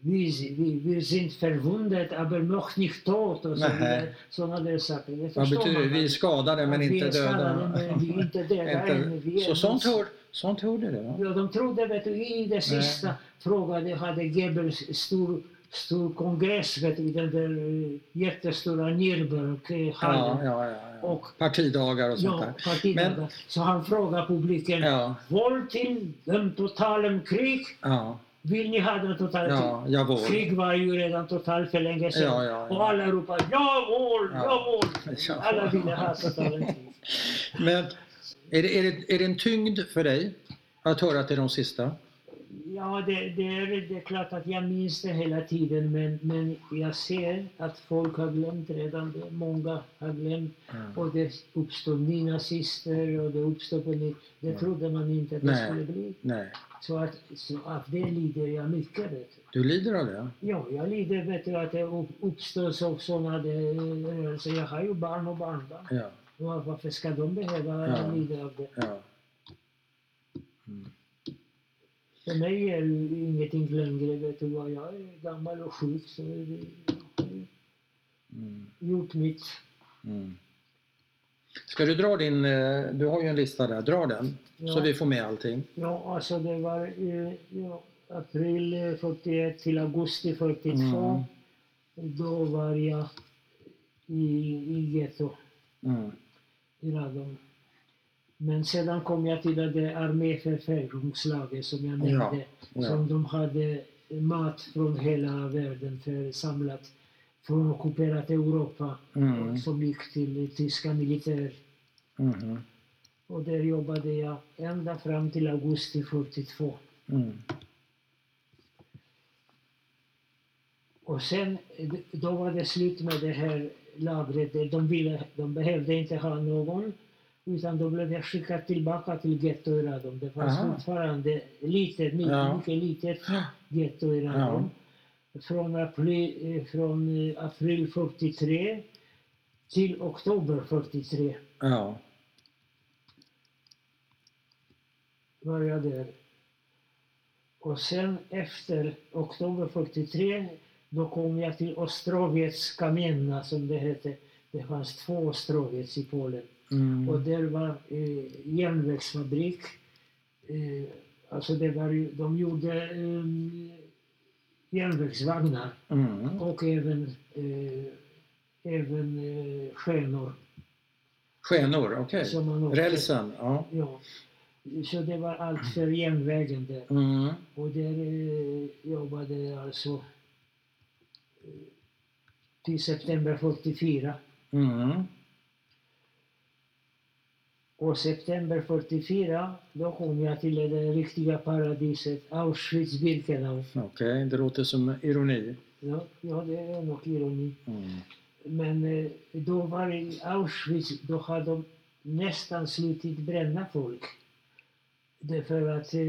Speaker 2: Vi, vi, vi sind verwundet aber noch nicht tot och så
Speaker 1: Nähä.
Speaker 2: vidare. Sådana där saker. Det
Speaker 1: Vad
Speaker 2: förstår
Speaker 1: betyder det?
Speaker 2: man.
Speaker 1: Vi är skadade men
Speaker 2: Att vi
Speaker 1: inte
Speaker 2: är skadade,
Speaker 1: döda.
Speaker 2: men vi är inte döda än.
Speaker 1: Inte.
Speaker 2: Vi är
Speaker 1: Så sånt,
Speaker 2: mot-
Speaker 1: hör, sånt hörde du? va?
Speaker 2: Ja, de trodde vet du, i det sista frågade, hade Goebbels stor, stor kongress vet du, i den där eh, jättestora
Speaker 1: Ja,
Speaker 2: Nürnberghallen.
Speaker 1: ja, ja. ja.
Speaker 2: Och-
Speaker 1: Partidagar och sånt
Speaker 2: Ja,
Speaker 1: där.
Speaker 2: partidagar. Så han frågade publiken,
Speaker 1: Ja,
Speaker 2: våld till den totalen krig,
Speaker 1: ja,
Speaker 2: vill ni ha den totala krig?
Speaker 1: ja, jawohl.
Speaker 2: Krig var ju redan totalt för länge sedan.
Speaker 1: Ja, ja, ja.
Speaker 2: Och alla ropade jawohl,
Speaker 1: Ja.
Speaker 2: jawohl.
Speaker 1: Ja.
Speaker 2: Alla ville ha totalen krig.
Speaker 1: Men är det, är, det, är det en tyngd för dig att höra till de sista?
Speaker 2: Ja, det, det, är, det är klart att jag minns det hela tiden men, men jag ser att folk har glömt redan det. Många har glömt.
Speaker 1: Mm.
Speaker 2: Och det uppstår nya nazister och det uppstår på nytt. Det
Speaker 1: Mm.
Speaker 2: trodde man inte att det
Speaker 1: Nej.
Speaker 2: skulle bli.
Speaker 1: Nej,
Speaker 2: Så att, så att det lider jag mycket. Vet du.
Speaker 1: du lider av det?
Speaker 2: Ja, jag lider vet du, att det upp- uppstår så- sådana där rörelser. Jag har ju barn och barnbarn.
Speaker 1: Ja,
Speaker 2: Var- Varför ska de behöva
Speaker 1: Ja.
Speaker 2: lida av det?
Speaker 1: ja. Mm.
Speaker 2: För mig är det ingenting längre. Vet du vad, jag är gammal och sjuk så är det, jag har
Speaker 1: Mm.
Speaker 2: gjort mitt.
Speaker 1: Mm. Ska du dra din, eh, du har ju en lista där, dra den
Speaker 2: Ja,
Speaker 1: så vi får med allting.
Speaker 2: ja alltså det var eh, ja, april eh, 41 till augusti 42.
Speaker 1: Mm.
Speaker 2: Då var jag i, i getto
Speaker 1: Mm.
Speaker 2: i Radom. Men sedan kom jag till det arméförföljningslaget som jag nämnde.
Speaker 1: Ja. Ja.
Speaker 2: som de hade mat från hela världen för samlat från ockuperat Europa
Speaker 1: Mm.
Speaker 2: som gick till tyska militär.
Speaker 1: Mhm.
Speaker 2: Och där jobbade jag ända fram till augusti 42.
Speaker 1: Mm.
Speaker 2: Och sen, eh, då var det slut med det här lagret. De, ville, de behövde inte ha någon. Utan då blev jag skickad tillbaka till getto i Radom. Det fanns
Speaker 1: Aha.
Speaker 2: fortfarande litet, mycket,
Speaker 1: Ja.
Speaker 2: mycket litet getto i Radom. Från, april, eh, från eh, april 43 till oktober 43
Speaker 1: Ja.
Speaker 2: var jag där. Och sen efter oktober 43 då kom jag till Ostrowiec Kamienna som det hette. Det fanns två Ostrowiec i Polen. Och
Speaker 1: Mm.
Speaker 2: där var eh, järnvägsfabrik. Eh, alltså det var ju, de gjorde eh, järnvägsvagnar
Speaker 1: Mm.
Speaker 2: och även, eh, även eh, skenor.
Speaker 1: Skenor, okej.
Speaker 2: som man åkte-
Speaker 1: Rälsen, ja.
Speaker 2: Ja. Så det var allt för järnvägen där.
Speaker 1: Mm.
Speaker 2: Och där eh, jobbade jag alltså eh, till september 44.
Speaker 1: Mm.
Speaker 2: Och september 44 då kom jag till det där riktiga paradiset Auschwitz-Birkenau.
Speaker 1: Okej, det låter som ironi.
Speaker 2: Ja, ja, det är nog ironi.
Speaker 1: Mm.
Speaker 2: Men eh, då var det i Auschwitz, då hade de nästan slutit bränna folk. Därför att eh,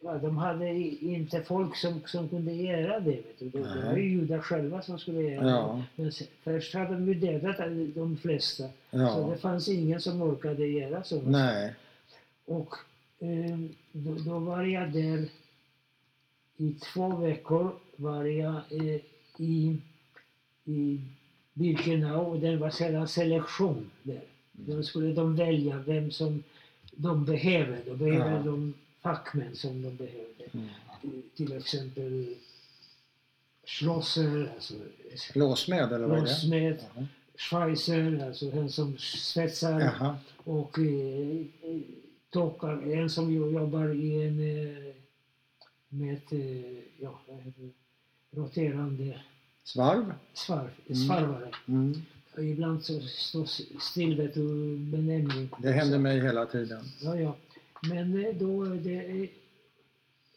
Speaker 2: ja, de hade i- inte folk som, som kunde göra det. Vet du. Det det var
Speaker 1: Nej.
Speaker 2: ju judar själva som skulle göra det.
Speaker 1: Ja,
Speaker 2: Men se- först hade de ju dödat all- de flesta. Så
Speaker 1: ja.
Speaker 2: det fanns ingen som orkade göra sådana
Speaker 1: Nej.
Speaker 2: Och eh, då, då var jag där i två veckor var jag eh, i, i Birkenau och det var sedan selektion där.
Speaker 1: Mm.
Speaker 2: Då skulle de välja vem som de behöver. Då behöver
Speaker 1: Ja.
Speaker 2: de fackmän som de behövde.
Speaker 1: Mm.
Speaker 2: Eh, Till exempel Schlosser, alltså
Speaker 1: Låsmed eller vad är det?
Speaker 2: Låssmed,
Speaker 1: Jaha.
Speaker 2: Schweizer, alltså den som svetsar
Speaker 1: Jaha.
Speaker 2: och eh, eh, dockar, en som ju jobbar i en eh, med ett, eh, ja, vad heter det, roterande
Speaker 1: Svarv?
Speaker 2: svarv,
Speaker 1: Mm.
Speaker 2: svarvare.
Speaker 1: Mm.
Speaker 2: Och ibland så står s- still vet du, benämning.
Speaker 1: Det händer mig hela tiden.
Speaker 2: Ja, ja. Men eh, då, eh, det,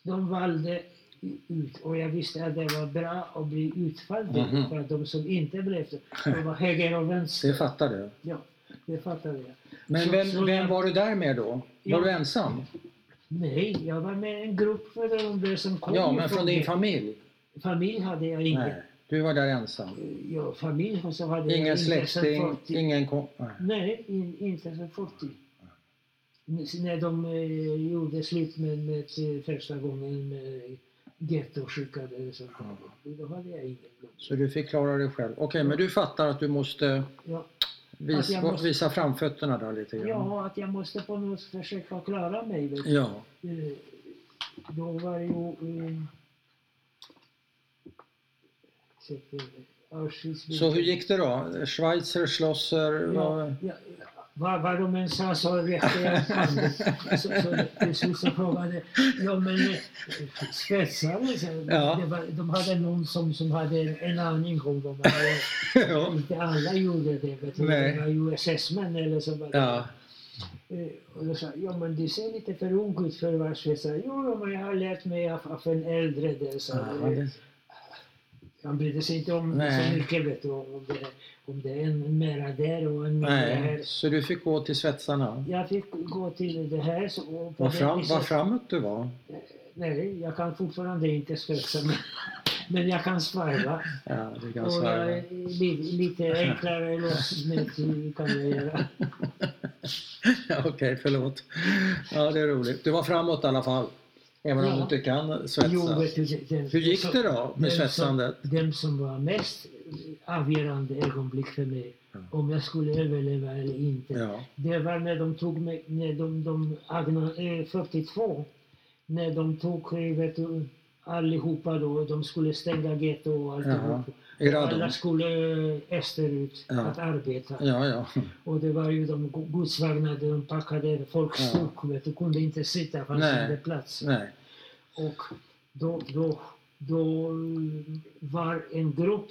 Speaker 2: de valde i- ut och jag visste att det var bra att bli utvald
Speaker 1: Mhm.
Speaker 2: för att de som inte blev det, de var höger och vänster.
Speaker 1: Det fattar du.
Speaker 2: Ja, det fattade jag.
Speaker 1: Men
Speaker 2: Så-
Speaker 1: vem,
Speaker 2: så
Speaker 1: vem
Speaker 2: jag-
Speaker 1: var du där med då? Var
Speaker 2: Ja.
Speaker 1: du ensam?
Speaker 2: Nej, jag var med en grupp för de där som kom.
Speaker 1: Ja, men från din
Speaker 2: det.
Speaker 1: familj?
Speaker 2: familj hade jag ingen.
Speaker 1: Nej, du var där ensam.
Speaker 2: Ja, familj och så hade jag
Speaker 1: Ingen
Speaker 2: inte sen
Speaker 1: släkting,
Speaker 2: 40.
Speaker 1: ingen kom... nej.
Speaker 2: Nej, in, inte sen 40. N- När de eh, gjorde slut med, med eh, första gången med getto och skickade så
Speaker 1: Ja.
Speaker 2: då hade jag ingen. blod.
Speaker 1: Så du fick klara dig själv. Okej, men du fattar att du måste
Speaker 2: Ja, Att
Speaker 1: visa,
Speaker 2: jag måste-
Speaker 1: visa framfötterna där lite grann?
Speaker 2: ja, att jag måste på något sätt försöka klara mig. Vet du.
Speaker 1: Ja.
Speaker 2: Eh, då var ju... Eh, så att, eh, Auschwitz-
Speaker 1: Så hur gick det då? Schweizer, Schlosser?
Speaker 2: Ja,
Speaker 1: vad-
Speaker 2: ja, vad, vad de än sa så räckte jag upp handen. Så, så, till slut så frågade ja men eh, svetsare, så,
Speaker 1: Ja.
Speaker 2: det var, de hade någon som, som hade en, en aning om dem. Men det-
Speaker 1: ja.
Speaker 2: Inte alla gjorde det, vet du.
Speaker 1: Nej.
Speaker 2: det var ju SS-män eller så. Var det.
Speaker 1: Ja.
Speaker 2: Eh, Och då sa ja men du ser lite för ung ut för att vara svetsare. Jo, jo, men jag har lärt mig av, av en äldre där. Så,
Speaker 1: Ja, det-
Speaker 2: han brydde sig inte om
Speaker 1: Nej.
Speaker 2: så mycket vet du, om det, om det är en mera där och en mera här.
Speaker 1: Nej, så du fick gå till svetsarna?
Speaker 2: Jag fick gå till det här. Så, och på
Speaker 1: Vad,
Speaker 2: det
Speaker 1: fram,
Speaker 2: viset-
Speaker 1: vad framåt du var?
Speaker 2: Nej, jag kan fortfarande inte svetsa. Men, men jag kan svarva.
Speaker 1: Ja, det kan jag
Speaker 2: Och jag
Speaker 1: svära.
Speaker 2: är li, lite enklare låtsmed kan jag göra.
Speaker 1: Ja, Okej, förlåt. Ja, det är roligt. Du var framåt i alla fall. Även om
Speaker 2: Ja.
Speaker 1: du inte kan svetsa.
Speaker 2: Jo, vet du, den,
Speaker 1: Hur gick
Speaker 2: så-
Speaker 1: det då med
Speaker 2: den
Speaker 1: svetsandet?
Speaker 2: Som, den som var mest avgörande ögonblick för mig,
Speaker 1: Ja.
Speaker 2: om jag skulle överleva eller inte,
Speaker 1: Ja.
Speaker 2: det var när de tog mig, när de, de Agna, eh, 42, när de tog, eh, vet du, allihopa då, de skulle stänga getto och alltihop.
Speaker 1: I
Speaker 2: Alla
Speaker 1: radon?
Speaker 2: skulle eh, österut
Speaker 1: Ja.
Speaker 2: att arbeta.
Speaker 1: Ja, ja.
Speaker 2: Och det var ju de go- godsvagnar där de packade folk
Speaker 1: Ja.
Speaker 2: stod, vet du, kunde inte sitta, fanns
Speaker 1: Nej.
Speaker 2: inte plats.
Speaker 1: Nej.
Speaker 2: Och då, då, då var en grupp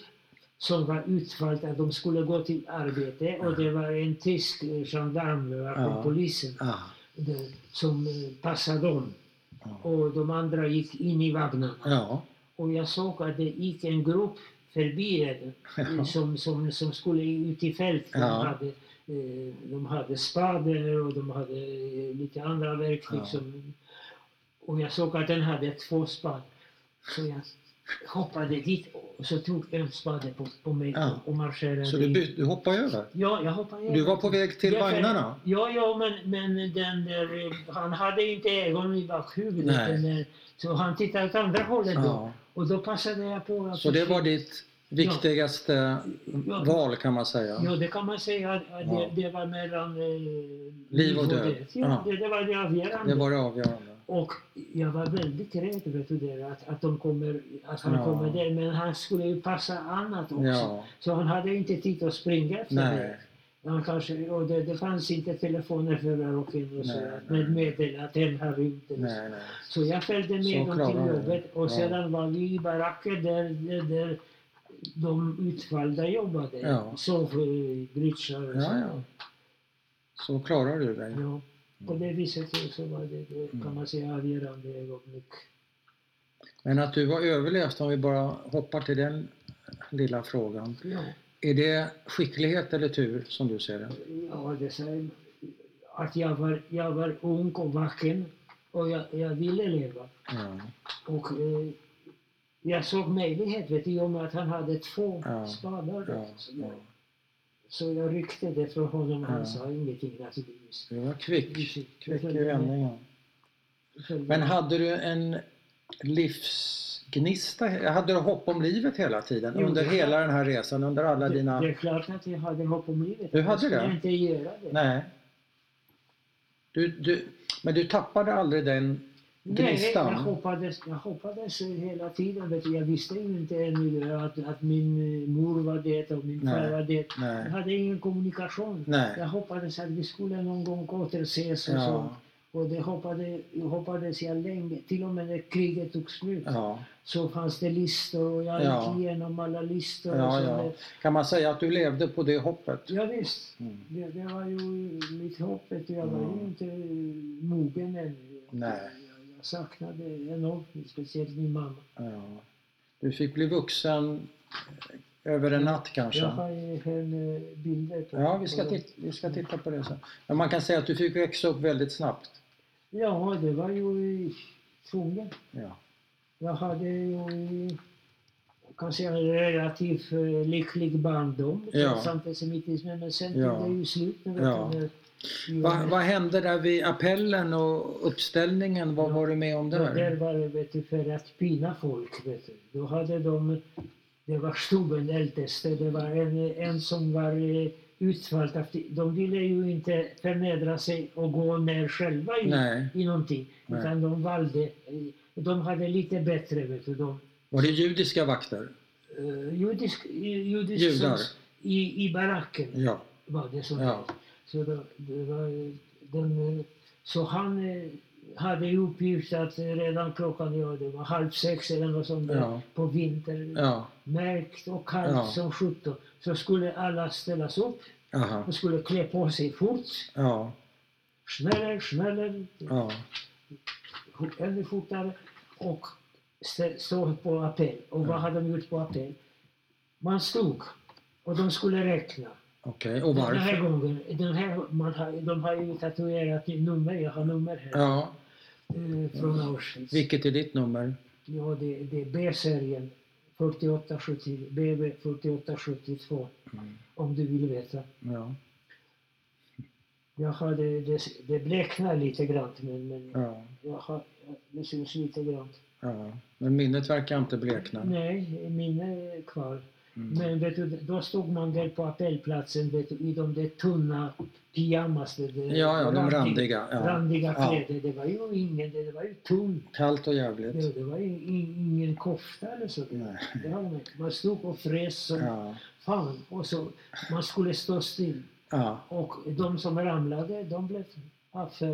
Speaker 2: som var utvald att de skulle gå till arbete och det var en tysk eh, gendarm det var från
Speaker 1: Ja.
Speaker 2: polisen
Speaker 1: Ah,
Speaker 2: det, som eh, passade dem
Speaker 1: ja.
Speaker 2: och de andra gick in i vagnarna.
Speaker 1: ja.
Speaker 2: Och jag såg att det gick en grupp förbi det, eh,
Speaker 1: Ja.
Speaker 2: som, som, som skulle ut i fält. De,
Speaker 1: Ja.
Speaker 2: hade, eh, de hade spader och de hade eh, lite andra verktyg.
Speaker 1: Ja.
Speaker 2: Som, och jag såg att den hade två spader. Så jag hoppade dit och så tog en spade på, på mig
Speaker 1: Ja.
Speaker 2: och marscherade
Speaker 1: Så du,
Speaker 2: in.
Speaker 1: bytte, du hoppade över?
Speaker 2: Ja, jag hoppade
Speaker 1: Du var på väg till
Speaker 2: Ja, för-
Speaker 1: vagnarna?
Speaker 2: Ja, ja men, men den där, eh, han hade inte ögon i bakhuvudet.
Speaker 1: Nej.
Speaker 2: Den där, så han tittade åt andra hållet då.
Speaker 1: Ja.
Speaker 2: Och då passade jag på att...
Speaker 1: Så det var ditt viktigaste val kan man säga?
Speaker 2: Ja, det kan man säga. att att
Speaker 1: Ja.
Speaker 2: Det, det var mellan eh,
Speaker 1: Liv och död.
Speaker 2: Ja,
Speaker 1: Ja.
Speaker 2: det, det var det avgörande.
Speaker 1: Det var det avgörande?
Speaker 2: Och jag var väldigt rädd vet du, det, att, att, de kommer, att han
Speaker 1: Ja.
Speaker 2: kommer där. Men han skulle ju passa annat också.
Speaker 1: Ja.
Speaker 2: Så han hade inte tid att springa efter
Speaker 1: Nej.
Speaker 2: det. Han kanske, och det, det fanns inte telefoner för rocken och så,
Speaker 1: Nej,
Speaker 2: att med meddelande att den har rymt. eller så.
Speaker 1: Nej, nej.
Speaker 2: Så jag följde med
Speaker 1: Så
Speaker 2: dem
Speaker 1: klarar
Speaker 2: till
Speaker 1: du det.
Speaker 2: jobbet och
Speaker 1: Ja.
Speaker 2: sedan var vi i baracker där, där, där de utvalda jobbade.
Speaker 1: Ja.
Speaker 2: Sov i britschar och
Speaker 1: Ja,
Speaker 2: så.
Speaker 1: ja. Så klarar du dig?
Speaker 2: Ja, på det viset så- så var det, det
Speaker 1: Mm.
Speaker 2: kan man säga, avgörande ögonblick.
Speaker 1: Men att du var överlevt, om vi bara hoppar till den lilla frågan.
Speaker 2: Ja,
Speaker 1: Är det skicklighet eller tur som du ser det?
Speaker 2: ja det säger att jag var, jag var ung och vaken och jag, jag ville leva.
Speaker 1: Ja.
Speaker 2: Och eh, jag såg möjlighet, vet du, i och med att han hade två
Speaker 1: Ja.
Speaker 2: spadar.
Speaker 1: Ja.
Speaker 2: Så,
Speaker 1: ja.
Speaker 2: jag, så jag ryckte det från honom, han
Speaker 1: Ja.
Speaker 2: sa ingenting alltså, naturligtvis.
Speaker 1: Du var kvick. Kvick i vändningen.
Speaker 2: Så-
Speaker 1: Men hade du en livsgnista? Hade du hopp om livet hela tiden?
Speaker 2: Jo,
Speaker 1: under
Speaker 2: det-
Speaker 1: hela den här resan? Under alla dina...
Speaker 2: Det är klart att jag hade hopp om livet.
Speaker 1: Du hade
Speaker 2: Jag skulle
Speaker 1: det?
Speaker 2: inte göra det.
Speaker 1: Nej. Du, du, men du tappade aldrig den...
Speaker 2: Nej, jag
Speaker 1: Gnistan.
Speaker 2: hoppades, jag hoppades hela tiden. Vet du. Jag visste ju inte ännu att, att min eh, mor var det och min
Speaker 1: Nej.
Speaker 2: far var det. Jag
Speaker 1: Nej.
Speaker 2: hade ingen kommunikation. Jag
Speaker 1: Nej.
Speaker 2: hoppades att vi skulle någon gång återses och sånt.
Speaker 1: Ja.
Speaker 2: Och det hoppade, hoppades jag länge. Till och med när kriget tog slut
Speaker 1: ja.
Speaker 2: så fanns det listor och jag
Speaker 1: Ja.
Speaker 2: gick igenom alla listor.
Speaker 1: Ja,
Speaker 2: och så
Speaker 1: ja.
Speaker 2: där.
Speaker 1: Kan man säga att du levde på det hoppet?
Speaker 2: ja visst.
Speaker 1: Mm.
Speaker 2: Det, det var ju mitt hopp. vet du. Jag var
Speaker 1: Mm.
Speaker 2: ju inte eh, mogen ännu.
Speaker 1: Nej.
Speaker 2: Jag, jag saknade enormt, speciellt min mamma.
Speaker 1: Ja. Du fick bli vuxen över en natt
Speaker 2: Jag
Speaker 1: kanske?
Speaker 2: har ju henne bilder på
Speaker 1: Ja, vi ska,
Speaker 2: på-
Speaker 1: titta, vi ska titta på det sen. Men man kan säga att du fick växa upp väldigt snabbt.
Speaker 2: Ja, det var ju tvungen.
Speaker 1: Ja.
Speaker 2: Jag hade ju kanske en relativt eh, lycklig barndom
Speaker 1: Ja.
Speaker 2: trots antisemitismen. Men sen
Speaker 1: Ja.
Speaker 2: tog det ju slut. när
Speaker 1: Ja.
Speaker 2: jag- när-
Speaker 1: Vad, vad hände där vid appellen och uppställningen? Vad
Speaker 2: Ja.
Speaker 1: var du med om
Speaker 2: där?
Speaker 1: där?
Speaker 2: var det vet du, för att pina folk. Vet du. Då hade de, det var Stuben äldste, det var en, en som var eh, utvald. av- De ville ju inte förnedra sig och gå ner själva i
Speaker 1: Nej.
Speaker 2: i någonting.
Speaker 1: Nej.
Speaker 2: Utan de valde, eh, de hade lite bättre, vet du, de
Speaker 1: Var det judiska vakter?
Speaker 2: eh, judisk, eh, judisk
Speaker 1: Judar.
Speaker 2: som- i, i baracken
Speaker 1: Ja.
Speaker 2: var det som
Speaker 1: Ja.
Speaker 2: Så, då, det var, eh, den, eh, så han eh, hade ju uppgift att eh, redan klockan, ja det var halv sex eller något sånt där,
Speaker 1: Ja.
Speaker 2: på vintern,
Speaker 1: Ja.
Speaker 2: märkt och kallt
Speaker 1: Ja.
Speaker 2: som sjutton, så skulle alla ställas upp
Speaker 1: Aha.
Speaker 2: och skulle klä på sig fort.
Speaker 1: Ja.
Speaker 2: Schneller, schneller,
Speaker 1: Ja.
Speaker 2: fort- ännu fortare och stä- stå på appell. Och vad
Speaker 1: Ja.
Speaker 2: hade de gjort på appell? Man stod och de skulle räkna.
Speaker 1: Okej. Och
Speaker 2: Den här
Speaker 1: varför?
Speaker 2: gången, den här, man har, de har ju tatuerat i nummer, jag har nummer här,
Speaker 1: Ja.
Speaker 2: eh, från Auschwitz.
Speaker 1: Vilket är ditt nummer?
Speaker 2: Ja, det, det är B-serien 4870, BB 4872,
Speaker 1: Mm.
Speaker 2: om du vill veta.
Speaker 1: Ja.
Speaker 2: Jag har det, det, det bleknar lite grann, men, men
Speaker 1: Ja.
Speaker 2: jag har, det syns lite grann.
Speaker 1: ja. Men minnet verkar inte blekna.
Speaker 2: Nej, minne är kvar.
Speaker 1: Mm.
Speaker 2: Men vet du, då stod man där på appellplatsen vet du, i de där tunna pyjamas. Det, det,
Speaker 1: Ja, ja. De randiga. Ja.
Speaker 2: randiga
Speaker 1: Ja.
Speaker 2: kläder. Det var ju ingen, det, det var ju tunt.
Speaker 1: Kallt och
Speaker 2: Det,
Speaker 1: jävligt.
Speaker 2: det var ju in, ingen kofta eller så.
Speaker 1: Nej.
Speaker 2: Det var man, man stod och frös som
Speaker 1: Ja.
Speaker 2: fan. Och så, man skulle stå still.
Speaker 1: Ja.
Speaker 2: Och de som ramlade, de blev avförda.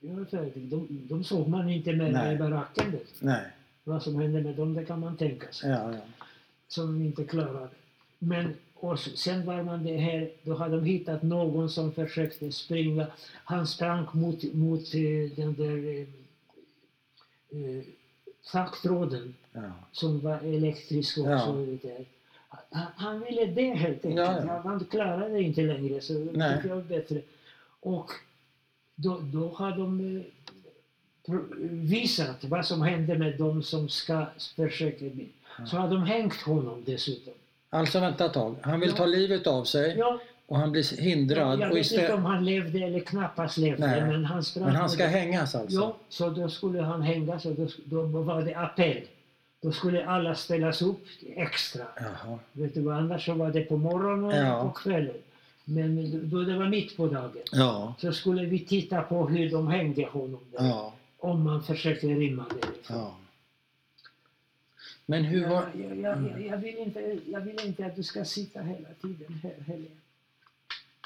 Speaker 2: De, var avförda. de, de såg man inte mer
Speaker 1: Nej.
Speaker 2: i baracken. vet du.
Speaker 1: Nej.
Speaker 2: Vad som hände med dem, det kan man tänka sig.
Speaker 1: Ja, ja.
Speaker 2: som de inte klarade. Men och sen var man det här, då hade de hittat någon som försökte springa. Han sprang mot, mot eh, den där eh, eh, taktråden
Speaker 1: Ja.
Speaker 2: som var elektrisk också.
Speaker 1: Ja.
Speaker 2: och det där. Han, han ville det helt enkelt.
Speaker 1: Ja, ja.
Speaker 2: Han, han klarade inte längre så det
Speaker 1: Nej.
Speaker 2: tyckte jag var bättre. Och då, då har de eh, pro- visat vad som hände med de som ska försöka. bli. Så har de hängt honom dessutom.
Speaker 1: Alltså vänta ett tag. Han vill
Speaker 2: Ja.
Speaker 1: ta livet av sig
Speaker 2: Ja,
Speaker 1: och han blir hindrad.
Speaker 2: jag
Speaker 1: och
Speaker 2: vet inte
Speaker 1: istä-
Speaker 2: om han levde eller knappast levde
Speaker 1: Nej.
Speaker 2: men han sprang.
Speaker 1: men han ska
Speaker 2: med-
Speaker 1: hängas alltså?
Speaker 2: Ja, så då skulle han hängas och då, då var det appell. Då skulle alla ställas upp extra.
Speaker 1: Jaha.
Speaker 2: Vet du, vad, annars så var det på morgonen
Speaker 1: Ja.
Speaker 2: och på kvällen. Men då det var mitt på dagen
Speaker 1: Ja.
Speaker 2: så skulle vi titta på hur de hängde honom. Där,
Speaker 1: Ja.
Speaker 2: Om man försökte rimma det. liksom.
Speaker 1: ja. Men hur var... Mm.
Speaker 2: Jag, jag, jag, jag, vill inte, jag vill inte att du ska sitta hela tiden här heller.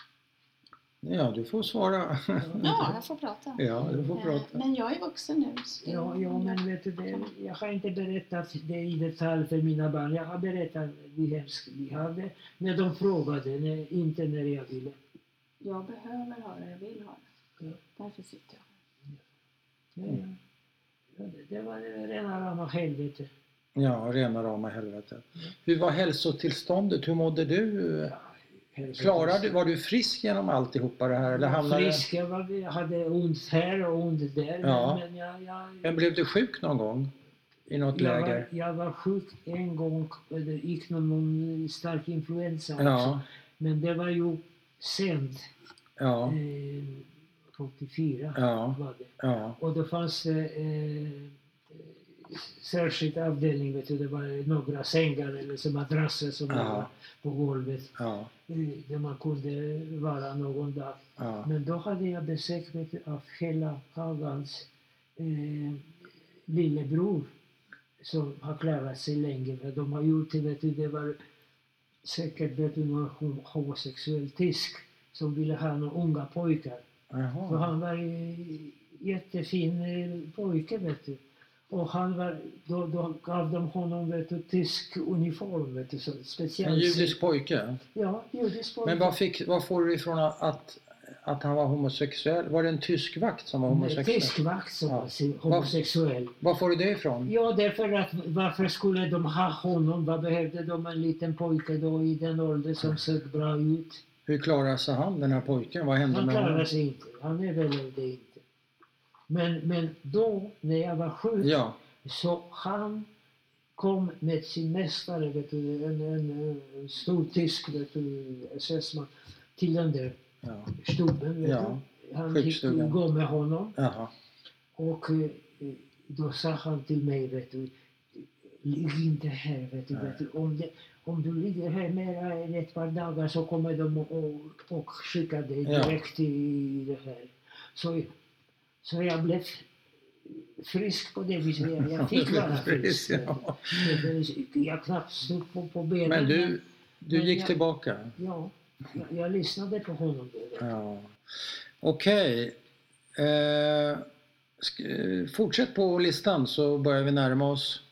Speaker 1: Ja, du får svara.
Speaker 2: Mm.
Speaker 3: Ja, jag får prata.
Speaker 1: Ja, du får
Speaker 3: Eh,
Speaker 1: prata.
Speaker 3: Men jag är vuxen nu. så det-
Speaker 2: Ja, ja, men vet du, det, jag har inte berättat det i detalj för mina barn. Jag har berättat hur hemskt vi hade när de frågade, när, inte när jag ville.
Speaker 3: Jag behöver ha det, jag vill ha det.
Speaker 2: Ja.
Speaker 3: Därför sitter jag.
Speaker 2: Ja, ja.
Speaker 1: Mm.
Speaker 2: Ja, det, det var det rena rama helvetet.
Speaker 1: Ja, rena rama helvetet.
Speaker 2: Mm.
Speaker 1: Hur var hälsotillståndet? Hur mådde du? Klarade du? Var du frisk genom alltihopa det här? Eller hamnade...
Speaker 2: frisk, jag, var, jag hade ont här och ont där.
Speaker 1: Ja.
Speaker 2: Men jag, jag,
Speaker 1: Men blev du sjuk någon gång? I något
Speaker 2: jag, var,
Speaker 1: läger?
Speaker 2: jag var sjuk en gång, det gick någon stark influensa också.
Speaker 1: Ja.
Speaker 2: Men det var ju sent,
Speaker 1: Ja.
Speaker 2: eh, 84
Speaker 1: Ja.
Speaker 2: var det.
Speaker 1: Ja.
Speaker 2: Och då fanns det eh, särskild avdelning, vet du, det var några sängar eller så madrasser som
Speaker 1: Ja.
Speaker 2: var på golvet.
Speaker 1: Ja.
Speaker 2: eh, Där man kunde vara någon dag.
Speaker 1: Ja.
Speaker 2: Men då hade jag besök vet du, av hela Hagans eh, lillebror som har klarat sig länge. För De har gjort det, vet du, det var säkert vet du, någon hom- homosexuell tysk som ville ha några unga pojkar. Så
Speaker 1: Jaha.
Speaker 2: han var en jättefin eh, pojke vet du. Och han var, då, då gav de honom vet du, tysk uniform, vet du, så speciellt.
Speaker 1: En judisk pojke?
Speaker 2: Ja, judisk pojke.
Speaker 1: Men vad, fick, vad får du ifrån att, att han var homosexuell? Var det en tysk vakt som var
Speaker 2: Nej,
Speaker 1: homosexuell?
Speaker 2: Tyskvakt som
Speaker 1: Ja.
Speaker 2: var si- homosexuell.
Speaker 1: Vad får du det ifrån?
Speaker 2: Ja, därför att varför skulle de ha honom? Vad behövde de en liten pojke då i den åldern som såg bra ut?
Speaker 1: Hur klarade sig han, den här pojken? Vad hände
Speaker 2: Han
Speaker 1: med honom?
Speaker 2: klarade sig inte. Han överlevde inte. Men, men då, när jag var sjuk,
Speaker 1: Ja,
Speaker 2: så han kom med sin mästare, vet du, en, en, en stor tysk vet du, SS-man, till den där
Speaker 1: ja,
Speaker 2: stubben. Vet
Speaker 1: Ja,
Speaker 2: du. Han fick
Speaker 1: sjukstugan.
Speaker 2: gå med honom.
Speaker 1: jaha,
Speaker 2: Och eh, då sa han till mig, vet du, ligg inte här, vet du.
Speaker 1: Nej.
Speaker 2: Vet du om, det, om du ligger här mera än ett par dagar så kommer de och, och skicka dig
Speaker 1: Ja.
Speaker 2: direkt i det här. Så, så jag blev frisk på det viset. Jag, jag fick vara frisk. vet du.
Speaker 1: ja.
Speaker 2: Jag knappt stod på, på benen.
Speaker 1: Men du, du
Speaker 2: Men
Speaker 1: gick
Speaker 2: jag-
Speaker 1: tillbaka?
Speaker 2: Ja, jag, jag lyssnade på honom. Då, vet du.
Speaker 1: Ja. Okej. Eh, sk- eh, fortsätt på listan så börjar vi närma oss.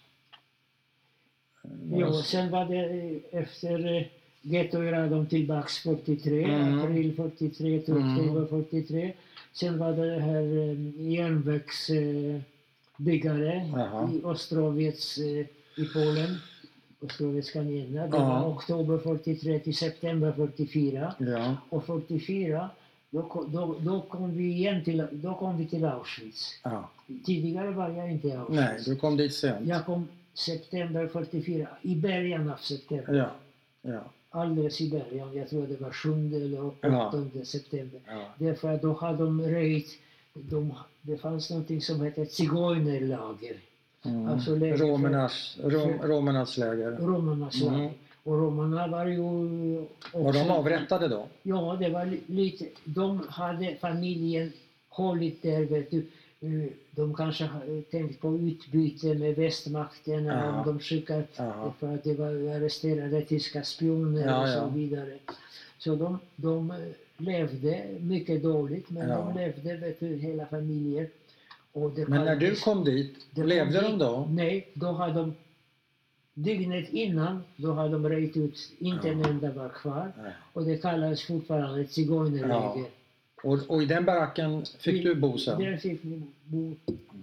Speaker 2: Jo, sen var det eh, efter eh, Ghetto är de tillbaks 43,
Speaker 1: Mm.
Speaker 2: april 43 till
Speaker 1: Mm.
Speaker 2: oktober 43. Sen var det här eh, järnvägsbyggare
Speaker 1: Jaha.
Speaker 2: i Ostrowiec eh, i Polen. Ostrowiec kanina. Det
Speaker 1: Ja.
Speaker 2: var oktober 43 till september 44.
Speaker 1: Ja,
Speaker 2: Och 44 då, ko- då, då, kom vi igen till, då kom vi till Auschwitz.
Speaker 1: ja.
Speaker 2: Tidigare var jag inte i Auschwitz.
Speaker 1: Nej, du kom dit sent.
Speaker 2: Jag kom september 44, i början av september.
Speaker 1: Ja, ja,
Speaker 2: Alldeles i början, jag tror det var 7 eller 8 september.
Speaker 1: ja.
Speaker 2: Därför att då hade de röjt, de, det fanns någonting som hette zigeunerlager,
Speaker 1: Mm.
Speaker 2: Alltså läger för-
Speaker 1: romernas, rom, romernas läger.
Speaker 2: romarnas
Speaker 1: Mm.
Speaker 2: lager. Och romarna var ju också...
Speaker 1: Var de avrättade då?
Speaker 2: Ja, det var li- lite, de hade familjen hållit där vet du. Eh, De kanske ha- tänkt på utbyte med västmakten
Speaker 1: Ja.
Speaker 2: om de skickar
Speaker 1: Jaha.
Speaker 2: för att det var arresterade tyska spioner
Speaker 1: Ja,
Speaker 2: och
Speaker 1: ja.
Speaker 2: så vidare. Så de, de eh, levde mycket dåligt, men
Speaker 1: Ja.
Speaker 2: de levde vet du, hela familjer. Och det
Speaker 1: Men när du
Speaker 2: kallades-
Speaker 1: kom dit,
Speaker 2: det
Speaker 1: levde
Speaker 2: kom
Speaker 1: de
Speaker 2: dit-
Speaker 1: då?
Speaker 2: Nej, då hade de Dygnet innan, då har de röjt ut, inte en
Speaker 1: Ja.
Speaker 2: enda var kvar.
Speaker 1: Nej.
Speaker 2: Och det kallas fortfarande zigeunerläger.
Speaker 1: Ja. Och, och i den baracken fick du bo sen?
Speaker 2: Där fick vi bo,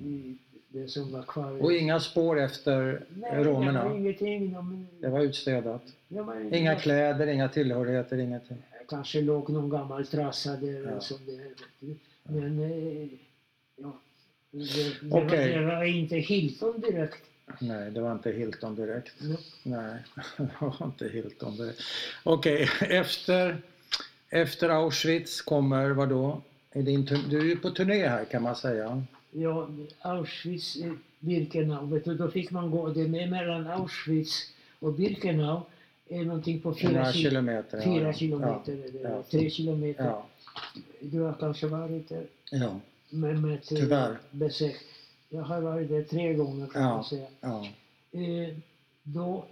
Speaker 2: i det som var kvar.
Speaker 1: Och inga spår efter
Speaker 2: Nej, det var
Speaker 1: romerna?
Speaker 2: ingenting. De,
Speaker 1: Det var utstädat?
Speaker 2: det var,
Speaker 1: Inga kläder, inga tillhörigheter, ingenting?
Speaker 2: Kanske låg någon gammal trasa där.
Speaker 1: Ja.
Speaker 2: Som det, här, vet du. men eh, ja. Det, det,
Speaker 1: Okej.
Speaker 2: var, det var inte Hilton direkt.
Speaker 1: Nej, det var inte Hilton direkt.
Speaker 2: Nej.
Speaker 1: Nej, det var inte Hilton direkt. Okej, efter, efter Auschwitz kommer vad då? Är din, tur- du är ju på turné här kan man säga.
Speaker 2: Ja, Auschwitz, eh, Birkenau. Vet du, då fick man gå det med mellan Auschwitz och Birkenau. Är någonting på fyra,
Speaker 1: Några
Speaker 2: kil-
Speaker 1: kilometer. ja,
Speaker 2: fyra
Speaker 1: ja.
Speaker 2: kilometer eller
Speaker 1: ja.
Speaker 2: tre kilometer.
Speaker 1: Ja,
Speaker 2: Du har kanske varit där.
Speaker 1: ja,
Speaker 2: med, med ett, eh,
Speaker 1: Tyvärr.
Speaker 2: besök. Jag har varit där tre gånger kan
Speaker 1: Ja.
Speaker 2: man säga.
Speaker 1: ja,
Speaker 2: Eh, då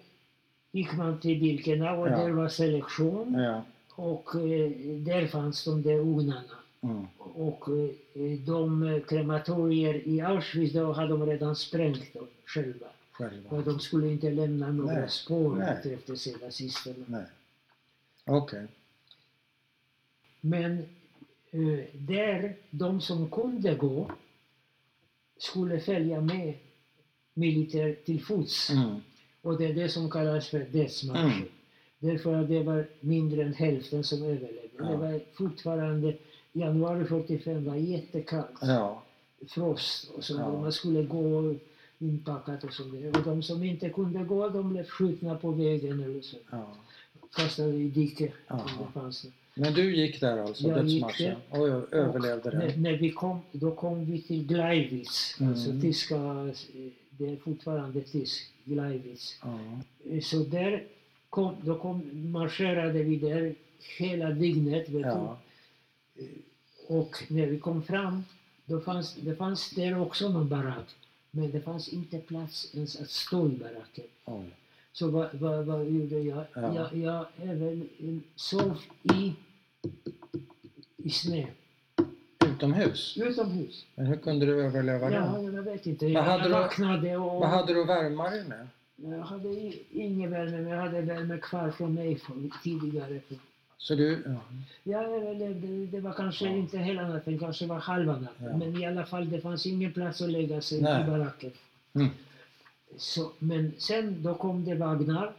Speaker 2: gick man till Birkenau och
Speaker 1: Ja.
Speaker 2: där var selektion
Speaker 1: ja.
Speaker 2: och eh, där fanns de där ugnarna.
Speaker 1: Mm.
Speaker 2: Och eh, de eh, krematorier i Auschwitz, då hade de redan sprängt dem själva.
Speaker 1: Själva.
Speaker 2: Och de skulle inte lämna några
Speaker 1: Nej.
Speaker 2: spår
Speaker 1: Nej.
Speaker 2: efter sig nazisterna.
Speaker 1: Nej. Okej.
Speaker 2: Men eh, där, de som kunde gå skulle följa med militär till fots.
Speaker 1: Mm.
Speaker 2: Och det är det som kallas för dödsmarschen.
Speaker 1: Mm.
Speaker 2: Därför att det var mindre än hälften som överlevde.
Speaker 1: Ja.
Speaker 2: Det var fortfarande, januari 45 var jättekallt.
Speaker 1: Ja.
Speaker 2: Frost och så.
Speaker 1: Ja.
Speaker 2: Man skulle gå inpackat och så. där. Och de som inte kunde gå, de blev skjutna på vägen eller så.
Speaker 1: ja.
Speaker 2: Kastade i diket. om
Speaker 1: Jaha.
Speaker 2: Det fanns
Speaker 1: Men du gick där alltså,
Speaker 2: Jag gick
Speaker 1: dödsmarschen, och ö- överlevde
Speaker 2: Och När,
Speaker 1: den?
Speaker 2: när vi kom, då kom vi till Gleiwitz, alltså
Speaker 1: Mm.
Speaker 2: tyska, eh, det är fortfarande tysk, Gleiwitz.
Speaker 1: Ja.
Speaker 2: Eh, Så där kom, då kom, marscherade vi där hela dygnet, vet
Speaker 1: ja.
Speaker 2: du. Eh, Och när vi kom fram, då fanns, det fanns där också någon barack. Men det fanns inte plats ens att stå i baracken.
Speaker 1: Oj.
Speaker 2: Så vad, vad, vad gjorde jag?
Speaker 1: Ja.
Speaker 2: Jag, jag även eh, sov i, i snö,
Speaker 1: Utomhus?
Speaker 2: utomhus.
Speaker 1: Men hur kunde du överleva
Speaker 2: Ja,
Speaker 1: det?
Speaker 2: jag vet inte. Jag
Speaker 1: hade du-
Speaker 2: vaknade och
Speaker 1: Vad hade du att värma dig med?
Speaker 2: jag hade i- ingen värme, men jag hade värme kvar från mig från tidigare.
Speaker 1: Så du... Ja.
Speaker 2: Jag överlevde, det var kanske
Speaker 1: Ja.
Speaker 2: inte hela natten, kanske var halva natten.
Speaker 1: Ja.
Speaker 2: Men i alla fall, det fanns ingen plats att lägga sig
Speaker 1: Nej.
Speaker 2: i baracken.
Speaker 1: Mm.
Speaker 2: Så, men sen då kom det vagnar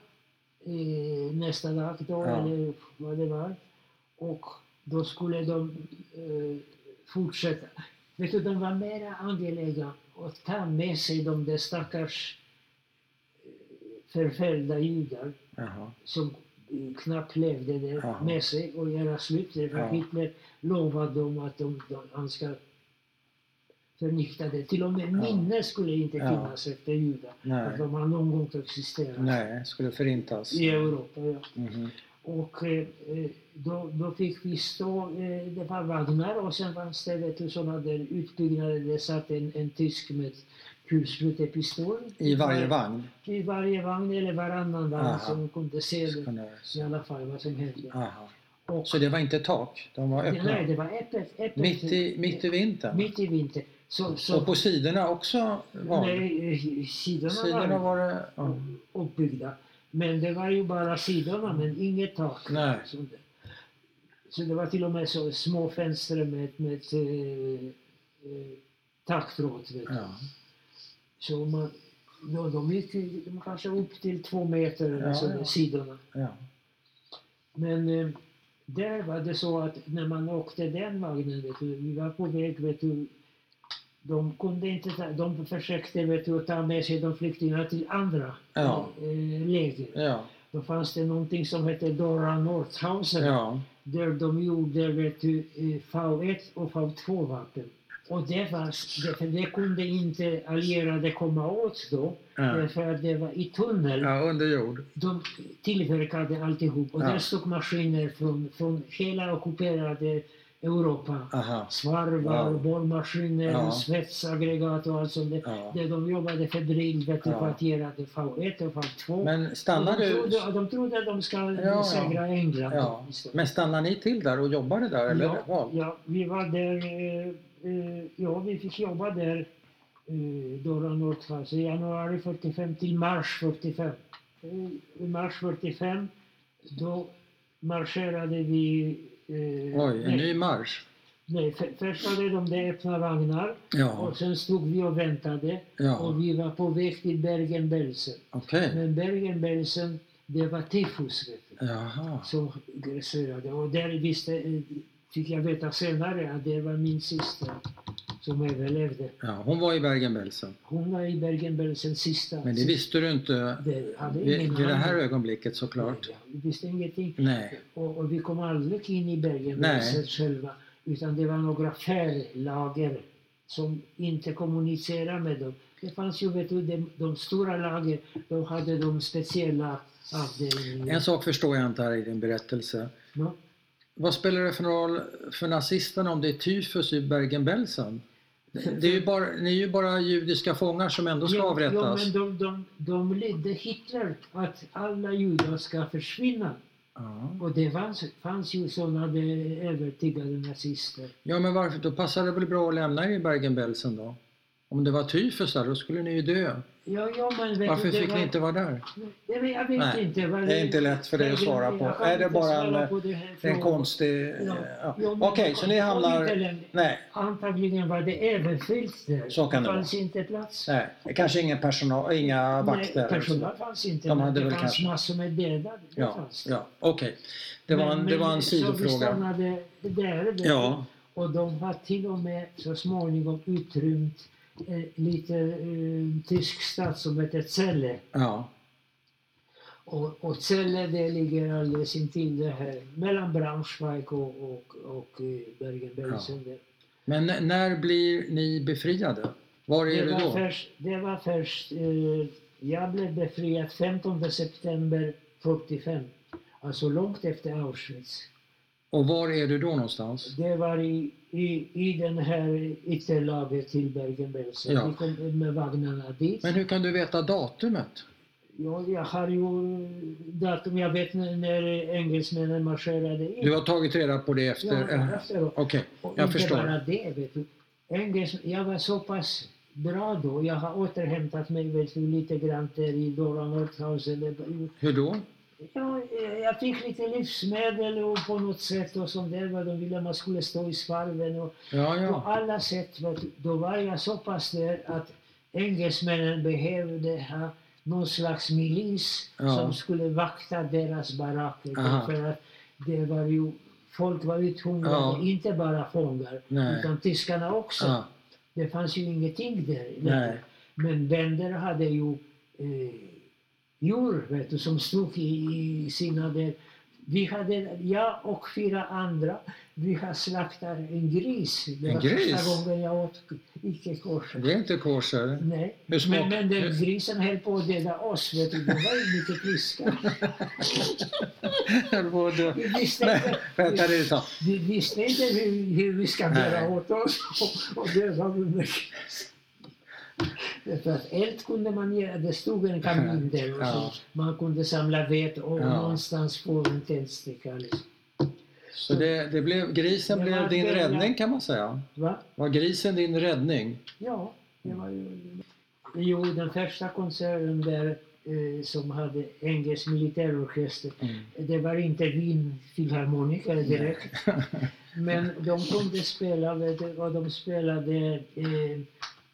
Speaker 2: eh, nästa dag då,
Speaker 1: Ja.
Speaker 2: eller vad det var. Och då skulle de eh, fortsätta. Vet du, de var mera angelägna att ta med sig de där stackars eh, förföljda judar
Speaker 1: Jaha.
Speaker 2: som eh, knappt levde där
Speaker 1: Ja.
Speaker 2: med sig och göra slut. Därför
Speaker 1: Ja.
Speaker 2: Hitler lovade dem att de, de, han ska förnikta det. Till och med minne skulle inte
Speaker 1: Ja.
Speaker 2: finnas efter judar. Att
Speaker 1: Nej.
Speaker 2: de har någon gång existerat
Speaker 1: Alltså, Nej, skulle förintas.
Speaker 2: i Europa. Ja.
Speaker 1: Mhm.
Speaker 2: Och eh, eh, då, då fick vi stå, eh, det var vagnar och sen fanns det vet du, sådana där utbyggnader. Det satt en, en tysk med kulsprutepistol.
Speaker 1: I varje vagn?
Speaker 2: I varje vagn eller varannan
Speaker 1: Aha.
Speaker 2: vagn som kunde se
Speaker 1: Så
Speaker 2: det.
Speaker 1: kunde-
Speaker 2: i alla fall vad som hände.
Speaker 1: Aha.
Speaker 2: Och,
Speaker 1: Så det var inte tak? De var
Speaker 2: det, nej,
Speaker 1: öppna?
Speaker 2: det var öppet. öppet
Speaker 1: Mitt i, mitt i vintern?
Speaker 2: mitt i vintern. Så,
Speaker 1: Och
Speaker 2: så,
Speaker 1: på sidorna också? Var
Speaker 2: nej, eh, sidorna
Speaker 1: sidorna
Speaker 2: var
Speaker 1: var det... Ja.
Speaker 2: uppbyggda. Men det var ju bara sidorna, men inget tak.
Speaker 1: Nej.
Speaker 2: Så det, så det var till och med så små fönster med, med eh, eh, taggtråd. vet du.
Speaker 1: Ja.
Speaker 2: Så man, då, de gick ju- de kanske upp till två meter,
Speaker 1: Ja,
Speaker 2: eller så,
Speaker 1: ja.
Speaker 2: sidorna.
Speaker 1: Ja.
Speaker 2: Men eh, där var det så att när man åkte den vagnen, vet du, vi var på väg, vet du, de kunde inte ta, de försökte vet du, att ta med sig de flyktingarna till andra
Speaker 1: Ja.
Speaker 2: eh, läger.
Speaker 1: Ja.
Speaker 2: Då fanns det någonting som hette Dora Nordhausen
Speaker 1: Ja.
Speaker 2: där de gjorde vet du, eh, V1 och V2-vapen. Och det, var, det, för det kunde inte allierade komma åt då,
Speaker 1: Ja.
Speaker 2: därför att det var i tunnel
Speaker 1: Ja, under jord.
Speaker 2: de tillverkade alltihop och
Speaker 1: Ja.
Speaker 2: där stod maskiner från, från hela ockuperade Europa.
Speaker 1: Aha.
Speaker 2: Svarvar,
Speaker 1: Wow.
Speaker 2: borrmaskiner,
Speaker 1: Ja.
Speaker 2: svetsaggregat och allt sånt där.
Speaker 1: Ja.
Speaker 2: Där de jobbade febrilt vet du,
Speaker 1: Ja.
Speaker 2: för att göra det V1 och V2.
Speaker 1: Men
Speaker 2: de,
Speaker 1: stannar du...
Speaker 2: trodde, de trodde att de skulle
Speaker 1: Ja, ja.
Speaker 2: segra England.
Speaker 1: Ja.
Speaker 2: istället.
Speaker 1: Men stannar ni till där och jobbade där? Eller?
Speaker 2: ja, ja, vi var där, eh, eh, ja vi fick jobba där, eh, Dora Nordfalk, i januari 45 till mars 45. eh, i mars 45. Då marscherade vi... Eh,
Speaker 1: Oj, en
Speaker 2: nej,
Speaker 1: ny marsch.
Speaker 2: nej, för- först hade de där öppna vagnar
Speaker 1: Ja,
Speaker 2: och sen stod vi och väntade
Speaker 1: ja,
Speaker 2: och vi var på väg till Bergen-Belsen.
Speaker 1: okej.
Speaker 2: Men Bergen-Belsen, det var tifus vet du,
Speaker 1: Jaha.
Speaker 2: som grasserade. Och där visste, eh, fick jag veta senare att det var min syster som överlevde.
Speaker 1: Ja, hon var i Bergen-Belsen.
Speaker 2: Hon var i Bergen-Belsen sista.
Speaker 1: Men det visste du inte
Speaker 2: Det hade
Speaker 1: vid,
Speaker 2: ingen
Speaker 1: vid det här
Speaker 2: aning.
Speaker 1: ögonblicket såklart.
Speaker 2: Ja, Vi visste ingenting.
Speaker 1: Nej.
Speaker 2: Och, och vi kom aldrig in i Bergen-Belsen
Speaker 1: Nej.
Speaker 2: själva. Utan det var några färlager som inte kommunicerade med dem. Det fanns ju, vet du, de, de stora lager, de hade de speciella avdelningarna.
Speaker 1: En sak förstår jag inte här i din berättelse.
Speaker 2: No?
Speaker 1: Vad spelar det för roll för nazisterna om det är tyfus i Bergen-Belsen? Det är ju bara, ni är ju bara judiska fångar som ändå ska
Speaker 2: Ja, ja,
Speaker 1: avrättas.
Speaker 2: men de, de, de ledde Hitler att alla judar ska försvinna.
Speaker 1: Ja.
Speaker 2: Och det fanns, fanns ju sådana de- övertygade nazister.
Speaker 1: Ja, men varför? Då passar det väl bra att lämna er i Bergen-Belsen då? Om det var tyfus där, då skulle ni ju dö.
Speaker 2: Ja, ja, men vet
Speaker 1: Varför
Speaker 2: du, det
Speaker 1: fick
Speaker 2: var-
Speaker 1: ni inte vara där?
Speaker 2: Nej, men jag vet
Speaker 1: Nej,
Speaker 2: inte. Vad
Speaker 1: det är inte lätt för dig att
Speaker 2: Jag-
Speaker 1: svara
Speaker 2: jag
Speaker 1: på.
Speaker 2: kan
Speaker 1: Är det
Speaker 2: inte
Speaker 1: bara
Speaker 2: svara
Speaker 1: en-
Speaker 2: på det här
Speaker 1: Det är en
Speaker 2: frågan.
Speaker 1: konstig...
Speaker 2: Ja.
Speaker 1: Ja.
Speaker 2: Jo,
Speaker 1: Okej,
Speaker 2: men det
Speaker 1: så ni
Speaker 2: kom inte
Speaker 1: hamnar...
Speaker 2: längre.
Speaker 1: Nej,
Speaker 2: Antagligen var det överfyllt där.
Speaker 1: Så kan det vara.
Speaker 2: fanns inte plats.
Speaker 1: nej, kanske ingen personal, inga vakter.
Speaker 2: Nej, personal fanns inte.
Speaker 1: liksom. De
Speaker 2: men
Speaker 1: hade
Speaker 2: det
Speaker 1: väl
Speaker 2: fanns
Speaker 1: kanske-
Speaker 2: massor med döda. Det
Speaker 1: Ja,
Speaker 2: fanns.
Speaker 1: ja, okej. Det, var en,
Speaker 2: Men-
Speaker 1: det var en
Speaker 2: men- Så vi
Speaker 1: sidofråga.
Speaker 2: stannade där. vet du.
Speaker 1: Ja,
Speaker 2: Och de har till och med så småningom utrymt eh, lite eh, tysk stad som heter Celle.
Speaker 1: ja,
Speaker 2: Och, och Celle det ligger alldeles intill det här mellan Braunschweig och, och, och eh, Bergen-Belsen. där.
Speaker 1: Men n- när blir ni befriade? Var är
Speaker 2: Det,
Speaker 1: det
Speaker 2: var
Speaker 1: då?
Speaker 2: först, det var först, eh, jag blev befriad 15 september 45. Alltså långt efter Auschwitz.
Speaker 1: Och var är du då någonstans?
Speaker 2: Det var i, i, i den här ytterlaget till Bergen-Belsen.
Speaker 1: Ja.
Speaker 2: Vi kom med vagnarna dit.
Speaker 1: Men hur kan du veta datumet?
Speaker 2: Ja, jag har ju datum, jag vet när, när engelsmännen marscherade in.
Speaker 1: Du har tagit reda på det efter...
Speaker 2: ja,
Speaker 1: eh,
Speaker 2: efteråt.
Speaker 1: Okej,
Speaker 2: Och
Speaker 1: jag
Speaker 2: inte
Speaker 1: förstår.
Speaker 2: bara det, vet du. Engels, jag var så pass bra då, jag har återhämtat mig vet du, lite grann där i Dora Nordhausen.
Speaker 1: Hur då?
Speaker 2: Ja, eh, jag fick lite livsmedel och på något sätt och sånt där, vad de ville man skulle stå i svarven och
Speaker 1: Ja,
Speaker 2: på
Speaker 1: ja.
Speaker 2: alla sätt. Vet du, då var jag så pass där att engelsmännen behövde ha någon slags milis
Speaker 1: Ja.
Speaker 2: som skulle vakta deras baracker.
Speaker 1: Aha.
Speaker 2: För att det var ju, folk var uthungrade,
Speaker 1: Ja.
Speaker 2: inte bara fångar,
Speaker 1: Nej.
Speaker 2: utan tyskarna också.
Speaker 1: ja.
Speaker 2: Det fanns ju ingenting där.
Speaker 1: Ah, Nej.
Speaker 2: Men bönder hade ju eh, djur vet du, som stod i, i sina... Där. Vi hade, jag och fyra andra, vi har slaktat en gris. Det
Speaker 1: En
Speaker 2: var
Speaker 1: gris?
Speaker 2: första gången jag åt icke kosher.
Speaker 1: Det är inte kosher.
Speaker 2: Nej,
Speaker 1: Hur smak-
Speaker 2: men, men den
Speaker 1: hur-
Speaker 2: grisen höll på att döda oss, vet du. De var ju mycket friska.
Speaker 1: Jag var dö-
Speaker 2: Vi visste
Speaker 1: Nej,
Speaker 2: inte,
Speaker 1: Vänta det ett tag.
Speaker 2: vi visste inte hur, hur vi ska
Speaker 1: Nej.
Speaker 2: bära åt oss och, och döda den där grisen. Därför att eld kunde man göra, det stod en kamin där och
Speaker 1: Ja.
Speaker 2: så man kunde samla ved och
Speaker 1: Ja.
Speaker 2: någonstans få en tändsticka. Liksom.
Speaker 1: Så det, det blev, grisen
Speaker 2: Det
Speaker 1: blev
Speaker 2: var
Speaker 1: din
Speaker 2: det, ja.
Speaker 1: räddning kan man säga.
Speaker 2: Va?
Speaker 1: Var grisen din räddning?
Speaker 2: Ja, det var ju... Jo, den första konserten där eh, som hade engelsk militärorkester
Speaker 1: Mm.
Speaker 2: Det var inte vinfilharmoniker direkt. Men de kunde spela, vet du, och de spelade eh,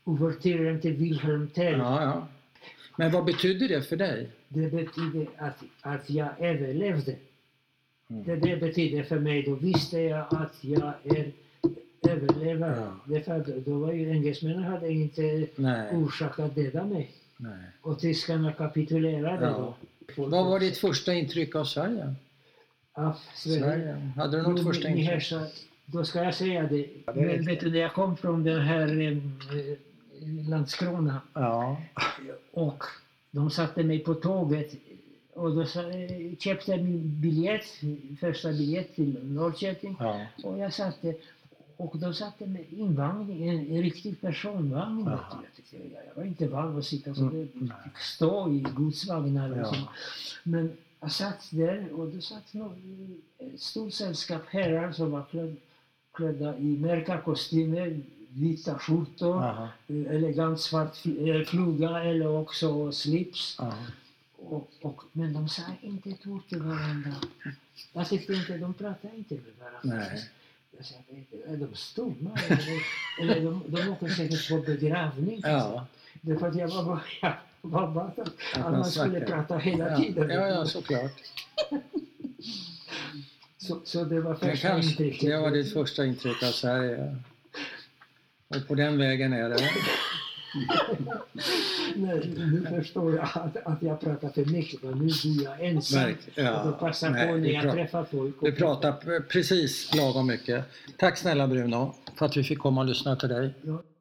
Speaker 2: Ouvertyren till Wilhelm Tell.
Speaker 1: Ja, ja. Men vad betydde det för dig?
Speaker 2: Det betyder att, att jag överlevde.
Speaker 1: Mm.
Speaker 2: Det, det betyder för mig, då visste jag att jag är överlevare.
Speaker 1: Ja.
Speaker 2: Därför att då var ju engelsmännen hade inte
Speaker 1: Nej.
Speaker 2: orsak att döda mig.
Speaker 1: Nej.
Speaker 2: Och tyskarna kapitulerade
Speaker 1: Ja.
Speaker 2: då.
Speaker 1: Vad var ditt första intryck av Sverige?
Speaker 2: Ja, Sverige.
Speaker 1: Sverige. Hade du
Speaker 2: Jo,
Speaker 1: något första
Speaker 2: men ni
Speaker 1: intryck?
Speaker 2: hälsar- Då ska jag säga det.
Speaker 1: det är
Speaker 2: Men
Speaker 1: riktigt.
Speaker 2: vet du, när jag kom från den här eh, eh, Landskrona
Speaker 1: Ja.
Speaker 2: och de satte mig på tåget och då sa, eh, köpte jag min biljett, första biljett till Norrköping
Speaker 1: ja.
Speaker 2: och jag satte och de satte mig i invagning, en, en riktig personvagn. vet du.
Speaker 1: Jaha.
Speaker 2: Jag, tyckte, jag, jag var inte van att sitta så.
Speaker 1: Mm,
Speaker 2: där.
Speaker 1: nej.
Speaker 2: Jag fick stå i godsvagnar och
Speaker 1: Ja.
Speaker 2: så. Men jag satt där och det satt nå- ett stort sällskap herrar som var klädd, klädda i mörka kostymer, vita skjortor,
Speaker 1: Aha.
Speaker 2: eh, elegant svart fl- eh, fluga eller också slips.
Speaker 1: Ja.
Speaker 2: Och, Och, och, men de sa inte ett ord till varandra. Jag tyckte inte, de pratade inte med varandra.
Speaker 1: Nej.
Speaker 2: Jag sa, är de stumma? Eller, eller de, de åker säkert på begravning.
Speaker 1: Ja,
Speaker 2: Därför att jag var bara, jag var bara att,
Speaker 1: att
Speaker 2: man skulle
Speaker 1: snackar.
Speaker 2: prata hela
Speaker 1: ja.
Speaker 2: tiden.
Speaker 1: Ja, ja, såklart.
Speaker 2: Så, så det var
Speaker 1: Det,
Speaker 2: första
Speaker 1: kanske,
Speaker 2: intrycket.
Speaker 1: det var ditt första intryck av Sverige. Och på den vägen är det.
Speaker 2: Nej, nu förstår jag att, att jag pratar för mycket och nu bor jag ensam.
Speaker 1: Verk, ja.
Speaker 2: och då passar
Speaker 1: Nej,
Speaker 2: på när
Speaker 1: vi
Speaker 2: jag
Speaker 1: pratar-
Speaker 2: träffar folk. och-
Speaker 1: Du pratar p- precis lagom mycket. Tack snälla Bruno för att vi fick komma och lyssna till dig.
Speaker 2: Ja.